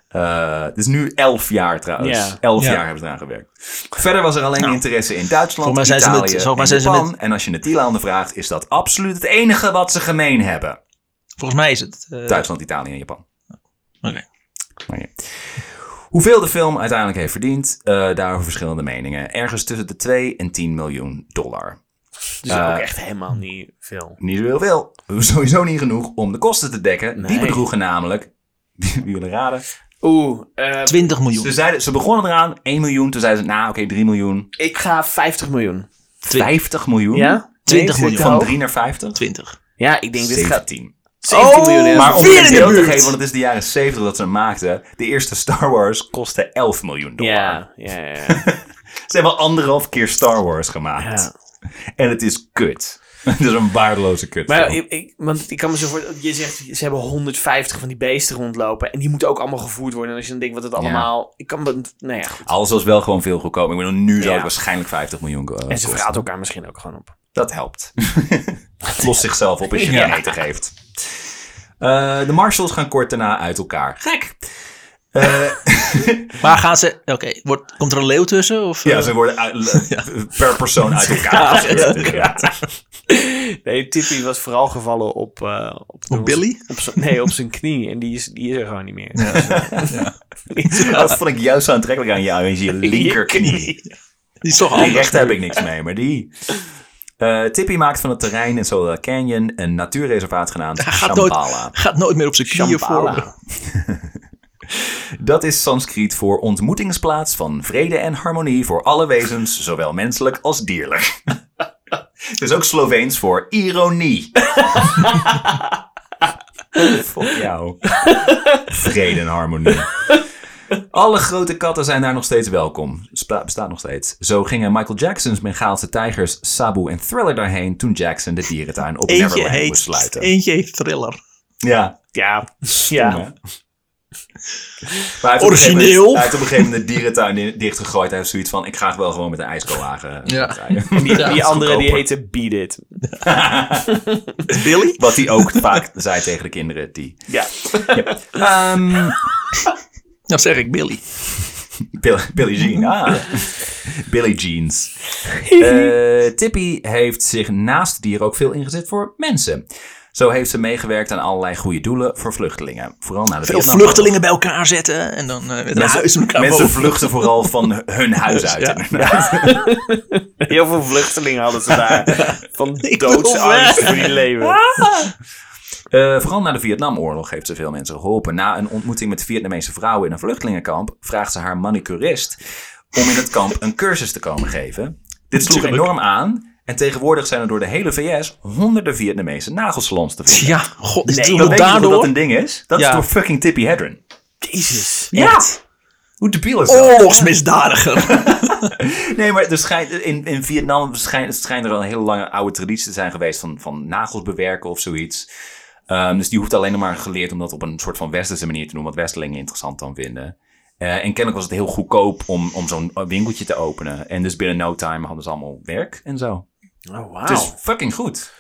S1: Eh, het is nu elf jaar trouwens.
S3: Ja.
S1: Elf
S2: Ja.
S1: jaar hebben ze eraan gewerkt. Verder was er alleen interesse in Duitsland,
S2: Nou, Volgens mij zijn ze
S1: Italië
S2: met- volgens
S1: en
S2: mij zijn ze
S1: Japan. En als je het Tielanden vraagt, is dat absoluut het enige wat ze gemeen hebben.
S2: Volgens mij is het. eh,
S1: Duitsland, Italië en Japan.
S2: oké.
S1: Maar ja. Hoeveel de film uiteindelijk heeft verdiend, eh daarover verschillende meningen. Ergens tussen de 2 en 10 miljoen dollar.
S3: Dus
S1: Eh,
S3: ook echt helemaal niet veel.
S1: Niet zo heel veel. Sowieso niet genoeg om de kosten te dekken. Die
S3: Nee.
S1: bedroegen namelijk. Wie willen raden?
S3: Oeh, eh,
S2: 20 miljoen.
S1: Ze, zeiden, ze begonnen eraan 1 miljoen. Toen zeiden ze, nou oké, 3 miljoen.
S3: ik ga 50 miljoen.
S1: 50 miljoen?
S3: Ja?
S2: 20
S3: Nee,
S2: miljoen.
S3: zit
S1: Van
S3: hoog?
S1: 3 naar 50?
S2: 20.
S3: Ja, ik denk dit gaat
S1: 17.
S3: 17 miljoen. euro.
S1: Maar om
S2: Weer
S1: het
S2: in
S1: een
S2: de
S1: beeld te
S2: buurt.
S1: geven, want het is de jaren 70 dat ze hem maakten. De eerste Star Wars kostte 11 miljoen dollar.
S3: Ja, ja, ja. ja.
S1: Ze hebben anderhalf keer Star Wars gemaakt.
S3: Ja.
S1: En het is kut. Het is een waardeloze kut.
S3: Maar ik, ik- want ik kan me zo voor, je zegt ze hebben 150 van die beesten rondlopen en die moeten ook allemaal gevoerd worden. En als je dan denkt wat het allemaal, ik kan, me- nou ja, goed.
S1: Alles was wel gewoon veel goedkoper. Ik bedoel, nu zou
S3: Ja.
S1: het waarschijnlijk 50 miljoen ko-
S3: En ze
S1: kosten.
S3: verraadt elkaar misschien ook gewoon op.
S1: Dat helpt. Het Lost zichzelf op als je
S3: Ja.
S1: geen eten geeft. Eh, de Marshals gaan kort daarna uit elkaar. Gek. Eh, Eh,
S2: Maar gaan ze... Oké, wordt- komt er een leeuw tussen? Of,
S1: ja,
S2: eh,
S1: ze worden uit- per persoon uit elkaar gezet. inderdaad.
S3: Nee, Tippy was vooral gevallen op... eh, op,
S2: Op Billy?
S3: op z'n- nee, op zijn knie. En die is, die is er gewoon niet meer. Dus, eh, die is wel-
S1: Dat vond ik juist zo aantrekkelijk aan jou, is je linkerknie.
S2: Die is toch
S1: Die
S2: anders.
S1: rechter heb ik niks mee, maar die... Eh, Tippy maakt van het terrein in Solar Canyon een natuurreservaat genaamd
S2: Hij gaat nooit,
S1: Shambhala.
S2: gaat nooit meer op zijn knieën
S3: Shambhala.
S2: voor.
S1: Dat is Sanskriet voor ontmoetingsplaats van vrede en harmonie voor alle wezens, zowel menselijk als dierlijk. Het is ook Sloveens voor ironie. Fuck jou. Vrede en harmonie. Alle grote katten zijn daar nog steeds welkom. Spa- bestaat nog steeds. Zo gingen Michael Jackson's Bengaalse tijgers Sabu en Thriller daarheen toen Jackson de dierentuin op
S2: Eentje
S1: Neverland moest
S2: heet,
S1: sluiten.
S2: eentje heet Thriller.
S1: Ja,
S3: ja, ja.
S1: maar hij heeft op een gegeven moment-
S2: Origineel.
S1: Hij heeft op een gegeven moment de dierentuin in- dichtgegooid. Hij heeft zoiets van, ik ga wel gewoon met een ijskoolwagen.
S2: Ja.
S1: rijden.
S3: Die,
S2: Ja,
S3: die andere die
S1: goedkoper.
S3: heette Beat It.
S2: Billy?
S1: Wat hij ook vaak zei tegen de kinderen. Die,
S3: Ja.
S1: Ehm,
S2: Dan zeg ik Billy.
S1: Bill- Billie Jean, ah. Billie Jeans. Eh, Tippy heeft zich naast dieren ook veel ingezet voor mensen. Zo heeft ze meegewerkt aan allerlei goede doelen voor vluchtelingen. Vooral naar de
S2: Veel
S1: Vietnamoorlog.
S2: vluchtelingen bij elkaar zetten en dan eh met een huis met elkaar
S1: mensen
S2: boven.
S1: vluchten vooral van hun huis uit.
S2: Ja.
S1: inderdaad.
S3: Heel veel vluchtelingen hadden ze daar. Van
S2: wil
S3: doodsangst voor die leven.
S1: Eh, vooral na de Vietnamoorlog heeft ze veel mensen geholpen. Na een ontmoeting met Vietnamese vrouwen in een vluchtelingenkamp vraagt ze haar manicurist om in het kamp een cursus te komen geven. Dit sloeg
S2: Tuurlijk.
S1: enorm aan en tegenwoordig zijn er door de hele VS honderden Vietnamese nagelsalons te vinden.
S2: Ja, god, is
S3: Nee,
S2: het
S1: Dan weet je toch
S2: wel
S1: dat dat
S2: daardoor?
S1: een ding is? Dat
S2: Ja.
S1: is door fucking Tippy Hedren. Oh,
S3: Jezus.
S1: Ja! Hoe debiel is dat?
S2: Oorlogsmisdadiger.
S1: Nee, maar er schijnt, in, in Vietnam schijnt, schijnt er al een hele lange oude traditie te zijn geweest van, van nagels bewerken of zoiets. Ehm, dus die hoeft alleen nog maar geleerd om dat op een soort van westerse manier te doen, wat westelingen interessant dan vinden. Eh, en kennelijk was het heel goedkoop om, om zo'n winkeltje te openen. En dus binnen no time hadden ze allemaal werk en zo.
S3: Oh,
S1: Het is
S3: wauw.
S1: fucking goed.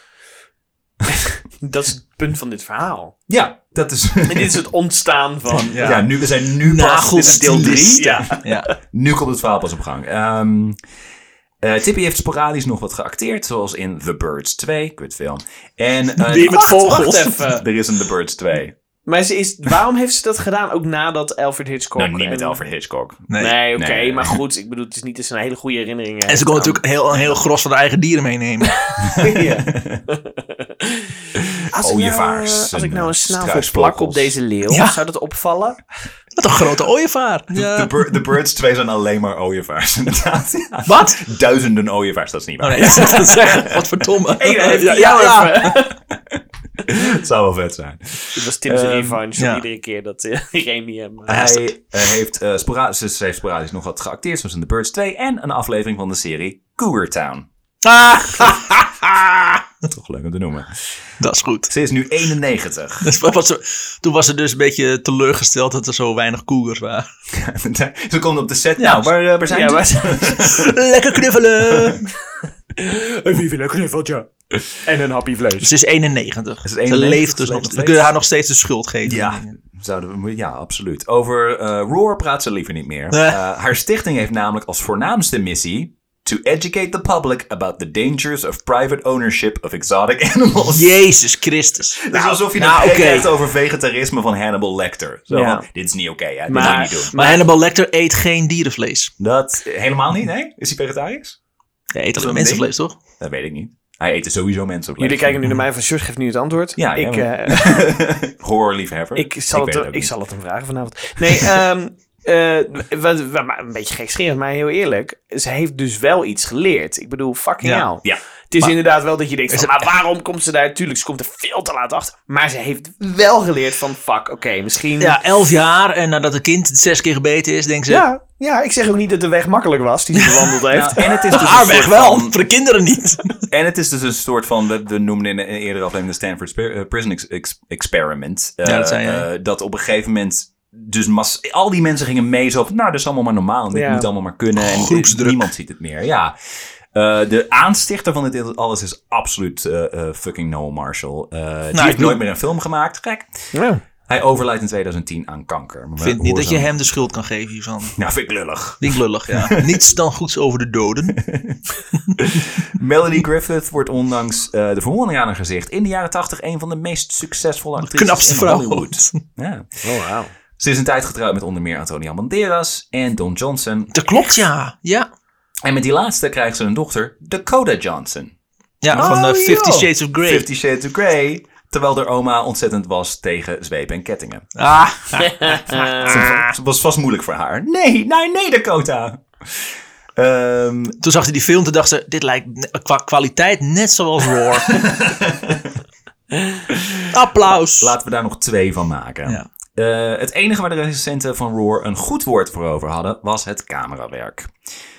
S3: Dat is het punt van dit verhaal.
S1: Ja, dat is...
S3: En dit is het ontstaan van... eh,
S1: Ja, nu, we zijn nu pas... Dit is deel 3.
S2: Nagelstylisten.
S3: Ja.
S2: Ja.
S1: Nu komt het verhaal pas op gang. Ehm, eh, Tippy heeft sporadisch nog wat geacteerd, zoals in The Birds 2, kutfilm. En eh,
S2: Weer met
S1: wacht,
S2: vogels.
S1: wacht even. Er is een The Birds 2.
S3: Maar ze is, waarom heeft ze dat gedaan? Ook nadat Alfred Hitchcock...
S1: Nou, niet met
S3: en-
S1: Alfred Hitchcock.
S3: Nee, oké.
S1: nee.
S3: maar goed, ik bedoel, het is niet dat ze een hele goede herinnering eh.
S2: En ze kon natuurlijk heel, een heel gros van haar eigen dieren meenemen.
S3: Als,
S1: Oh,
S3: ik nou,
S1: Ooievaars
S3: eh, als ik
S1: en,
S3: nou een
S1: eh,
S3: snavel plak
S1: struisvogels.
S3: op deze leeuw,
S2: Ja.
S3: zou dat opvallen?
S2: Wat een grote ooievaar.
S1: The,
S2: Ja.
S1: Bir- The Birds 2 zijn alleen maar ooievaars, inderdaad. Ja.
S2: Wat?
S1: Duizenden ooievaars, dat is niet waar.
S2: Oh nee, ik zou het zeggen. Wat verdomme.
S3: ja, ja, nou even.
S1: Dat zou wel vet zijn.
S3: Dit was Tim's
S1: Ehm,
S3: revanche
S2: ja.
S3: op iedere keer dat eh, Remy hem...
S1: Hij eh, heeft, eh, spora- ze ze heeft sporadisch nog wat geacteerd, zoals in The Birds 2 en een aflevering van de serie Cougar Town.
S2: Ah,
S1: Toch leuk om te noemen.
S2: dat is goed.
S1: Ze is nu 91.
S2: Dus wat- wat ze- toen was ze dus een beetje teleurgesteld dat er zo weinig koegers waren.
S1: ze komt op de set. Nou, waar, eh, waar zijn
S3: Ja,
S1: ze?
S2: Lekker knuffelen!
S3: Een vivi leuk knuffeltje. En een happy vlees.
S2: Ze is 91.
S1: is
S2: Ze
S1: 91,
S2: leeft
S1: ze
S2: dus
S1: leeft
S2: nog.
S1: nog
S2: We kunnen haar nog steeds de schuld geven.
S1: Ja, zouden we, ja, absoluut. Over eh, Roar praat ze liever niet meer. Eh, haar stichting heeft namelijk als voornaamste missie... To educate the public about the dangers of private ownership of exotic animals.
S2: Jezus Christus.
S1: Het is alsof je
S2: nou,
S1: het
S2: oké.
S1: hebt over vegetarisme van Hannibal Lecter. Zo
S3: Ja.
S1: van, dit is niet oké, hè, dit
S3: Maar-
S1: moet je niet doen.
S2: Maar Hannibal Lecter eet geen dierenvlees.
S1: Dat, helemaal niet, nee? Is hij vegetarisch?
S2: Hij eet alleen
S1: een
S2: mensenvlees, toch?
S1: Dat weet ik niet. Hij eet er sowieso mensen op.
S3: Jullie kijken nu naar mij van, Sjors geeft nu het antwoord.
S1: Ja,
S3: ik,
S1: ja, maar-
S3: eh,
S1: Horror liefhebber.
S3: Ik zal,
S1: weet
S3: het,
S1: ook
S3: ik
S1: niet.
S3: zal het hem vragen vanavond. Nee, ehm eh, wat, wat- maar een beetje gekscherend, maar heel eerlijk. Ze heeft dus wel iets geleerd. Ik bedoel, fucking
S2: Ja,
S3: hell.
S1: ja.
S3: Het is inderdaad wel dat je denkt, van, maar waarom komt ze daar? Tuurlijk, ze komt er veel te laat achter. Maar ze heeft wel geleerd van, fuck, oké, misschien...
S2: Ja, elf jaar en nadat een kind zes keer gebeten is, denkt ze...
S3: ja, ja, ik zeg ook niet dat de weg makkelijk was die ze bewandeld heeft.
S1: En het is dus
S2: haar
S1: een
S2: weg
S1: soort
S2: wel,
S1: van-
S2: voor de kinderen niet.
S1: En het is dus een soort van, we, we noemden in een eerdere aflevering de Stanford Spe- eh, Prison Ex- Ex- Experiment. Eh,
S2: Ja, dat zei jij.
S1: eh, dat op een gegeven moment, dus mas- al die mensen gingen mee zo van, nou, dat is allemaal maar normaal. en Dit
S3: Ja.
S1: moet allemaal maar kunnen. En
S2: Groepsdruk.
S1: niemand ziet het meer, ja. Eh, de aanstichter van dit alles is absoluut eh, eh, fucking Noel Marshall. Eh, die
S2: Nou, ik
S1: heeft
S2: bedoel-
S1: nooit meer een film gemaakt, gek.
S3: Ja.
S1: Hij overlijdt in 2010 aan kanker. Maar
S2: Ik vind
S1: hoe
S2: niet dat
S1: is
S2: je
S1: dat?
S2: hem de schuld kan geven hiervan.
S1: Nou, vind ik lullig.
S2: Niet lullig, ja. Niets dan goeds over de doden.
S1: Melanie Griffith wordt ondanks eh, de verwonding aan haar gezicht... in de jaren 80 een van de meest succesvolle actrices
S2: Knapste
S1: in
S2: vrouw.
S1: Hollywood. Ja.
S3: Oh, wauw.
S1: Ze is een tijd getrouwd met onder meer Antonia Banderas en Don Johnson.
S2: Dat klopt, ja. Ja,
S1: En met die laatste krijgt ze een dochter, Dakota Johnson.
S2: ja
S1: Oh,
S2: van eh, Fifty
S1: joh.
S2: Shades of Grey.
S1: Fifty Shades of Grey. Terwijl haar oma ontzettend was tegen zwepen en kettingen.
S2: Ah,
S1: Het was vast moeilijk voor haar. Nee, nee, nee, Dakota. Ehm,
S2: toen zag hij die film, toen dacht ze, dit lijkt ne- qua kwaliteit net zoals War. Applaus.
S1: laten we daar nog twee van maken.
S2: Ja.
S1: Eh, het enige waar de recensenten van Roar een goed woord voor over hadden, was het camerawerk.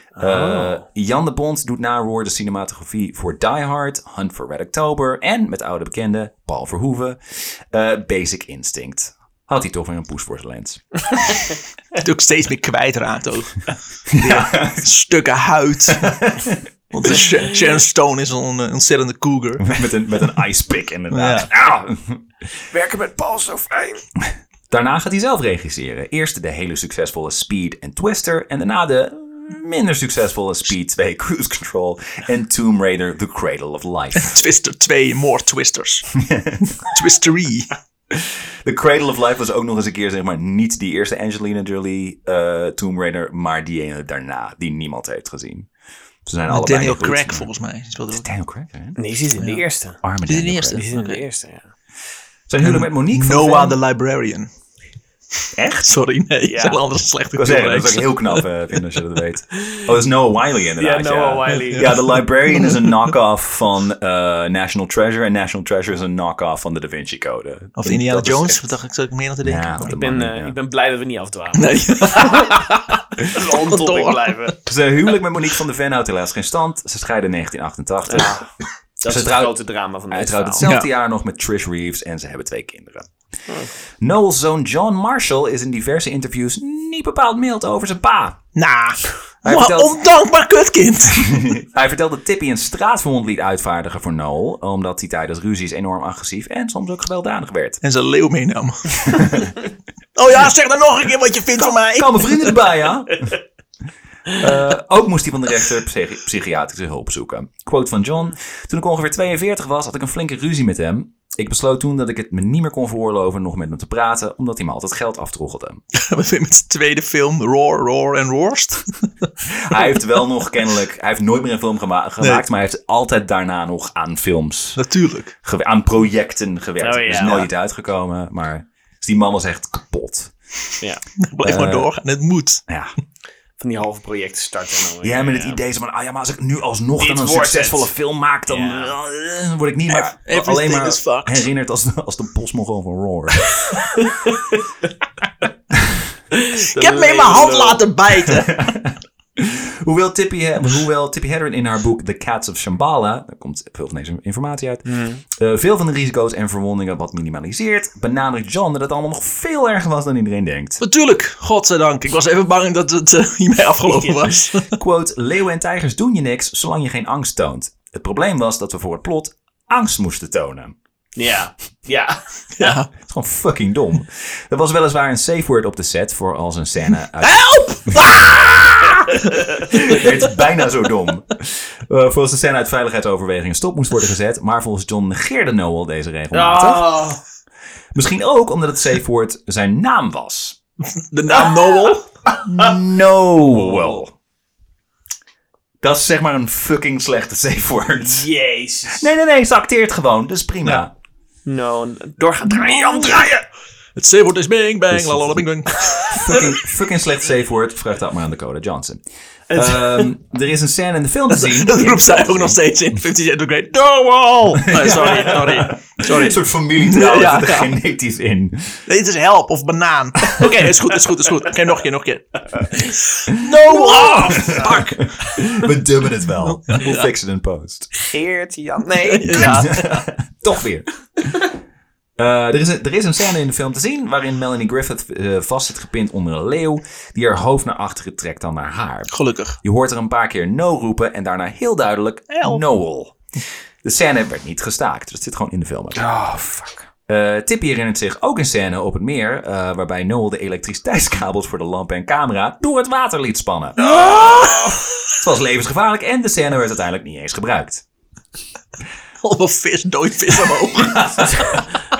S1: Eh, Jan de Bond doet na Roar de cinematografie voor Die Hard, Hunt for Red October en, met oude bekende, Paul Verhoeven, eh, Basic Instinct. Had hij toch weer een poes voor zijn lens.
S2: Het ook steeds meer kwijtraakt ook. Ja. Stukken huid. Want de Sh- Sharon Stone is een eh, ontzettende cougar.
S1: met, een, met een ice pick inderdaad. Ah.
S3: Werken met Paul zo fijn.
S1: Daarna gaat hij zelf regisseren. Eerst de hele succesvolle Speed en Twister. En daarna de minder succesvolle Speed 2 Cruise Control. En Tomb Raider The Cradle of Life.
S2: Twister 2, more twisters. Twistery.
S1: The Cradle of Life was ook nog eens een keer zeg maar niet die eerste Angelina Jolie eh, Tomb Raider. Maar die ene daarna die niemand heeft gezien. Ze zijn allebei
S2: Daniel
S1: niet goed,
S2: Craig
S1: maar-
S2: volgens mij. Is wel de-
S1: Daniel Craig, hè?
S3: Nee, die zit in de eerste.
S1: Arme
S2: Dit is de
S1: Daniel
S2: eerste.
S1: Craig.
S3: Die zit in de
S2: Oké.
S3: eerste, ja.
S1: Zijn huwelijk met Monique van
S2: Noah
S1: Venn-
S2: the Librarian.
S1: Echt?
S2: Sorry, nee. Dat is een andere slechte
S1: Ik wil zeggen, dat
S2: filmreeks.
S1: is ook heel knap eh, vinden als je dat weet. Oh, dat is Noah Wiley inderdaad.
S3: Ja, Noah Wiley.
S1: Ja, The Librarian is een knock-off van eh, National Treasure. En National Treasure is een knock-off van de Da Vinci Code.
S2: Of Indiana
S1: Dat is
S2: Jones.
S1: echt-
S2: Wat dacht ik, zou ik meer aan te denken?
S1: Ja,
S3: Ik ben, eh, ik ben blij dat we niet afdwalen.
S2: Nee.
S3: Dat is on topic blijven.
S1: Zijn huwelijk met Monique van de Ven houdt helaas geen stand. Ze scheiden in 1988.
S3: Dat is het
S1: trouwt-
S3: grote drama van
S1: Hij
S3: dit
S1: trouwt
S3: verhaal.
S1: hetzelfde jaar nog met Trish Reeves en ze hebben twee kinderen. Noel's zoon John Marshall is in diverse interviews niet bepaald mild over zijn pa.
S2: Nou,
S1: Hij
S2: wat
S1: vertelt-
S2: ondankbaar kutkind.
S1: Hij vertelde dat Tippy een straatverhond liet uitvaardigen voor Noel, omdat hij tijdens ruzies enorm agressief en soms ook gewelddadig werd.
S2: en zijn leeuw meenam. oh ja, zeg dan nog een keer wat je vindt van mij.
S1: Kan mijn vrienden erbij, ja? Eh, ook moest hij van de rechter psychi- psychiatrische hulp zoeken. Quote van John. Toen ik ongeveer 42 was, had ik een flinke ruzie met hem. Ik besloot toen dat ik het me niet meer kon veroorloven nog met hem te praten, omdat hij me altijd geld aftroggelde.
S2: We zijn met zijn tweede film, Roar, Roar en Roarst.
S1: Hij heeft wel nog kennelijk, hij heeft nooit meer een film gema- gemaakt, maar hij heeft altijd daarna nog aan films,
S2: Natuurlijk.
S1: gewe- aan projecten gewerkt.
S3: Oh, ja.
S1: is nooit uitgekomen, maar dus die man was echt kapot.
S3: Ja.
S2: Blijf maar doorgaan. Het moet.
S1: Ja,
S3: Van die halve projecten starten. en dan weer-
S1: jij met het idee van, ah ja, maar als ik nu alsnog
S3: Dit
S1: dan een
S3: wordt
S1: succesvolle
S3: het.
S1: film maak, dan
S3: Ja.
S1: eh, word ik niet meer
S2: Everything
S1: alleen maar
S2: is fucked.
S1: herinnerd als, de- als de postmogel van Roar.
S2: Ik heb me in mijn hand laten bijten.
S1: hoewel, Tippy, hoewel Tippy Hedren in haar boek The Cats of Shambhala, daar komt veel van deze informatie uit,
S3: Hmm.
S1: eh, veel van de risico's en verwondingen wat minimaliseert, benadrukt John dat het allemaal nog veel erger was dan iedereen denkt.
S2: Natuurlijk, godzijdank. Ik was even bang dat het eh, hiermee afgelopen was.
S1: Quote, leeuwen en tijgers doen je niks zolang je geen angst toont. Het probleem was dat we voor het plot angst moesten tonen.
S3: Ja. Ja.
S2: Ja.
S1: Het is gewoon Oh, fucking dom. Er was weliswaar een safe word op de set voor als een scène uit...
S2: Help!
S1: Het is bijna zo dom. Eh, voor als de scène uit veiligheidsoverwegingen stop moest worden gezet. Maar volgens John negeerde Noel deze regelmatig.
S3: Oh.
S1: Misschien ook omdat het safe word zijn naam was.
S2: De naam Noel.
S1: Noel. Dat is zeg maar een fucking slechte safe word.
S3: Jezus.
S1: Nee, nee, nee. Ze acteert gewoon. Dat is prima.
S3: No, doorgaan draaien.
S2: Jan draaien! Het zeeword is bing bang, lalala bing bang.
S1: Fucking, fucking slecht safe word. Vraag dat maar aan Dakota Johnson. Ehm, er is een scène in de film te zien.
S2: Dat roept zij ook nog steeds in. 50 Cent of Great. Noel! Nee, sorry, sorry.
S1: Sorry. Een soort familietrouw
S2: Ja,
S1: zit er
S2: ja.
S1: genetisch in.
S2: Dit is help of banaan. Oké, is goed, is goed, is goed. Oké, nog een keer, nog een keer. No! Ah, fuck!
S1: We dubben het wel. We'll fix it in post.
S3: Geert, Jan. Nee.
S1: Toch weer. Eh, er, is een, er is een scène in de film te zien waarin Melanie Griffith eh, vast zit gepind onder een leeuw die haar hoofd naar achteren trekt dan naar haar.
S2: Gelukkig.
S1: Je hoort er een paar keer no roepen en daarna heel duidelijk Noel. De scène werd niet gestaakt, dus het zit gewoon in de film.
S3: Oh, fuck.
S1: Eh Tip hier herinnert zich ook een scène op het meer, eh, waarbij Noel de elektriciteitskabels voor de lampen en camera door het water liet spannen.
S2: Ah!
S1: Het was levensgevaarlijk en de scène werd uiteindelijk niet eens gebruikt.
S2: Allemaal vis, dood vis omhoog.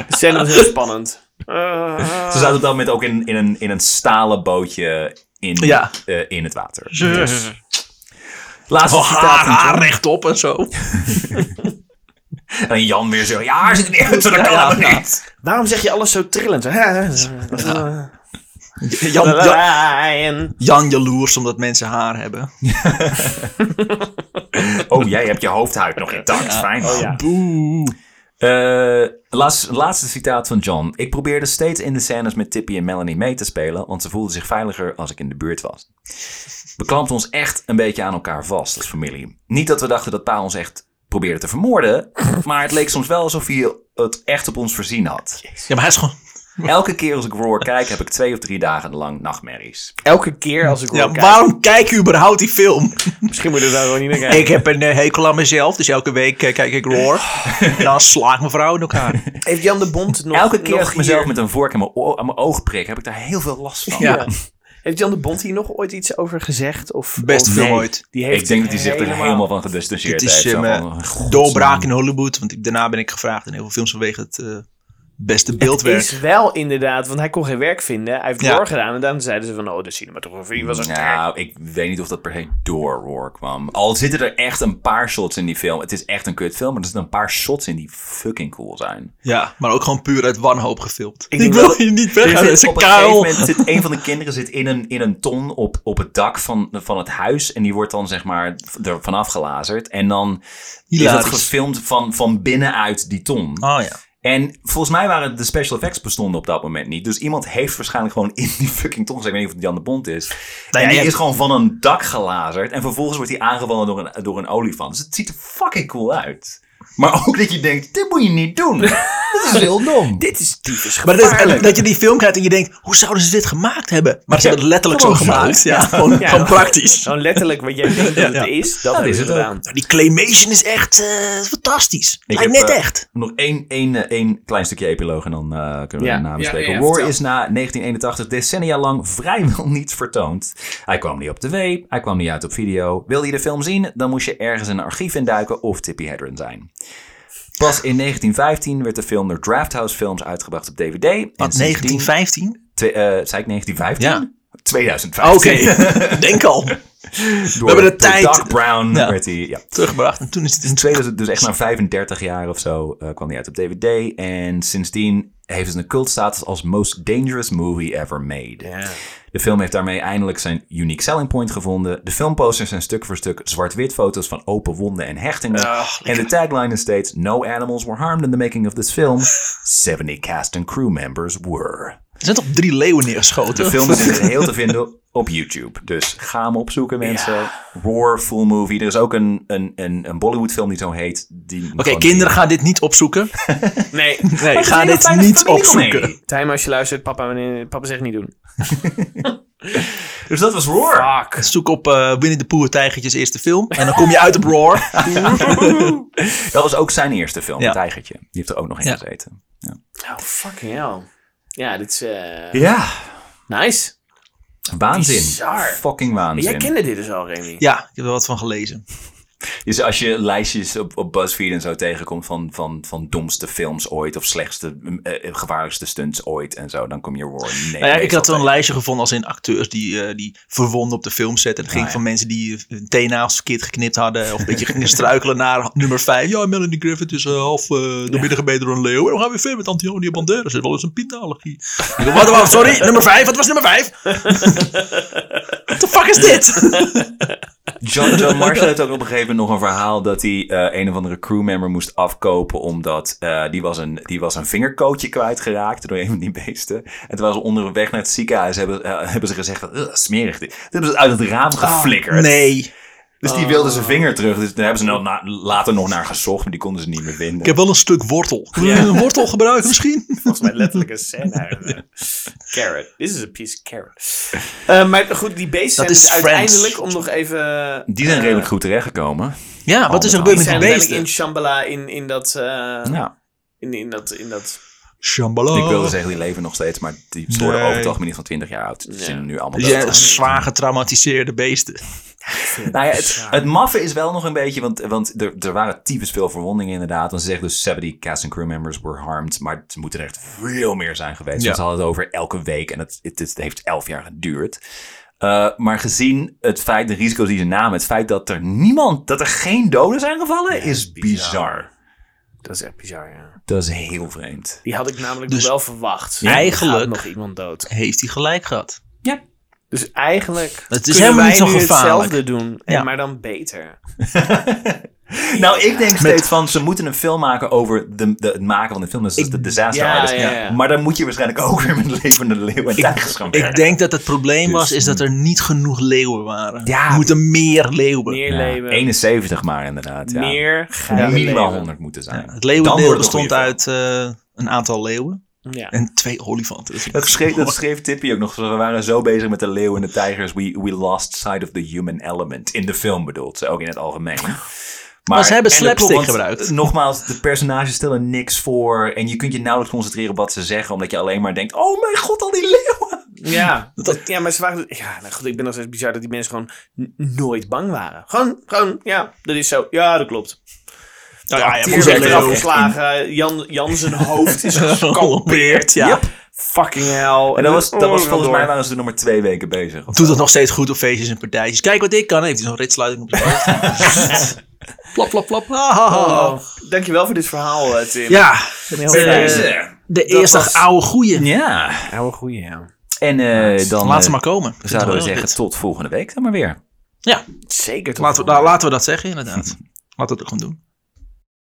S3: De scène was heel spannend.
S1: Ze zaten op dat moment ook in, in, een, in een stalen bootje in,
S2: Ja.
S1: eh, in het water.
S2: Yes.
S1: Laatste
S2: Oh,
S1: citaat
S2: haar,
S1: van John.
S2: haar rechtop en zo.
S1: En Jan weer zo, ja, haar zit er niet uit, zo, dat kan
S2: Ja,
S1: helemaal
S2: ja.
S1: niet.
S3: Waarom zeg je alles zo trillend?
S2: Jan, Jan,
S3: Ryan.
S2: Jan jaloers omdat mensen haar hebben.
S1: Oh, jij hebt je hoofdhuid nog intact, fijn.
S2: Oh,
S1: man.
S3: ja.
S2: Boe.
S1: Eh, laatste, laatste citaat van John. Ik probeerde steeds in de scènes met Tippy en Melanie mee te spelen, want ze voelden zich veiliger als ik in de buurt was. We klampten ons echt een beetje aan elkaar vast als familie. Niet dat we dachten dat pa ons echt probeerde te vermoorden, maar het leek soms wel alsof hij het echt op ons voorzien had.
S2: Ja, maar hij is gewoon...
S1: Elke keer als ik Roar kijk, heb ik twee of drie dagen lang nachtmerries.
S3: Elke keer als ik
S2: Ja,
S3: ja,
S2: waarom kijk je überhaupt die film?
S3: Misschien moet ik daar gewoon niet naar kijken.
S2: Ik heb een eh, hekel aan mezelf, dus elke week eh, kijk ik Roar. En dan sla ik mijn vrouw in elkaar.
S3: Heeft Jan de Bond nog
S1: Elke keer
S3: nog
S1: als ik mezelf
S3: hier-
S1: met een vork in mijn, oor- aan mijn oog prik, heb ik daar heel veel last van.
S2: Ja.
S3: Heeft Jan de Bond hier nog ooit iets over gezegd? Of,
S2: Beste
S3: of-
S2: film
S1: nee.
S2: ooit.
S3: Die
S1: Ik denk dat hij zich er
S3: helemaal-
S1: helemaal van gedistanceerd
S2: Het is
S1: heeft. Zo
S2: eh,
S1: van,
S2: mijn
S1: "God,
S2: doorbraak in Hollywood. Want daarna ben ik gevraagd in heel veel films vanwege het eh, beste beeldwerk.
S3: Is wel inderdaad, want hij kon geen werk vinden. Hij heeft
S2: Ja.
S3: doorgedaan en dan zeiden ze van, oh, de cinematografie was Eh, een
S1: Nou, ik weet niet of dat per se door Roar kwam. Al zitten er echt een paar shots in die film. Het is echt een kutfilm, maar er zitten een paar shots in die fucking cool zijn.
S2: Ja, maar ook gewoon puur uit wanhoop gefilmd. Ik,
S3: denk
S2: wil
S3: wel-
S2: hier niet weg.
S1: Er
S2: Het
S1: zit
S2: is een
S1: op een gegeven
S2: kuil.
S1: moment zit een van de kinderen zit in, een, in een ton op, op het dak van, van het huis. En die wordt dan zeg maar v- er vanaf gelazerd. En dan is
S2: Hilarisch.
S1: dat gefilmd van, van binnenuit die ton.
S2: Oh ja.
S1: En volgens mij waren de special effects bestonden op dat moment niet. Dus iemand heeft waarschijnlijk gewoon in die fucking ton. gezeten. Ik weet niet of het Jan de Bond is.
S2: ja,
S1: en die
S2: je-
S1: is gewoon van een dak gelazerd. En vervolgens wordt hij aangevallen door een, door een olifant. Dus het ziet er fucking cool uit. Maar ook dat je denkt, dit moet je niet doen. Dat is heel dom.
S3: Dit is typisch
S2: Maar dat,
S3: gevaarlijk.
S2: en dat je die film krijgt en je denkt, hoe zouden ze dit gemaakt hebben? Maar ze
S1: Ja,
S2: hebben het letterlijk zo
S1: gewoon zo.
S2: gemaakt. Ja, gewoon,
S3: Ja.
S2: gewoon praktisch.
S3: Gewoon letterlijk wat jij denkt dat het
S2: Ja.
S3: is, dat
S1: Nou,
S3: is het
S1: het ook.
S3: gedaan.
S2: Nou, Die claymation is echt eh, fantastisch. Lijkt
S1: heb,
S2: net
S1: eh,
S2: echt.
S1: Nog één, één, eh, één klein stukje epiloog en dan eh, kunnen we
S3: Ja.
S1: de naam bespreken.
S4: ja, ja,
S1: Roar
S4: vertel.
S1: is na 1981 decennia lang vrijwel niet vertoond. Hij kwam niet op tv, hij kwam niet uit op video. Wil je de film zien, dan moest je ergens in een archief induiken of Tippy Hedren zijn. Pas in 1915 werd de film door Drafthouse Films uitgebracht op DVD. En
S2: Wat,
S1: sindsdien-
S2: 1915?
S1: Twee- eh, zei ik 1915?
S2: Ja.
S1: 2015.
S2: Oké, denk al.
S1: Door,
S2: hebben de
S1: door
S2: tijd.
S1: Doc Brown
S2: Ja.
S1: werd hij... Ja.
S2: Teruggebracht en toen is het in
S1: 2000, dus echt na 35 jaar of zo eh, kwam die uit op DVD. En sindsdien heeft het een cultstatus als Most Dangerous Movie Ever Made. De film heeft daarmee eindelijk zijn unique selling point gevonden. De filmposters zijn stuk voor stuk zwart-wit foto's van open wonden en hechtingen. en de tagline is steeds: No animals were harmed in the making of this film. 70 cast and crew members were.
S2: Er zijn toch drie leeuwen neergeschoten?
S1: De film is in het geheel te vinden op YouTube. Dus ga hem opzoeken, mensen. Roar, Full Movie. Er is ook een, een, een, een Bollywood film die zo heet. die
S2: Oké,
S1: gewoon-
S2: kinderen gaan dit niet opzoeken.
S3: Nee,
S2: Nee, ga
S1: hele
S2: dit
S1: fijne
S2: niet
S1: familiecomedie.
S2: opzoeken.
S3: Tijm, als je luistert, papa, meneer- papa zegt niet doen.
S1: Dus dat was Roar.
S3: Fuck.
S2: Zoek op eh Winnie de Pooh Tijgertjes eerste film. En dan kom je uit op Roar.
S1: Dat was ook zijn eerste film,
S2: Ja.
S1: het Tijgertje. Die heeft er ook nog in
S2: Ja.
S1: gezeten.
S3: Oh, fucking hell. Ja, dit is eh,
S1: Ja,
S3: nice.
S1: waanzin.
S3: Bizar.
S1: Fucking
S3: Maar
S1: waanzin.
S3: jij kende dit dus al, Remy.
S2: Ja, ik heb er wat van gelezen.
S1: Dus als je lijstjes op, op BuzzFeed en zo tegenkomt van, van, van domste films ooit... of slechtste, eh, eh, gevaarlijkste stunts ooit en zo... dan kom je Roar nee,
S2: Nou ja, ik
S1: meestal
S2: had wel een
S1: tegen.
S2: lijstje gevonden als in acteurs die, eh, die verwonden op de film zetten. Het ging
S1: ja.
S2: van mensen die eh, hun teenails verkeerd geknipt hadden. Of een beetje gingen struikelen naar nummer 5. Ja, Melanie Griffith is eh, half eh doormidden gebeten door een leeuw. En we gaan weer verder met Antonio Banderas. Zit wel eens een pindaallergie. Ik dacht, wat, wat, sorry, nummer 5. Wat was nummer 5? What the fuck is dit?
S1: John, John Marshall heeft ook op een gegeven moment nog een verhaal dat hij eh, een of andere crewmember moest afkopen. Omdat eh, die, was een, die was een vingerkootje kwijtgeraakt door een van die beesten. En toen was ze onderweg naar het ziekenhuis. Hebben, eh, hebben ze gezegd: "Ugh, smerig. Dit. Toen hebben ze het uit het raam geflikkerd.
S2: Ah, Nee. Oh.
S1: Dus die wilde zijn vinger terug. Dus daar hebben ze nou na- later nog naar gezocht. Maar die konden ze niet meer vinden.
S2: Ik heb wel een stuk wortel. Kunnen we een wortel gebruiken misschien?
S3: Volgens mij letterlijk een scène uit. eh, carrot. This is a piece of carrot. Eh, maar goed, die beesten zijn
S2: Dat is
S3: dus
S2: Friends.
S3: uiteindelijk, om nog even...
S1: Die zijn redelijk goed terechtgekomen.
S2: Ja, wat is er
S1: Al met
S2: gebeurd met Oh, die
S3: zijn uiteindelijk
S2: beesten?
S3: in Shambhala in, in dat... eh,
S1: Ja.
S3: in, in dat... In dat
S2: Shambhala.
S1: Ik wilde zeggen, die leven nog steeds, maar die worden
S2: Oh. Nee.
S1: over het algemeen niet van 20 jaar oud. Ze zijn nu allemaal
S2: Dus
S1: dood.
S2: ja, zwaar getraumatiseerde beesten.
S1: Nou ja, het, het maffe is wel nog een beetje, want, want er, er waren typisch veel verwondingen inderdaad. Want ze zeggen dus 70 cast and crew members were harmed, maar het moeten er echt veel meer zijn geweest.
S2: Ja.
S1: Want ze hadden het over elke week en het, het, het heeft elf jaar geduurd. Eh, maar gezien het feit, de risico's die ze namen, het feit dat er niemand, dat er geen doden zijn gevallen, is bizar.
S3: Dat is echt bizar, ja.
S1: Dat is heel vreemd.
S3: Die had ik namelijk
S2: Dus
S3: nog wel verwacht.
S2: Ja.
S3: Er
S2: Eigenlijk-
S3: gaat nog iemand dood.
S2: Heeft hij gelijk gehad?
S1: Ja.
S3: Dus eigenlijk
S2: Het is
S3: kunnen
S2: helemaal
S3: wij
S2: niet zo
S3: nu
S2: gevaarlijk.
S3: hetzelfde doen, en
S2: Ja.
S3: maar dan beter.
S1: Nou, ik denk steeds van, ze moeten een film maken over de, de, het maken van de film. Dus dat is de disaster
S3: ja,
S1: artist.
S3: ja, ja.
S1: Maar dan moet je waarschijnlijk ook weer met levende leeuwen en tijgers gaan werken.
S2: Ik denk dat het probleem was is dat er niet genoeg leeuwen waren. Er moeten meer leeuwen.
S3: Meer
S1: Ja,
S3: leven,
S1: 71 maar inderdaad. Ja.
S3: meer
S1: Ja,
S3: geile
S1: minimaal
S3: leven.
S1: 100 moeten zijn.
S2: Het leeuwendeel
S1: wordt het een goede
S2: bestond uit eh, een aantal leeuwen
S3: Ja.
S2: en twee olifanten. Dus-
S1: Dat schreef, dat schreef Tippy ook nog. We waren zo bezig met de leeuw en de tijgers. We, we lost sight of the human element. In de film bedoelt ze, ook in het algemeen.
S2: Maar ze hebben
S1: en de plot,
S2: slapstick
S1: want,
S2: gebruikt.
S1: eh, Nogmaals, de personages stellen niks voor. En je kunt je nauwelijks concentreren op wat ze zeggen. Omdat je alleen maar denkt, oh mijn god, al die leeuwen.
S3: Ja.
S2: Dat-
S3: ja, maar ze waren... Ja, nou goed, ik ben nog steeds bizar dat die mensen gewoon n- nooit bang waren. Gewoon, gewoon, ja, dat is zo. Ja, dat klopt.
S2: Nou ja,
S3: Tier
S2: ja, voor
S1: moest
S3: werd
S2: zo'n
S1: echt
S3: eraf
S1: wel.
S2: leeuw.
S3: geslagen. Jan, Jan zijn hoofd is
S2: Gelampeerd,
S3: gescalpeerd.
S2: ja.
S3: Yep. Fucking hell.
S1: En dat was, dat
S3: Oh,
S1: was volgens
S3: door.
S1: mij waren ze er nog maar twee weken bezig.
S2: Doet dat nog steeds goed op feestjes en partijtjes. Kijk wat ik kan. Heeft hij zo'n ritsluiting op zijn hoofd. plap, plap, plap. Ah, ah, ah.
S3: Oh, dankjewel voor dit verhaal, eh, Tim.
S2: Ja,
S3: heel
S2: eh, de eerste
S3: was-
S2: oude goeie.
S1: Ja.
S3: Oude goeie, ja.
S1: En eh, dan
S2: Laat ze
S1: eh,
S2: maar komen. Ik vind het
S1: zouden we
S2: wel heel
S1: zeggen
S2: kut.
S1: tot volgende week dan maar weer.
S2: Ja,
S3: Zeker toch?
S2: nou, laten we, nou, laten we dat zeggen inderdaad. Laten we dat gewoon doen.